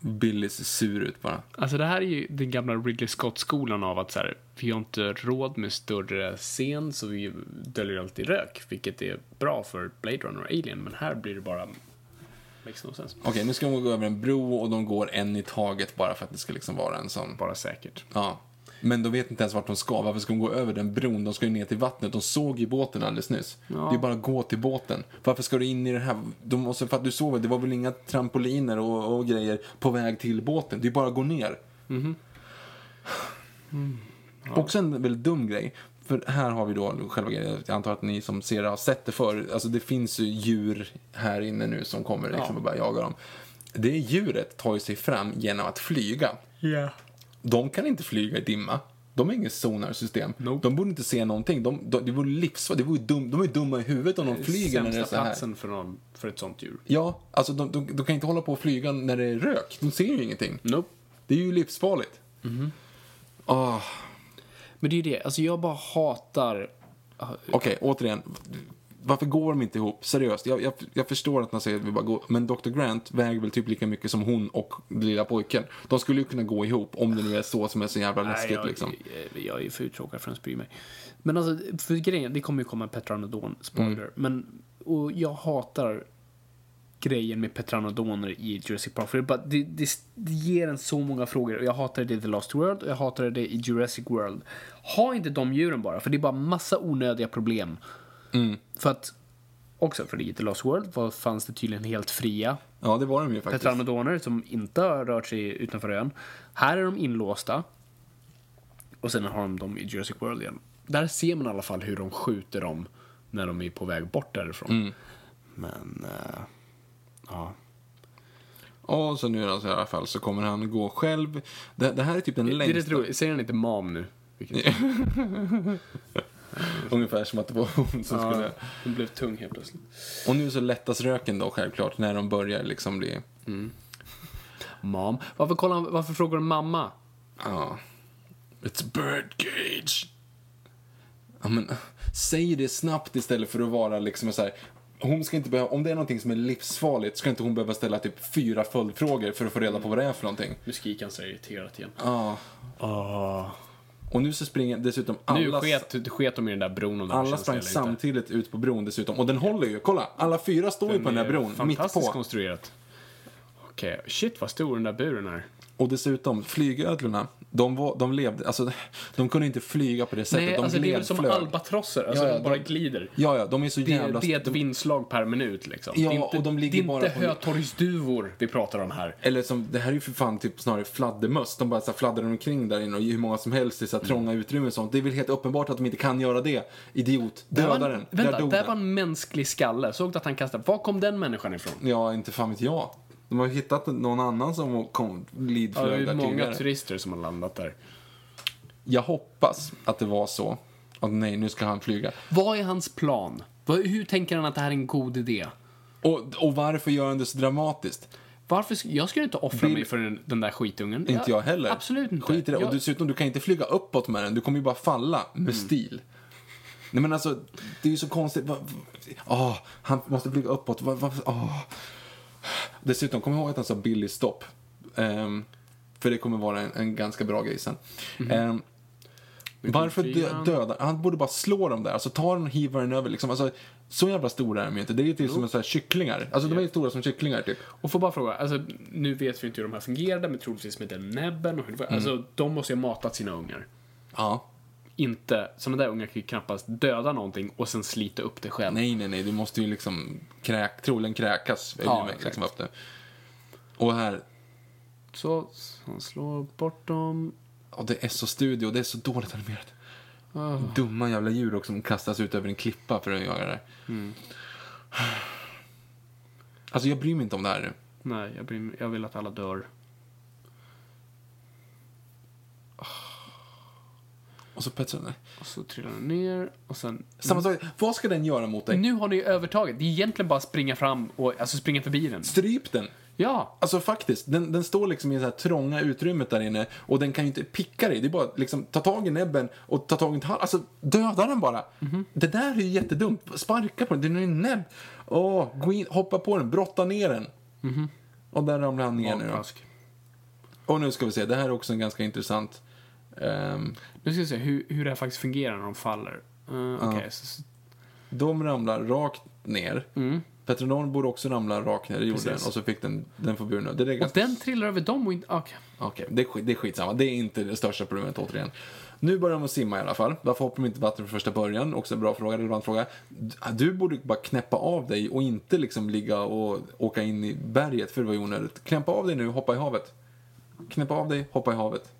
Billy ser sur ut bara. Alltså det här är ju den gamla Ridley Scott-skolan av att så här, vi har inte råd med större scen så vi döljer allt i rök, vilket är bra för Blade Runner och Alien, men här blir det bara... Makes no sense. Okej, nu ska de gå över en bro och de går en i taget bara för att det ska liksom vara en sån. Bara säkert. Ja. Men de vet inte ens vart de ska. Varför ska de gå över den bron? De ska ju ner till vattnet. De såg ju båten alldeles nyss. Det är bara att gå till båten. Varför ska du in i det här? De måste, för att du såg väl, det var väl inga trampoliner och, och grejer på väg till båten. Det är bara att gå ner. Mm. Också en väldigt dum grej. För här har vi då själva grejen. Jag antar att ni som ser det har sett det förr. Alltså det finns ju djur här inne nu som kommer liksom och börjar jaga dem. Det djuret tar ju sig fram genom att flyga. Ja. De kan inte flyga i dimma. De har inget sonarsystem. Nope. De borde inte se någonting. De, de, det vore livsfarligt. Det vore dum, de är dumma i huvudet om de flyger när det är så Sämsta här. platsen för, någon, för ett sånt djur. Ja, alltså de, de, de kan inte hålla på och flyga när det är rök. De ser ju ingenting. Nope. Det är ju livsfarligt. Mhm. Ah, Men det är ju det, alltså jag bara hatar... Okej, återigen. Varför går de inte ihop? Seriöst, jag, jag, jag förstår att man säger att vi bara går. Men Dr. Grant väger väl typ lika mycket som hon och lilla pojken. De skulle ju kunna gå ihop om det nu är så som är så jävla läskigt jag, liksom. jag, jag är för uttråkad för att ens bry mig. Men alltså, för grejen, det kommer ju komma en Petranodon, spoiler. Mm. Men, och jag hatar grejen med Petranodoner i Jurassic Park. För det, bara, det, det, det ger en så många frågor. Och jag hatade det i The Lost World och jag hatade det i Jurassic World. Ha inte de djuren bara, för det är bara massa onödiga problem. Mm. För att, också för det i The Lost World var, fanns det tydligen helt fria Ja, det var de ju faktiskt. Tetranodoner som inte har rört sig utanför ön. Här är de inlåsta. Och sen har de dem i Jurassic World igen. Där ser man i alla fall hur de skjuter dem när de är på väg bort därifrån. Men, eh, ja. Och så nu alltså, i alla fall så kommer han gå själv. Det, det här är typ den Det är rätt längsta. roligt. Säger han inte mam nu? (laughs) Vilket, typ Ungefär som att det var hon som skulle... ja, den blev tung helt plötsligt. Och nu så lättas röken då självklart när de börjar liksom bli... Mam. Varför, kollar han, varför frågar de mamma? Ja. It's a bird cage. Ja, men, säg det snabbt istället för att vara liksom så här. Hon ska inte behöva, om det är någonting som är livsfarligt ska inte hon behöva ställa typ fyra följdfrågor för att få reda på vad det är för någonting. Nu skriker han så här irriterat igen. Ja. Och nu så springer dessutom alla... nu sket, sket de i den där bron om de Alla känns sprang det eller inte. samtidigt ut på bron dessutom. Och den håller ju, kolla! Alla fyra står ju på den där är bron, mitt Fantastiskt på. konstruerat. Okej, shit vad stor den där buren är. Och dessutom, flygödlorna, de, var, de levde, alltså de kunde inte flyga på det sättet. de alltså det är väl som gled, flög. albatrosser, alltså Ja, ja, de bara de- glider. Ja, ja, de är så Det, jävla... det är ett de- vindslag per minut liksom. Ja, det är inte, och de ligger det är bara inte på- hötorgsduvor vi pratar om här. Eller som, det här är ju för fan typ snarare fladdermöss. De bara så här fladdrar omkring där inne och hur många som helst i så här Mm. trånga utrymmen och sånt. Det är väl helt uppenbart att de inte kan göra det. Idiot, Där döda var en, den. vänta, där dog där den. var en mänsklig skalle. Såg du att han kastade? Var kom den människan ifrån? Ja, inte fan vet jag. De har hittat någon annan som kom, Ja, det är glidflög ju där många tidigare. turister som har landat där. Jag hoppas att det var så. Att nej, nu ska han flyga. Vad är hans plan? Vad, hur tänker han att det här är en god idé? Och, och varför gör han det så dramatiskt? Varför, sk- jag skulle inte offra Vill- mig för den, den där skitungen. Inte jag heller. Absolut inte. Skit i det. Och Jag- Mm. dessutom, du kan inte flyga uppåt med den. Du kommer ju bara falla med stil. Nej men alltså, det är ju så konstigt. Va- va- Ah, han måste flyga uppåt. Va, va, ah. Dessutom, kom ihåg att han sa Billy stopp. Ehm, för det kommer vara en, en ganska bra grej sen. Ehm, varför dö, Mhm. fyran. döda? Han borde bara slå dem där. Alltså ta den och hiva den över. Liksom. Alltså, så jävla stora är de ju inte. Det är ju till som så här kycklingar. Alltså de är ju stora som kycklingar typ. Och får bara fråga, alltså, nu vet vi inte hur de här fungerade, men troligtvis med den näbben och hur det var. Alltså, Mm. de måste ju ha matat sina ungar. Ja. Inte, sådana där ungar kan ju knappast döda någonting och sen slita upp det själv. Nej, nej, nej. Du måste ju liksom kräk, troligen kräkas. Ja, Ja, liksom exakt. upp det. Och här, Så, han slår bort dem. ja, det är så studio, det är så dåligt animerat. Ah. Dumma jävla djur också som kastas ut över en klippa för att göra det. Mm. Alltså jag bryr mig inte om det här nu. Nej, jag, blir, jag vill att alla dör. Och så petsar den. Och så trillar den ner och sen... Samma sak, vad ska den göra mot dig? Nu har ni ju övertaget. Det är egentligen bara att springa fram och alltså springa förbi den. Stryp den! Ja, Alltså faktiskt, den, den står liksom i det här trånga utrymmet där inne och den kan ju inte picka dig. Det är bara att liksom ta tag i näbben och ta tag i hals. Alltså döda den bara. Det där är ju jättedumt. Sparka på den, den är ju en näbb. Åh, gå in, hoppa på den, brotta ner den. Och där ramlar han ner nu då. magplask. Och nu ska vi se, det här är också en ganska intressant. ehm, Nu ska vi se hur, hur det här faktiskt fungerar när de faller. Uh, Okej, så, så, de ramlar rakt ner. Mm. Petronor borde också ramla rakt ner i jorden Precis. och så fick den, den får buren. Det är och ganska den trillar över dem och inte... Okej. Okej, det, är skit- det är skitsamma. Det är inte det största problemet återigen. Nu börjar de att simma i alla fall. Varför hoppar de inte i vatten från första början? Också en bra fråga, relevant fråga. Du- Du borde bara knäppa av dig och inte liksom ligga och åka in i berget för det var ju onödigt. Knäppa av dig nu, hoppa i havet. Knäppa av dig, hoppa i havet.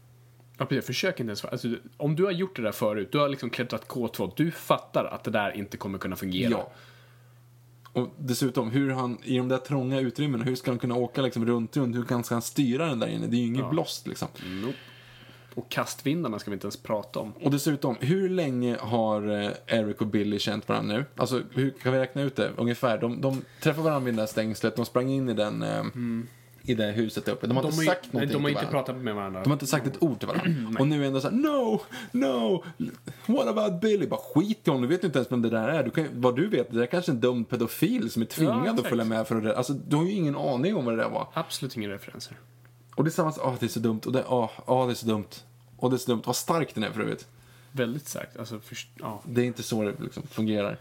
Ja, precis. Försök inte ens. Alltså, du- om du har gjort det där förut, du har liksom klättrat K2, du fattar att det där inte kommer kunna fungera. Ja. Och dessutom, hur han, i de där trånga utrymmena, hur ska han kunna åka liksom runt, runt? Hur kan ska han styra den där inne? Det är ju inget blåst liksom. Nope. Och kastvindarna ska vi inte ens prata om. Och dessutom, hur länge har eh, Eric och Billy känt varandra nu? Alltså, hur kan vi räkna ut det ungefär? De, de träffade varandra vid det där stängslet, de sprang in i, den, eh, i det huset där uppe. De har De inte har, ju, sagt nej, någonting de har till inte varandra. pratat med varandra. De har inte sagt ett ord till (clears throat) varandra. och nu är det ändå så här: no, no, what about Billy? Bara skit i honom, du vet ju inte ens vem det där är. Du kan, ju- vad du vet, det där är kanske en dum pedofil som är tvingad att exakt. följa med för att rädda- Alltså, du har ju ingen aning om vad det där var. Absolut inga referenser. Och det är samma sak, ah, det är så dumt, och det, ah, ah, det är så dumt. Och det är så dumt, vad stark den är för övrigt. Väldigt starkt. Alltså, först, ja. Det är inte så det liksom fungerar.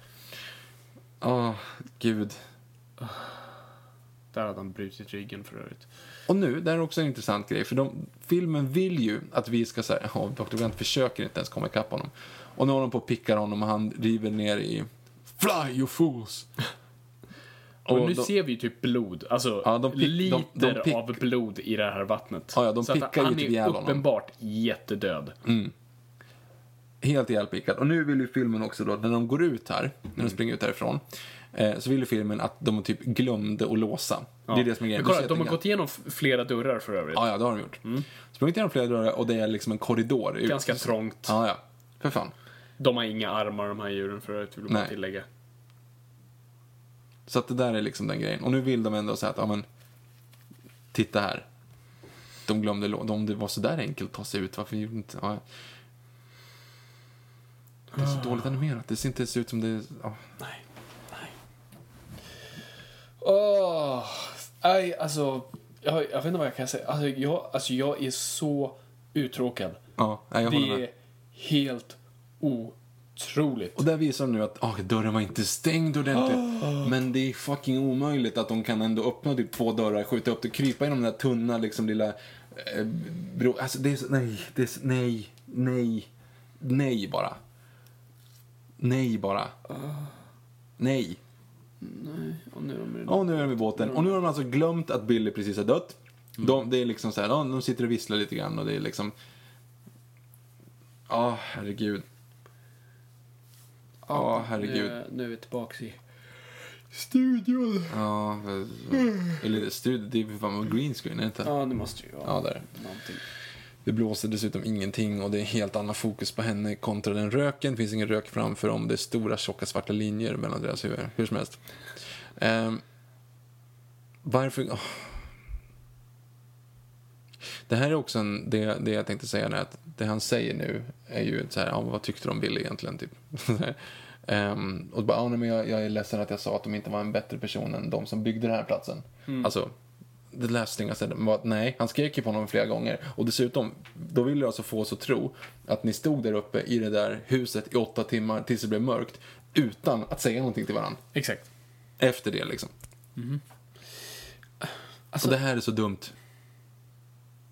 Åh, gud. Där hade han brutit ryggen för övrigt. Och nu, det här är också en intressant grej, för de, filmen vill ju att vi ska säga, ja, Dr. Grant försöker inte ens komma ikapp honom. Och nu håller de på och pickar honom och han river ner i Fly you fools! Och, Och nu de- ser vi ju typ blod, alltså Ja, de pick- de- de liter pick- av blod i det här vattnet. Ja, ja, de Så att pickar ju han typ är ihjäl honom. Mm, uppenbart jättedöd. Helt ihjälpickad. Och nu vill ju filmen också då, när de går ut här, när Mm. de springer ut härifrån, eh, så vill ju filmen att de typ glömde att låsa. Det är det som är grejen. Du ser Men kolla, att de det har är- gått igenom f- flera dörrar för övrigt. Ja, ja, det har de gjort. Sprungit igenom flera dörrar och det är liksom en korridor. ut. Ganska trångt. Ja, ja. För fan. De har inga armar de här djuren för övrigt, vill man Nej. tillägga. Så att det där är liksom den grejen. Och nu vill de ändå säga att, ja men, titta här. De glömde lå- om det var så där enkelt att ta sig ut, varför gjorde inte... Ja. Det är så dåligt animerat, det ser inte ens ut som det... Ja. Nej. Nej. Åh, nej, alltså. Jag, jag vet inte vad jag kan säga. Alltså jag, alltså, jag är så uttråkad. Ja, nej, jag håller det med. är helt otroligt. Och där visar de nu att ah, dörren var inte stängd ordentligt. Men det är fucking omöjligt att de kan ändå öppna typ två dörrar, skjuta upp det, krypa genom den där tunna liksom lilla... Eh, bro, alltså det är så, nej, det är så, nej, nej, nej bara. Nej bara. Nej. Och nu är de i- Och nu är de i båten. Och nu har de alltså glömt att Billy precis har dött. De, det är liksom så här, ja, de sitter och visslar lite grann och det är liksom... Ja, herregud. Ja, herregud. Nu, nu är vi tillbaka i studion. Ja, eller studio, det är för fan green screen, är det inte? Ja, det måste ju vara Ja, där. någonting. Det blåser dessutom ingenting och det är helt annat fokus på henne kontra den röken. Det finns ingen rök framför dem. Det är stora tjocka svarta linjer mellan deras huvuden. Hur som helst. Ehm, Varför... åh. Det här är också en, det, det jag tänkte säga är att det han säger nu är ju ett så här, ja, vad tyckte de ville egentligen typ. (laughs) um, och bara, ja, nej, men jag, jag är ledsen att jag sa att de inte var en bättre person än de som byggde den här platsen. Alltså, det last thing I said var att nej, han skrek ju på honom flera gånger. Och dessutom, då ville jag alltså få oss att tro att ni stod där uppe i det där huset i åtta timmar tills det blev mörkt utan att säga någonting till varandra. Exakt. Efter det liksom. Alltså, det här är så dumt.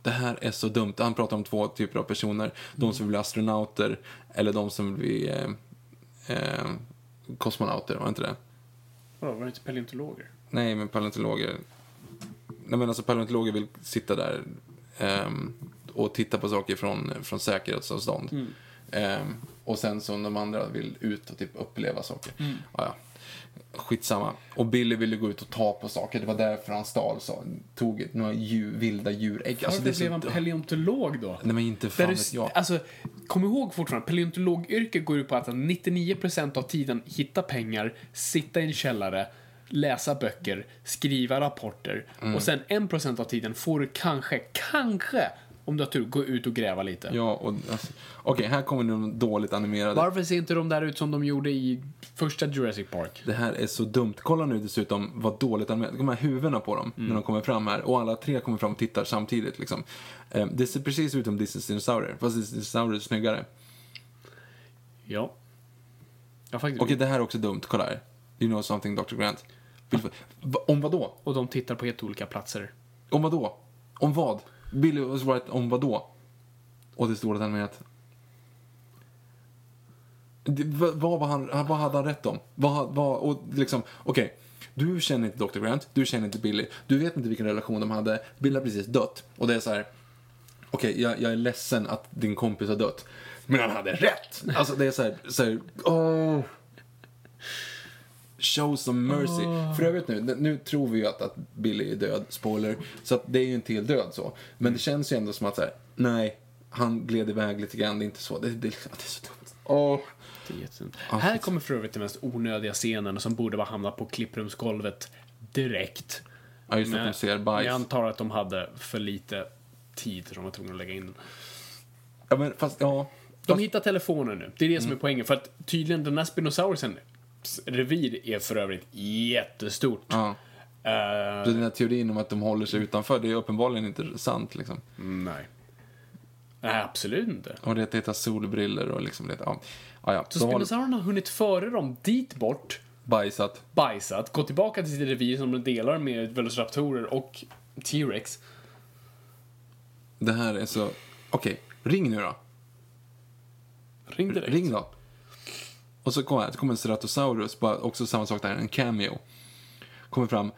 Det här är så dumt. Han pratar om två typer av personer. De som vill bli astronauter eller de som vill bli eh, eh, kosmonauter, var det inte det? Vadå, var det inte paleontologer? Nej, men paleontologer. Nej, men alltså paleontologer vill sitta där ehm, och titta på saker från, från säkerhetsavstånd. Mm. Ehm, och sen som de andra vill ut och typ uppleva saker. Mm. Ja, ja. Skitsamma. Och Billy ville gå ut och ta på saker. Det var därför han stal, så, tog några djur, vilda djurägg. Varför Alltså, det är så blev han dumt. paleontolog då? Nej, men inte Där fan du, vet jag. alltså, kom ihåg fortfarande, paleontologyrket går ut på att 99% av tiden hitta pengar, sitta i en källare, läsa böcker, skriva rapporter Mm. och sen 1% av tiden får du kanske, kanske, om du har tur, gå ut och gräva lite. Ja, och alltså, Okej, här kommer de dåligt animerade. Varför ser inte de där ut som de gjorde i första Jurassic Park? Det här är så dumt. Kolla nu dessutom vad dåligt animerat. De här huvudena på dem när de kommer fram här. Och alla tre kommer fram och tittar samtidigt liksom. Eh, Det ser precis ut som Disneys dinosaurier. Fast Disneys dinosaurier är snyggare. Ja. Ja, faktiskt. Okej, det här är också dumt. Kolla här. You know something Dr. Grant. Vill- Va- Om vad då? Och de tittar på helt olika platser. Om vad då? Om vad? Billy och White, om vad då? Och det är dåligt animerat. Det, vad, vad, var han, vad hade han rätt om? Vad, vad, och liksom, okej. Du känner inte Dr. Grant, du känner inte Billy, du vet inte vilken relation de hade. Billy har precis dött. Och det är så här. Okej, jag, jag är ledsen att din kompis har dött. Men han hade rätt! Alltså det är så här, så här åh. Show some mercy. För övrigt nu, nu tror vi ju att, att Billy är död, spoiler. Så att det är ju inte helt död så. Men det känns ju ändå som att så här, nej, han gled iväg lite grann, det är inte så. Det, (laughs) det, det är så dumt. Åh. Det är jättesynd. Här kommer för övrigt den mest onödiga scenen som borde vara hamnat på klipprumsgolvet direkt. Ja, just att de ser bajs. Jag antar att de hade för lite tid som de var tvungna att lägga in den. Ja, men fast, Mm. ja. De hittar telefonen nu. Det är det som är poängen. För att tydligen den här spinosaurusen revir är för övrigt jättestort. ja. Eh, Så den här teorin om att de håller sig utanför, det är uppenbarligen inte sant liksom. nej. Nej, absolut inte. Och det heter solbriller och liksom det, ja. Ja, ja. Så De har spinosaurerna har hunnit före dem dit bort, bajsat. bajsat, gått tillbaka till sitt revir som de delar med Velociraptorer och T-Rex. Det här är så, okej, ring nu då. Ring direkt. Ring då. Och så kommer här, så kommer en Ceratosaurus, bara också samma sak där, en cameo. Kommer fram,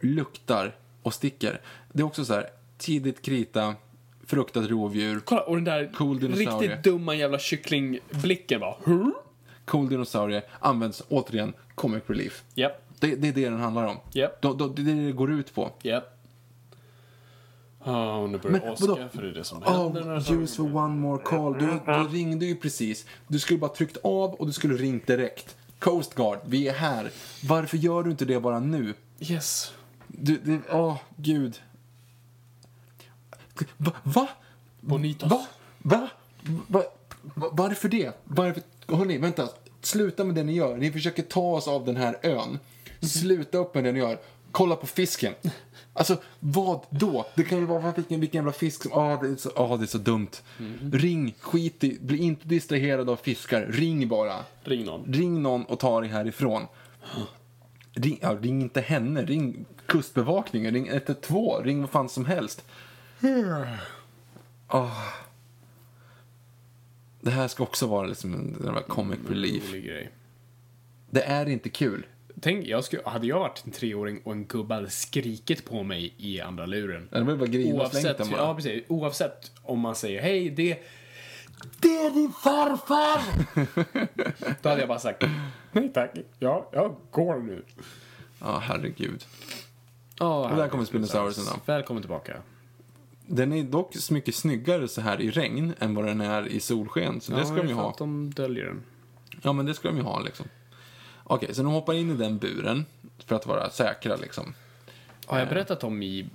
luktar och sticker. Det är också så här, tidigt krita, fruktat rovdjur, Kolla, och den där Cool dinosaurie. riktigt dumma jävla kycklingblicken bara. Huh? cool dinosaurie, används återigen comic relief. Japp, Det, det är det den handlar om. Japp. Då- då- det är det det går ut på. japp. Ja, och nu börjar Men Oscar, vadå? för det är det som händer när Oh, saker- use for one more call. Du, du ringde ju precis. Du skulle bara tryckt av och du skulle ringt direkt. Coast Guard, vi är här. Varför gör du inte det bara nu? Yes. Du, det, åh, gud. Va? Va? Bonitos. Va? Va? Va? Va? Varför det? Varför? Hörrni, vänta. Sluta med det ni gör. Ni försöker ta oss av den här ön. Sluta upp med det ni gör. Kolla på fisken. Alltså, vad då? Det kan ju vara vilken, vilken jävla fisk som... Ah, det, är så, ah, det är så dumt. Ring, skit i, bli inte distraherad av fiskar. Ring bara. Ring någon. Ring någon och ta dig härifrån. Ring, ja, ring inte henne, ring kustbevakningen, ring 112, ring vad fan som helst. Ah. Det här ska också vara liksom en en jävla comic relief. Rolig grej. Det är inte kul. Tänk, jag skulle, hade jag varit en treåring och en gubbe hade skrikit på mig i andra luren. Det blir bara grina och slängt den Oavsett, ja, bara. precis, oavsett om man säger hej, det... Det är din (laughs) farfar! Då hade jag bara sagt, nej tack, ja, jag går nu. Ja, herregud. Oh, Och där kommer Spinosaurusen då. Välkommen tillbaka. Den är dock så mycket snyggare så här i regn än vad den är i solsken, så det ska de ju ha. de döljer den. Ja, men det ska de ju ha liksom. Okej, så de hoppar in i den buren för att vara säkra liksom. Har jag berättat om i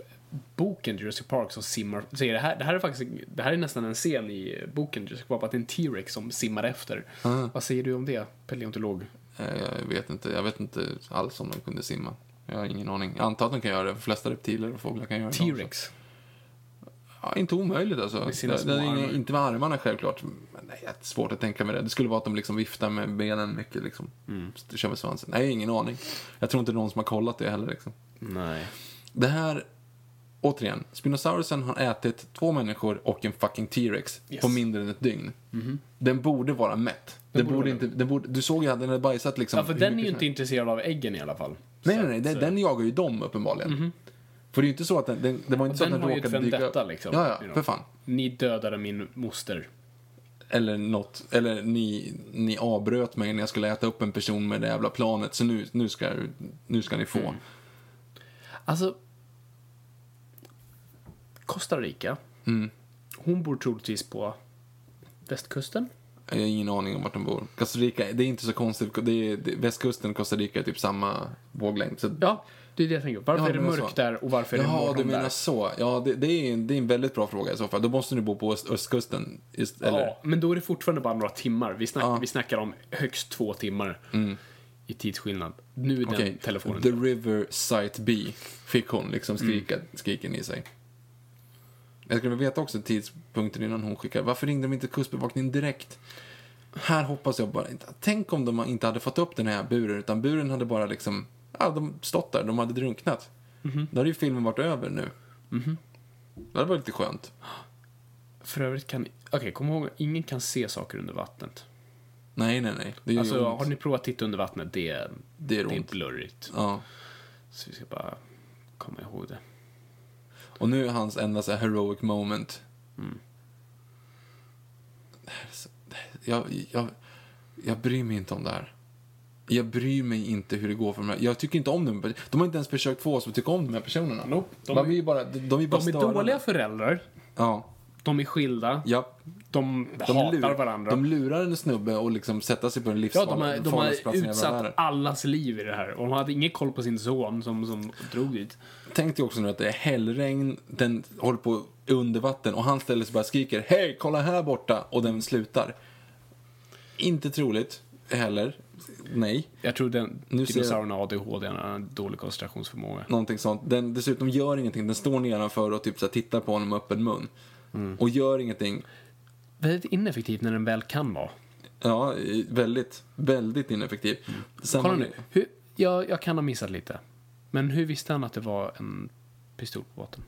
boken Jurassic Park som simmar, så är det här, det här är faktiskt, det här är nästan en scen i boken Jurassic Park, att det är en T-Rex som simmar efter. Ah. Vad säger du om det, paleontolog? Eh, Jag vet inte, jag vet inte alls om de kunde simma. Jag har ingen aning. Jag antar att de kan göra det. De flesta reptiler och fåglar kan göra det. också. T-Rex. Ja, inte omöjligt alltså. Med sina Det- små det är inga- armar. Inte med armarna självklart. Men nej, det är svårt att tänka mig det. Det skulle vara att de liksom viftar med benen mycket liksom. Mm. Kör med svansen. Nej, ingen aning. Jag tror inte någon som har kollat det heller liksom. Nej. Det här, återigen, Spinosaurusen har ätit två människor och en fucking T-Rex Yes. Mhm. på mindre än ett dygn. Den borde vara mätt. Den, borde inte, den borde, du såg ju att den hade bajsat liksom. Ja, för hur den är mycket ju som inte intresserad av äggen i alla fall. Nej, Så nej, nej. att, Den, eh, Mhm. den jagar ju dem uppenbarligen. För det är ju inte så att den, den, det var inte så att Alltså, den den har ju ett råkade dyka vendetta upp. liksom. Ja, ja, You know. för fan. Ni dödade min moster. Eller något, eller ni, ni avbröt mig när jag skulle äta upp en person med det jävla planet, så nu, nu, ska, nu ska ni få. Mm. Alltså... Costa Rica. Mm. Hon bor troligtvis på västkusten. Jag har ingen aning om vart de bor. Costa Rica, det är inte så konstigt. Det är, det, västkusten och Costa Rica är typ samma våglängd. Så, Ja, det är det jag tänker. Varför Ja, är det du menar mörkt så. där och varför är det Jaha, morgon du menar där? så. Ja, det, det, är en, det är en väldigt bra fråga i så fall. Då måste ni bo på öst, östkusten, ist, eller? Ja, men då är det fortfarande bara några timmar. Vi, snack, vi snackar om högst två timmar i tidsskillnad. Nu är den Mm. Okej, telefonen... Mm. The River Site B fick hon liksom skrika, skriken i sig. Jag skulle vilja veta också tidpunkten innan hon skickade. Varför ringde de inte kustbevakningen direkt? Här hoppas jag bara inte. Tänk om de inte hade fått upp den här buren, utan buren hade bara liksom, ja, de stått där, de hade drunknat. Mhm. Då hade ju filmen varit över nu. Det hade varit lite skönt. För övrigt kan... Okej, kom ihåg, ingen kan se saker under vattnet. Nej, nej, nej. Det gör ju Alltså, ont. har ni provat att titta under vattnet? Det, är- Det gör det är ont. blurrigt. Ja. Så vi ska bara komma ihåg det. Och nu är hans enda så här heroic moment. Mm. Det här är så- det här- Jag, jag, jag bryr mig inte om det här. Jag bryr mig inte hur det går för dem. här. Jag tycker inte om dem. De har inte ens försökt få oss att tycka om de här personerna. Nope, de de, är, är- ju bara, de, de är bara De är störande. dåliga föräldrar. Ja. De är skilda. ja. De, De, hatar lur- varandra. de lurar en snubbe och liksom sätta sig på en ja, livsfarlig de har, de farligaste har platsen i hela utsatt världen. allas liv i det här. Och de hade ingen koll på sin son som, som drog dit. Tänk dig också nu att det är hällregn, den håller på under vatten och han ställer sig och bara skriker Hej, kolla här borta! Och den slutar. Inte troligt heller. Nej, Jag tror den Nu ser jag- dinosaurien har ADHD, han har en dålig koncentrationsförmåga. någonting sånt. Den dessutom gör ingenting. Den står nedanför och typ så här tittar på honom med öppen mun. Och gör ingenting. Väldigt ineffektiv när den väl kan vara. Ja, eh, väldigt, väldigt ineffektiv. Sen Kolla nu. Hur, jag, jag kan ha missat lite. Men hur visste han att det var en pistol på båten?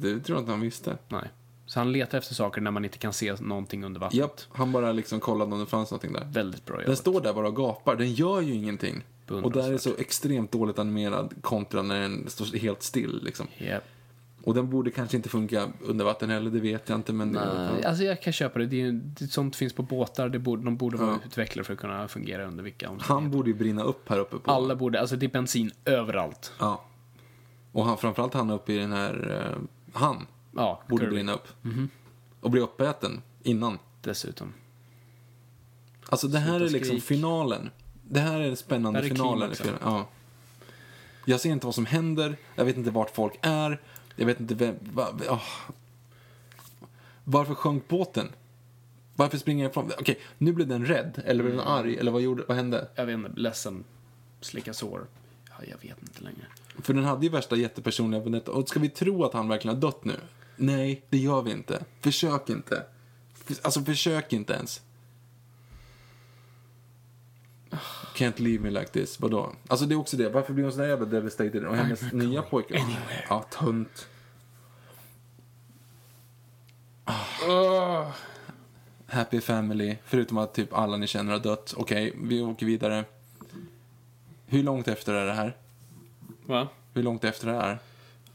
Det tror jag inte han visste. Nej. Så han letar efter saker när man inte kan se någonting under vattnet. Japp, han bara liksom kollade om det fanns någonting där. Väldigt bra Den jobbat. står där bara och gapar, den gör ju ingenting. Och där är Beundransvärt. så extremt dåligt animerad kontra när den står helt still liksom. Japp. Och den borde kanske inte funka under vatten heller, det vet jag inte men... Nej, Alltså jag kan köpa det. det, är, ju- det sånt finns på båtar. Det borde, de borde vara utvecklade för att kunna fungera under vilka Han omständigheter. borde ju brinna upp här uppe på... Alla borde, alltså det är bensin överallt. Ja. Och han, framförallt han uppe i den här... eh, han Ja, borde Kirby brinna upp. Mhm. Och bli uppäten innan. dessutom. Alltså det här Sluta är liksom skrik. finalen. Det här är den spännande Det här är finalen i klimaxen. filmen. Ja. Jag ser inte vad som händer, jag vet inte vart folk är, jag vet inte vem... Va, åh. Varför sjönk båten? Varför springer jag ifrån? Okej, nu blev den rädd, eller blev Mm. den arg, eller vad, gjorde, vad hände? Jag vet inte, ledsen, slicka sår. Ja, jag vet inte längre. För den hade ju värsta jättepersonliga vendetta. Och ska vi tro att han verkligen har dött nu? Nej, det gör vi inte. Försök inte. F- Alltså, försök inte ens. Can't leave me like this. Vadå? Alltså, det är också det. Varför blir hon så där jävla devastated? Och hennes nya pojke... Ja, tunt. Happy family. Förutom att typ alla ni känner har dött. Okej, vi åker vidare. Hur långt efter är det här? Va? Hur långt efter det är?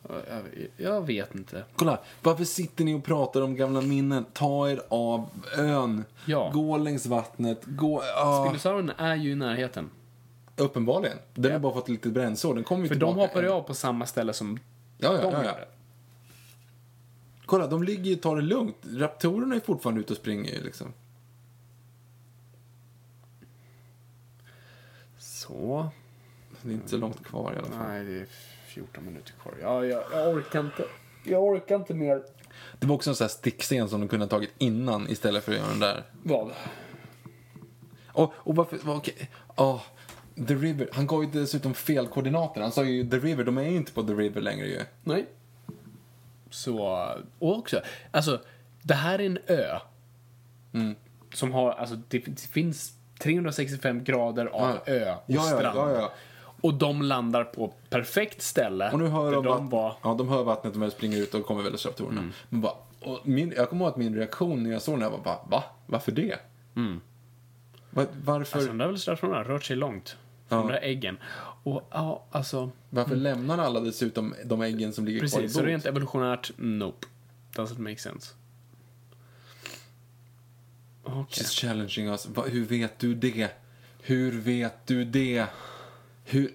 Jag, jag vet inte. Kolla, varför sitter ni och pratar om gamla minnen? Ta er av ön. Ja. Gå längs vattnet. Gå... Ah. Dinosaurien är ju i närheten. Uppenbarligen. Den har bara fått lite brännsår. Den kommer ju För de tillbaka. hoppar ju av på samma ställe som Ja, ja, de ja, ja. gjorde. Kolla, de ligger ju och tar det lugnt. Raptorerna är fortfarande ute och springer ju liksom. Så. Det är inte så långt kvar i alla fall. Nej, det är 14 minuter kvar. Ja, jag, jag orkar inte. Jag orkar inte mer. Det var också en sån här sticksten som de kunde ha tagit innan istället för att göra den där. Vad? Och, och varför, vad- okej, ja. The River, han gav ju dessutom fel koordinater. Han sa ju The River, de är ju inte på The River längre ju. Nej. Så, och också, alltså, det här är en ö. Mm. Som har, alltså, det, det finns 365 grader av Ja. ö och Ja, ja, strand. ja, ja. Och de landar på perfekt ställe. Och nu hör där de, de de, var... ja, de hör vattnet och de springer ut och kommer väldigt snabbt till mm. Men bara, och min, Jag kommer ihåg att min reaktion när jag såg den här var bara, va? Varför det? Va, varför Mm. Alltså, de där är väl strax från de där, rört sig långt. Från Ja. de där äggen. Och ja, alltså, varför lämnar alla dessutom de äggen som ligger kvar i precis. Så bot? rent evolutionärt, nope. Doesn't make sense. Okej. She's challenging us. Va, hur vet du det? Hur vet du det? Hur,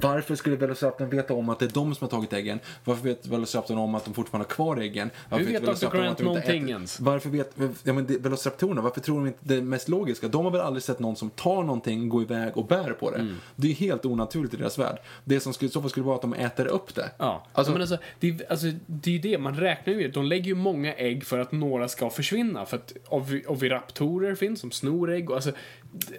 varför skulle Velociraptorn veta om att det är de som har tagit äggen? Varför vet Velociraptorn om att de fortfarande har kvar äggen? Varför Hur vet Dr. Velociraptorn om Grant att de inte någonting äter- ens? Varför vet ja, men det, Velociraptorerna, varför tror de inte det mest logiska? De har väl aldrig sett någon som tar någonting, går iväg och bär på det. Mm. Det är helt onaturligt i deras värld. Det som skulle, i så fall skulle vara att de äter upp det. Ja, Alltså, men alltså, det, är- alltså, det är ju det, man räknar ju De lägger ju många ägg för att några ska försvinna. För att ovi- oviraptorer finns som snor ägg. Och, alltså,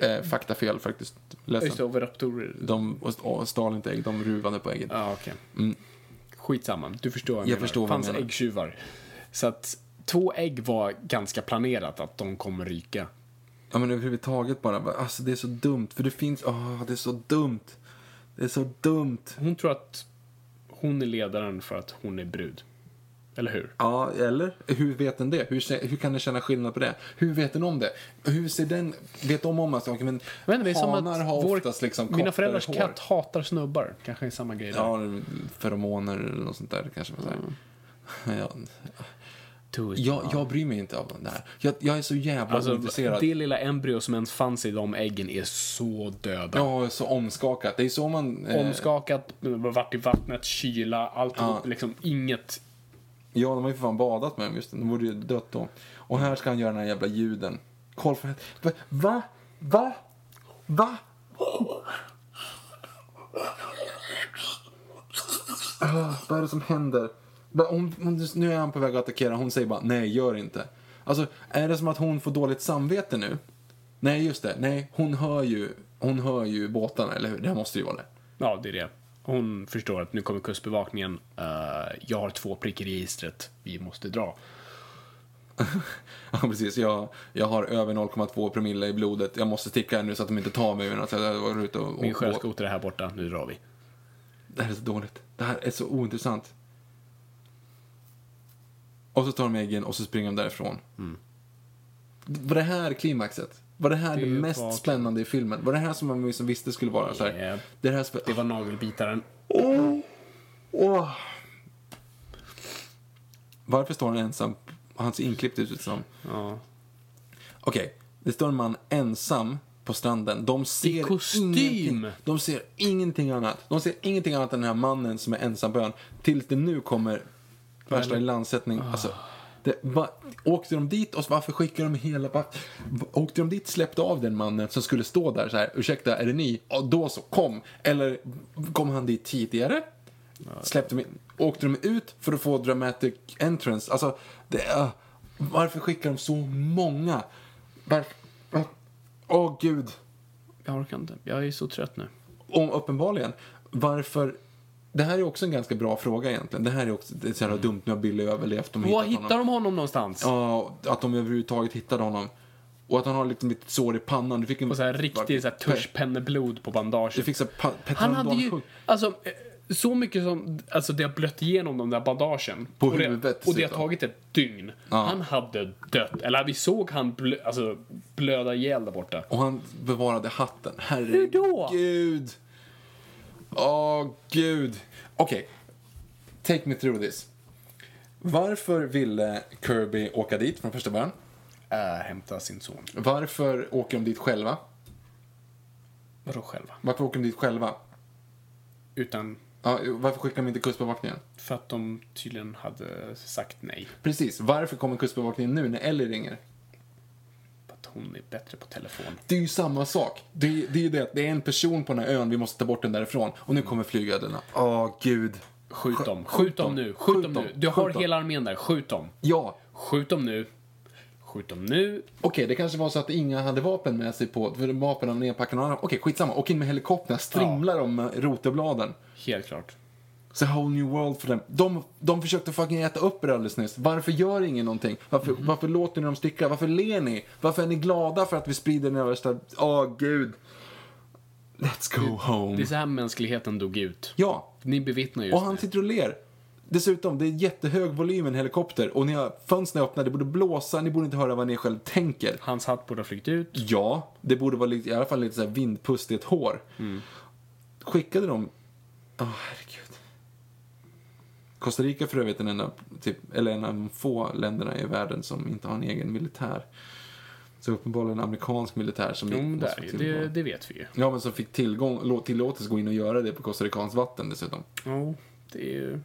eh, faktafel faktiskt. just det, Ledsen. oviraptorer. De och stal inte ägg, de ruvade på äggen. Ja, okej. Skitsamma, du förstår vad jag, Mm. Jag menar. förstår vad fanns jag menar. äggtjuvar. Så att två ägg var ganska planerat att de kommer ryka. Ja men överhuvudtaget bara, bara, alltså det är så dumt för det finns, åh det är så dumt. Det är så dumt. Hon tror att hon är ledaren för att hon är brud. Eller hur? Ja, eller? Hur vet den det? Hur, kä- hur kan den känna skillnad på det? Hur vet den om det? Hur ser den, vet de om alltså, okej, men, Jag vet inte, det är som hanar att har vår, oftast liksom mina kortare föräldrars hår. katt hatar snubbar. Kanske är samma grej där. Ja, feromoner eller något sånt där kanske man säger. Ja, Mm. Do it, jag, jag bryr mig inte om det här. Jag, jag är så jävla Alltså, ointresserad. det lilla embryo som ens fanns i de äggen är så döda. Jag är så omskakat. Det är så man... eh, Omskakat, varit i vattnet, kyla, allt liksom inget. Ja, de har ju för fan badat med dem, just det. De borde ju dött då. Och här ska han göra den här jävla ljuden. Koll för Va? Va? Va? Va? Ah, vad är det som händer? Va, Hon, hon, nu är han på väg att attackera, hon säger bara nej, gör inte. Alltså, är det som att hon får dåligt samvete nu? Nej, just det. Nej, hon hör ju, hon hör ju båtarna, eller hur? Det måste ju vara det. Ja, det är det. Hon förstår att nu kommer kustbevakningen. Eh, jag har två prick i registret. Vi måste dra. Ja, precis. Jag, jag har över 0,2 promille i blodet. Jag måste sticka här nu så att de inte tar mig. utan att Jag var ute och, och, Min och, sjöskoter är här borta. Nu drar vi. Det här är så dåligt. Det här är så ointressant. Och så tar de äggen och så springer de därifrån. Mm. Var det här klimaxet? Var det här det, Det mest var- spännande i filmen? Var det här som man liksom visste skulle vara så här? Japp. Det här spe... Det var nagelbitaren. Oh. Åh! Varför står han ensam? Han ser inklippt ut liksom. Ja. Okej, det står en man ensam på stranden. De ser I kostym! ingenting. De ser ingenting annat. De ser ingenting annat än den här mannen som är ensam på ön. Tills det nu kommer värsta ilandsättning. Alltså, det, va, åkte de dit och varför skickade de hela... Va, va- åkte de dit släppte av den mannen som skulle stå där så här, ursäkta, är det ni? Ja, då så, kom. Eller kom han dit tidigare? Släppte de, åkte de ut för att få dramatic entrance? Alltså, det, ah, varför skickar de så många? Varför? Åh, gud. Jag orkar inte. Jag är så trött nu. Om, uppenbarligen. Varför? Det här är också en ganska bra fråga egentligen. Det här är också det är så jävla dumt. Nu har Billy överlevt. De har Var hittat Mm. hittar honom. de honom nånågonstans? Ja, att de överhuvudtaget hittade honom. Och att han har liksom ett sår i pannan. Du fick en... Och så här riktigt så här tuschpenneblod på bandaget. Du fick så här pa- Han hade ju, petroldansjuk. alltså, eh, så mycket som alltså, det har blött igenom de där bandagen. På och det, huvudet och det har dessutom. tagit ett dygn. Han hade dött. Eller vi såg han blö, alltså, blöda ihjäl där borta. Och han bevarade hatten. Herregud. då? Åh, gud. Okej. Take me through this. Varför ville Kirby åka dit från första början? Äh, hämta sin son. Varför åker de dit själva? Vadå själva? Varför åker de dit själva? Utan Ja, varför skickar de inte Kustbevakningen? för att de tydligen hade sagt nej. Precis, varför kommer Kustbevakningen nu när Ellie ringer? Vadå? hon är bättre på telefon. Det är ju samma sak. Det är, det är ju det att det är en person på den här ön, vi måste ta bort den därifrån. Och nu kommer flygödlorna. Åh, gud. Skjut dem, skjut dem nu, skjut dem nu. Du har hela armén där, skjut dem. Ja. Skjut dem nu. Skjut dem nu. Okej, det kanske var så att inga hade vapen med sig på, för vapnen var nedpackade någon annan. Okej, skitsamma. Åk in med helikoptern, strimla dem med rotorbladen. Helt klart. Så whole new world för dem. De, de försökte fucking äta upp er alldeles nyss. Varför gör ingen någonting? Varför, Mhm. varför låter ni dem sticka? Varför ler ni? Varför är ni glada för att vi sprider den här värsta... Åh, gud. Let's go Det är home. så här mänskligheten dog ut. Ja, Ni bevittnar just och han sitter och ler. Dessutom, det är jättehög volym i en helikopter och ni har fönstren är öppna, det borde blåsa, ni borde inte höra vad ni själv tänker. Hans hatt borde ha flugit ut. Ja, det borde vara lite, i alla fall lite så här vindpust i ett hår. Mm. Skickade de... Åh, herregud. Costa Rica för övrigt är den enda, typ, eller en av de få länderna i världen som inte har en egen militär. Så uppenbarligen en amerikansk militär som... Jo, men måste där, få ju. tillgång. det, det vet vi ju. Ja, men som fick tillgång, lå- tillåtelse gå in och göra det på costaricanskt vatten dessutom. Ja, det är ju...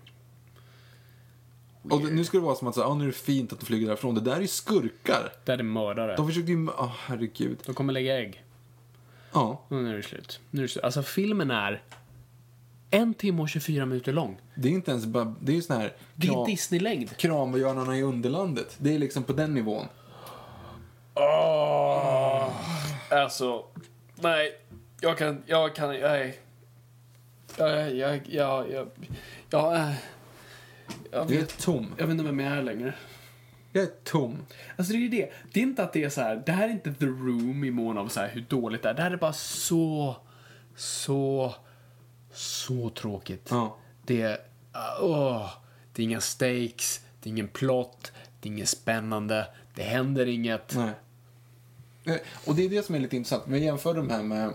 Och det- nu ska det vara som att säga, ah, nu är det fint att de flyger därifrån. Det där är ju skurkar. Där är mördare. De försökte ju... mö- Åh, herregud. De kommer lägga ägg. Ja, Och nu är det slut. Nu är det slut. Alltså filmen är en timme och 24 minuter lång. det är ju inte ens bara... Det är ju sån här... Det är kram- Disney-längd. Kramöarna i Underlandet. Det är liksom på den nivån. Alltså, nej. Jag kan, jag kan, nej. Jag, jag, jag, jag, jag, äh, jag, Jag är vet, tom. jag vet inte vem jag är längre. Jag är tom. Alltså det är ju det. Det är inte att det är så här. Det här är inte the room i mån av så här hur dåligt det är. Det här är bara så, så, så tråkigt. Ja. Det är, ah, åh, det är inga stakes, det är ingen plot, det är inget spännande, det händer inget. Nej. Eh, Och det är det som är lite intressant. Vi jämför de här med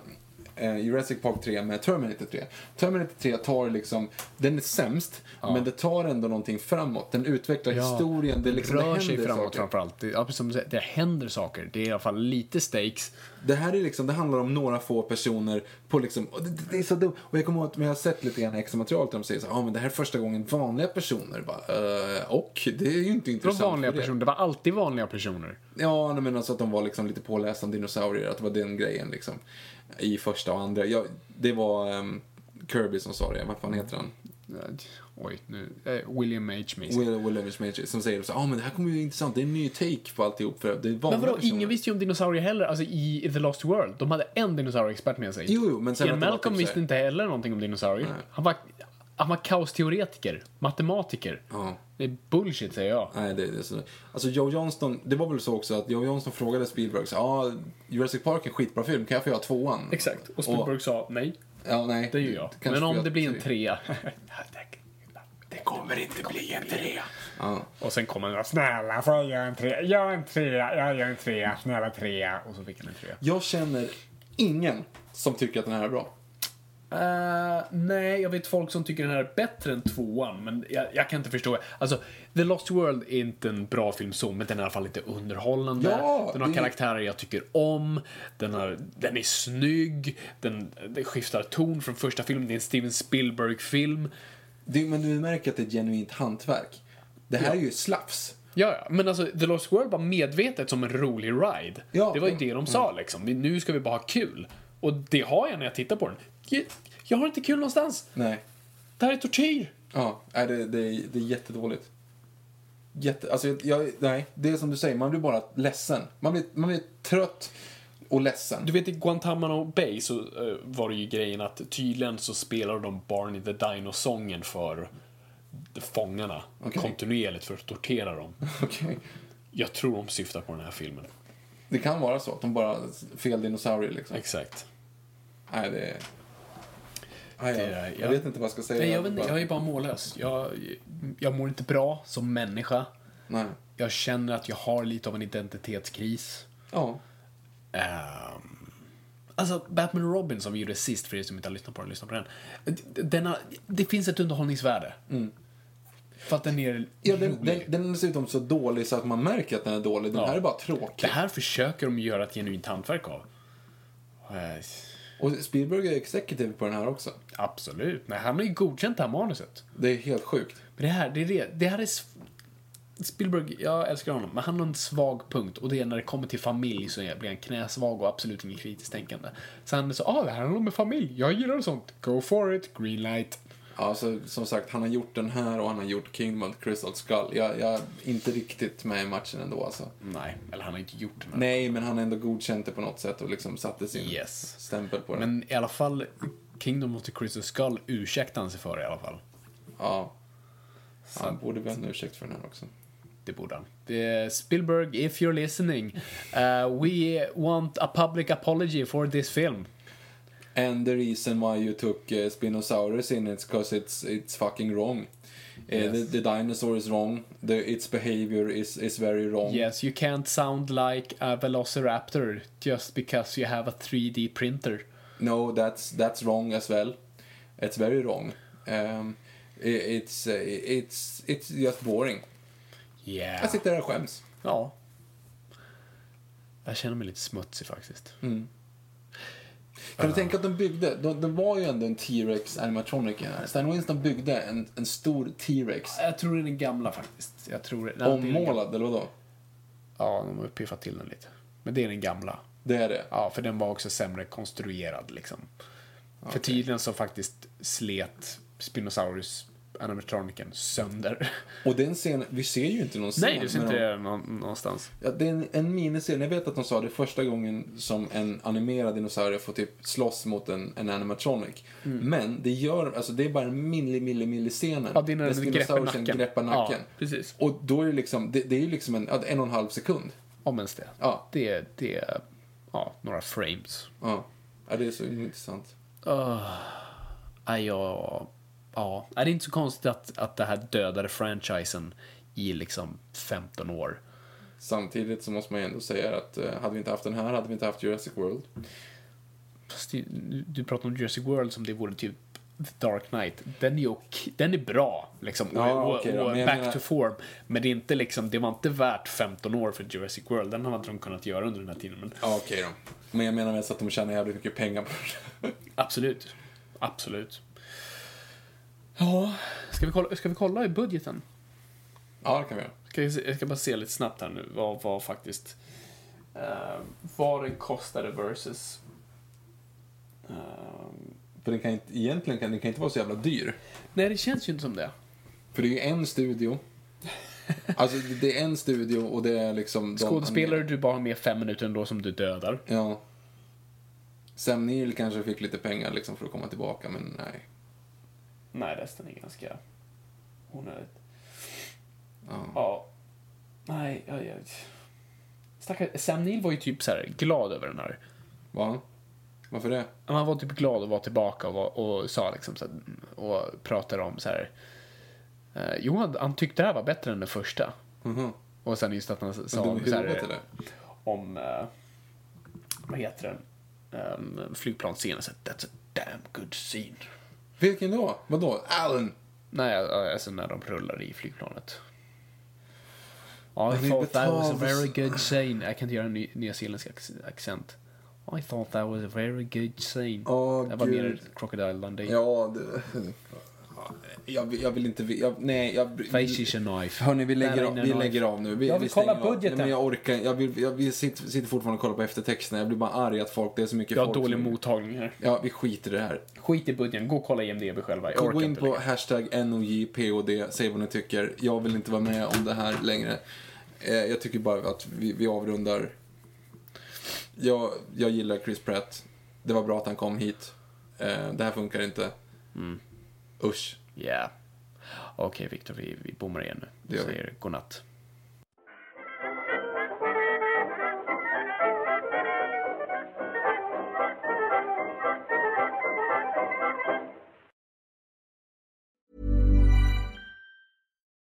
eh, Jurassic Park 3 med Terminator 3. Terminator 3 tar liksom, den är sämst, men det tar ändå någonting framåt. Den utvecklar historien, det, liksom, det rör händer sig framåt saker. framförallt. Det, ja, precis som du säger, det händer saker. Det är i alla fall lite stakes. Det här är liksom, det handlar om några få personer på liksom, och det, det, det är så dumt. Och jag kommer ihåg att vi har sett lite grann extra material där de säger så här, ah, men det här är första gången vanliga personer bara, eh, och det är ju inte Det var intressant. vanliga för er." personer. Det var alltid vanliga personer. Ja, nej, men alltså att de var liksom lite pålästa om dinosaurier, att det var den grejen liksom. I första och andra. Ja, det var ehm, Kirby som sa det, vad fan heter han? Eh, Oj, nu. eh, William H. Macy. Will, William Major, som säger så ja ah, men det här kommer ju bli intressant, det är en ny take på alltihop för det är vanliga Men vadå, personer. ingen visste ju om dinosaurier heller, alltså i The Lost World. De hade en dinosaurieexpert med sig. Jo, jo, men sen Ian att det var Malcolm typ så här- visste inte heller någonting om dinosaurier. Han var, han var kaosteoretiker, matematiker. Ja. Det är bullshit, säger jag. Nej, det, det är så. Alltså Joe Johnston, det var väl så också att Joe Johnston frågade Spielberg så ja ah, Jurassic Park är en skitbra film, kan jag få göra tvåan? Exakt, och Spielberg sa nej, Ja, nej. det gör jag. kanske Men får om göra det blir en tre. (laughs) trea. Det kommer inte bli en trea. och sen kommer han snälla får jag göra en trea, gör en trea, jag gör en trea, snälla trea. Och så fick han en trea. Jag känner ingen som tycker att den här är bra. Eh, nej, jag vet folk som tycker den här är bättre än tvåan, men jag, jag kan inte förstå. Alltså, The Lost World är inte en bra film så, men den är i alla fall lite underhållande. Ja, den har det- karaktärer jag tycker om, den, har, den är snygg, den, den skiftar ton från första filmen, det är en Steven Spielberg-film. Det, men du märker att det är ett genuint hantverk. Det här är ju slafs. Ja, ja, men alltså The Lost World var medvetet som en rolig ride. Ja. Mm. det var ju det de sa liksom. Vi- Nu ska vi bara ha kul. Och det har jag när jag tittar på den. Jag, jag har inte kul någonstans. Nej. Det här är tortyr. Ja, nej, det, det, är- det är jättedåligt. Jätte, alltså, jag- jag, nej, det är som du säger, man blir bara ledsen. Man blir, man blir trött och ledsen. Du vet i Guantanamo Bay så eh, var det ju grejen att tydligen så spelar de Barney the Dino-sången för fångarna Okej. kontinuerligt för att tortera dem. Okej. Jag tror de syftar på den här filmen. Det kan vara så, att de bara fel dinosaurier liksom. Exakt. Nej, det är... Aj, Det ja. är- Jag jag- vet inte vad jag ska säga. Nej, jag, vet, inte, bara- jag är bara mållös. Jag, jag mår inte bra som människa. Nej. Jag känner att jag har lite av en identitetskris. Ja. Ehm, alltså, Batman och Robin som vi gjorde sist, för er som inte har lyssnat på den, lyssna på den. D- Denna, det finns ett underhållningsvärde. För att den är Mm. Ja, den, rolig. den, den är dessutom så dålig så att man märker att den är dålig. Den Ja. här är bara Det tråkig. här försöker de göra ett genuint hantverk av. Eh, Och Spielberg är executive på den här också. Absolut. Nej, han har ju godkänt det här manuset. Det är helt sjukt. Men det här, det är det. Det här är... s- Spielberg, jag älskar honom, men han har en svag punkt och det är när det kommer till familj så är- blir han knäsvag och absolut ingen kritiskt tänkande. Så han är så, ah, det här handlar om en familj, jag gillar sånt, go for it, green light. Ja, så, som sagt, han har gjort den här och han har gjort Kingdom of the Crystal Skull. Jag, jag är inte riktigt med i matchen ändå alltså. Nej, eller han har inte gjort den här. Nej, men han har ändå godkänt det på något sätt och liksom satte sin Yes. stämpel på det. Men i alla fall, Kingdom of the Crystal Skull ursäktar han sig för i alla fall. Ja. Han borde be om ursäkt för den här också. Det borde han. Det är Spielberg, if you're listening, uh, we want a public apology for this film. And the reason why you took uh, Spinosaurus in it's because it's, it's fucking wrong. Uh, the, the dinosaur is wrong. The, its behavior is, is very wrong. Yes, you can't sound like a velociraptor just because you have a 3D printer. No, that's that's wrong as well. It's very wrong. Um, i- it's uh, it's it's just boring. Yeah. Jag sitter där och skäms. Ja. Jag känner mig lite smutsig faktiskt. Kan du tänka att de byggde, de, det var ju ändå en T-Rex animatronic i den här. Stan Winston byggde en, en stor T-Rex. Jag tror den är gamla faktiskt. Jag tror... nej, det är den gamla. Ommålad, eller vadå? Ja, de har piffat till den lite. Men det är den gamla. Det är det. Ja, för den var också sämre konstruerad liksom. För tydligen så faktiskt slet Spinosaurus animatroniken (laughs) sönder. Och den scenen, vi ser ju inte någon scen. Nej, du ser men inte de- det nå- någonstans. Ja, det är en, en miniserie. Jag vet att de sa det första gången som en animerad dinosaurie får typ slåss mot en, en animatronic. Men det gör, alltså det är bara en milli, milli, milli scenen. Mm. Ja, det är när den greppar dinosaurien nacken. greppar Ja, nacken. precis. Och då är det liksom, det, det är ju liksom en, en och en halv sekund. Om ens det. Ja. Det är, det är ja, några frames. Ja. ja, det är så intressant. Nej, jag... Ja. Nej, det är inte så konstigt att, att det här dödade franchisen i liksom 15 år. Samtidigt så måste man ju ändå säga att eh, hade vi inte haft den här hade vi inte haft Jurassic World. Fast det- Du pratar om Jurassic World som det vore typ The Dark Knight. Den är, ok, den är bra, liksom. Och, Ja, och, okej då, och men jag back menar- to form. Men det, är inte liksom, det var inte värt 15 år för Jurassic World. Den hade de kunnat göra under den här tiden. Men Ja, okej då. Men jag menar mest att de tjänar jävligt mycket pengar på det. (laughs) absolut. Absolut. Ja, ska vi kolla, ska vi kolla i budgeten? ja, det kan vi göra. Ska jag, se- jag ska bara se lite snabbt här nu vad, vad faktiskt... eh, vad den kostade versus... eh, För den kan inte, egentligen kan den kan inte vara så jävla dyr. nej, det känns ju inte som det. För det är ju en studio. Alltså det- det är en studio och det är liksom... de- Skådespelare du bara har med fem minuter ändå som du dödar. Ja. Sam Neill kanske fick lite pengar liksom för att komma tillbaka, men nej. Nej, resten är ganska onödigt. Ja. Ja. Nej, jag... jag... Stackars, Sam Neill var ju typ så här glad över den här. Va? Varför det? Han var typ glad att vara tillbaka och, var, och sa liksom så här, och pratade om så här. eh, jo, han, han tyckte det här var bättre än den första. Mhm. Och sen just att han sa Dum i så här, huvudet eller? om, eh, vad heter den, um, flygplansscenen. Så här, That's a damn good scene. Vilken då? Vadå? Alan? Nej, ja, alltså när de rullar i flygplanet. I vi thought that was a betalar- very good scene. Jag kan inte göra en ny, nyzeeländsk ac- accent. I thought that was a very good scene. Åh, det var gud. mer Crocodile Dundee. Ja, det... Jag, vill- jag vill inte... vi- Jag, nej, jag... Face is a knife. Hörni, vi Där lägger, av, inne vi knife. lägger av nu. Vi, Jag vill vi kolla stänger av. budgeten. Nej, men jag orkar Jag, vill, jag vi sitter, sitter fortfarande och kollar på eftertexterna. Jag blir bara arg att folk... Det är så mycket Jag har folk. dålig som- mottagning här. Ja, vi skiter i det här. Skit i budgeten, gå och kolla IMDB själva. Jag Gå orkar in inte på längre. hashtag NOJPOD, säg vad ni tycker. Jag vill inte vara med om det här längre. Eh, jag tycker bara att vi, vi avrundar. Jag, jag gillar Chris Pratt. Det var bra att han kom hit. Eh, det här funkar inte. Mm. Usch. Ja. Okej, Viktor, vi, vi bommar igen nu. Det gör vi. Säger godnatt.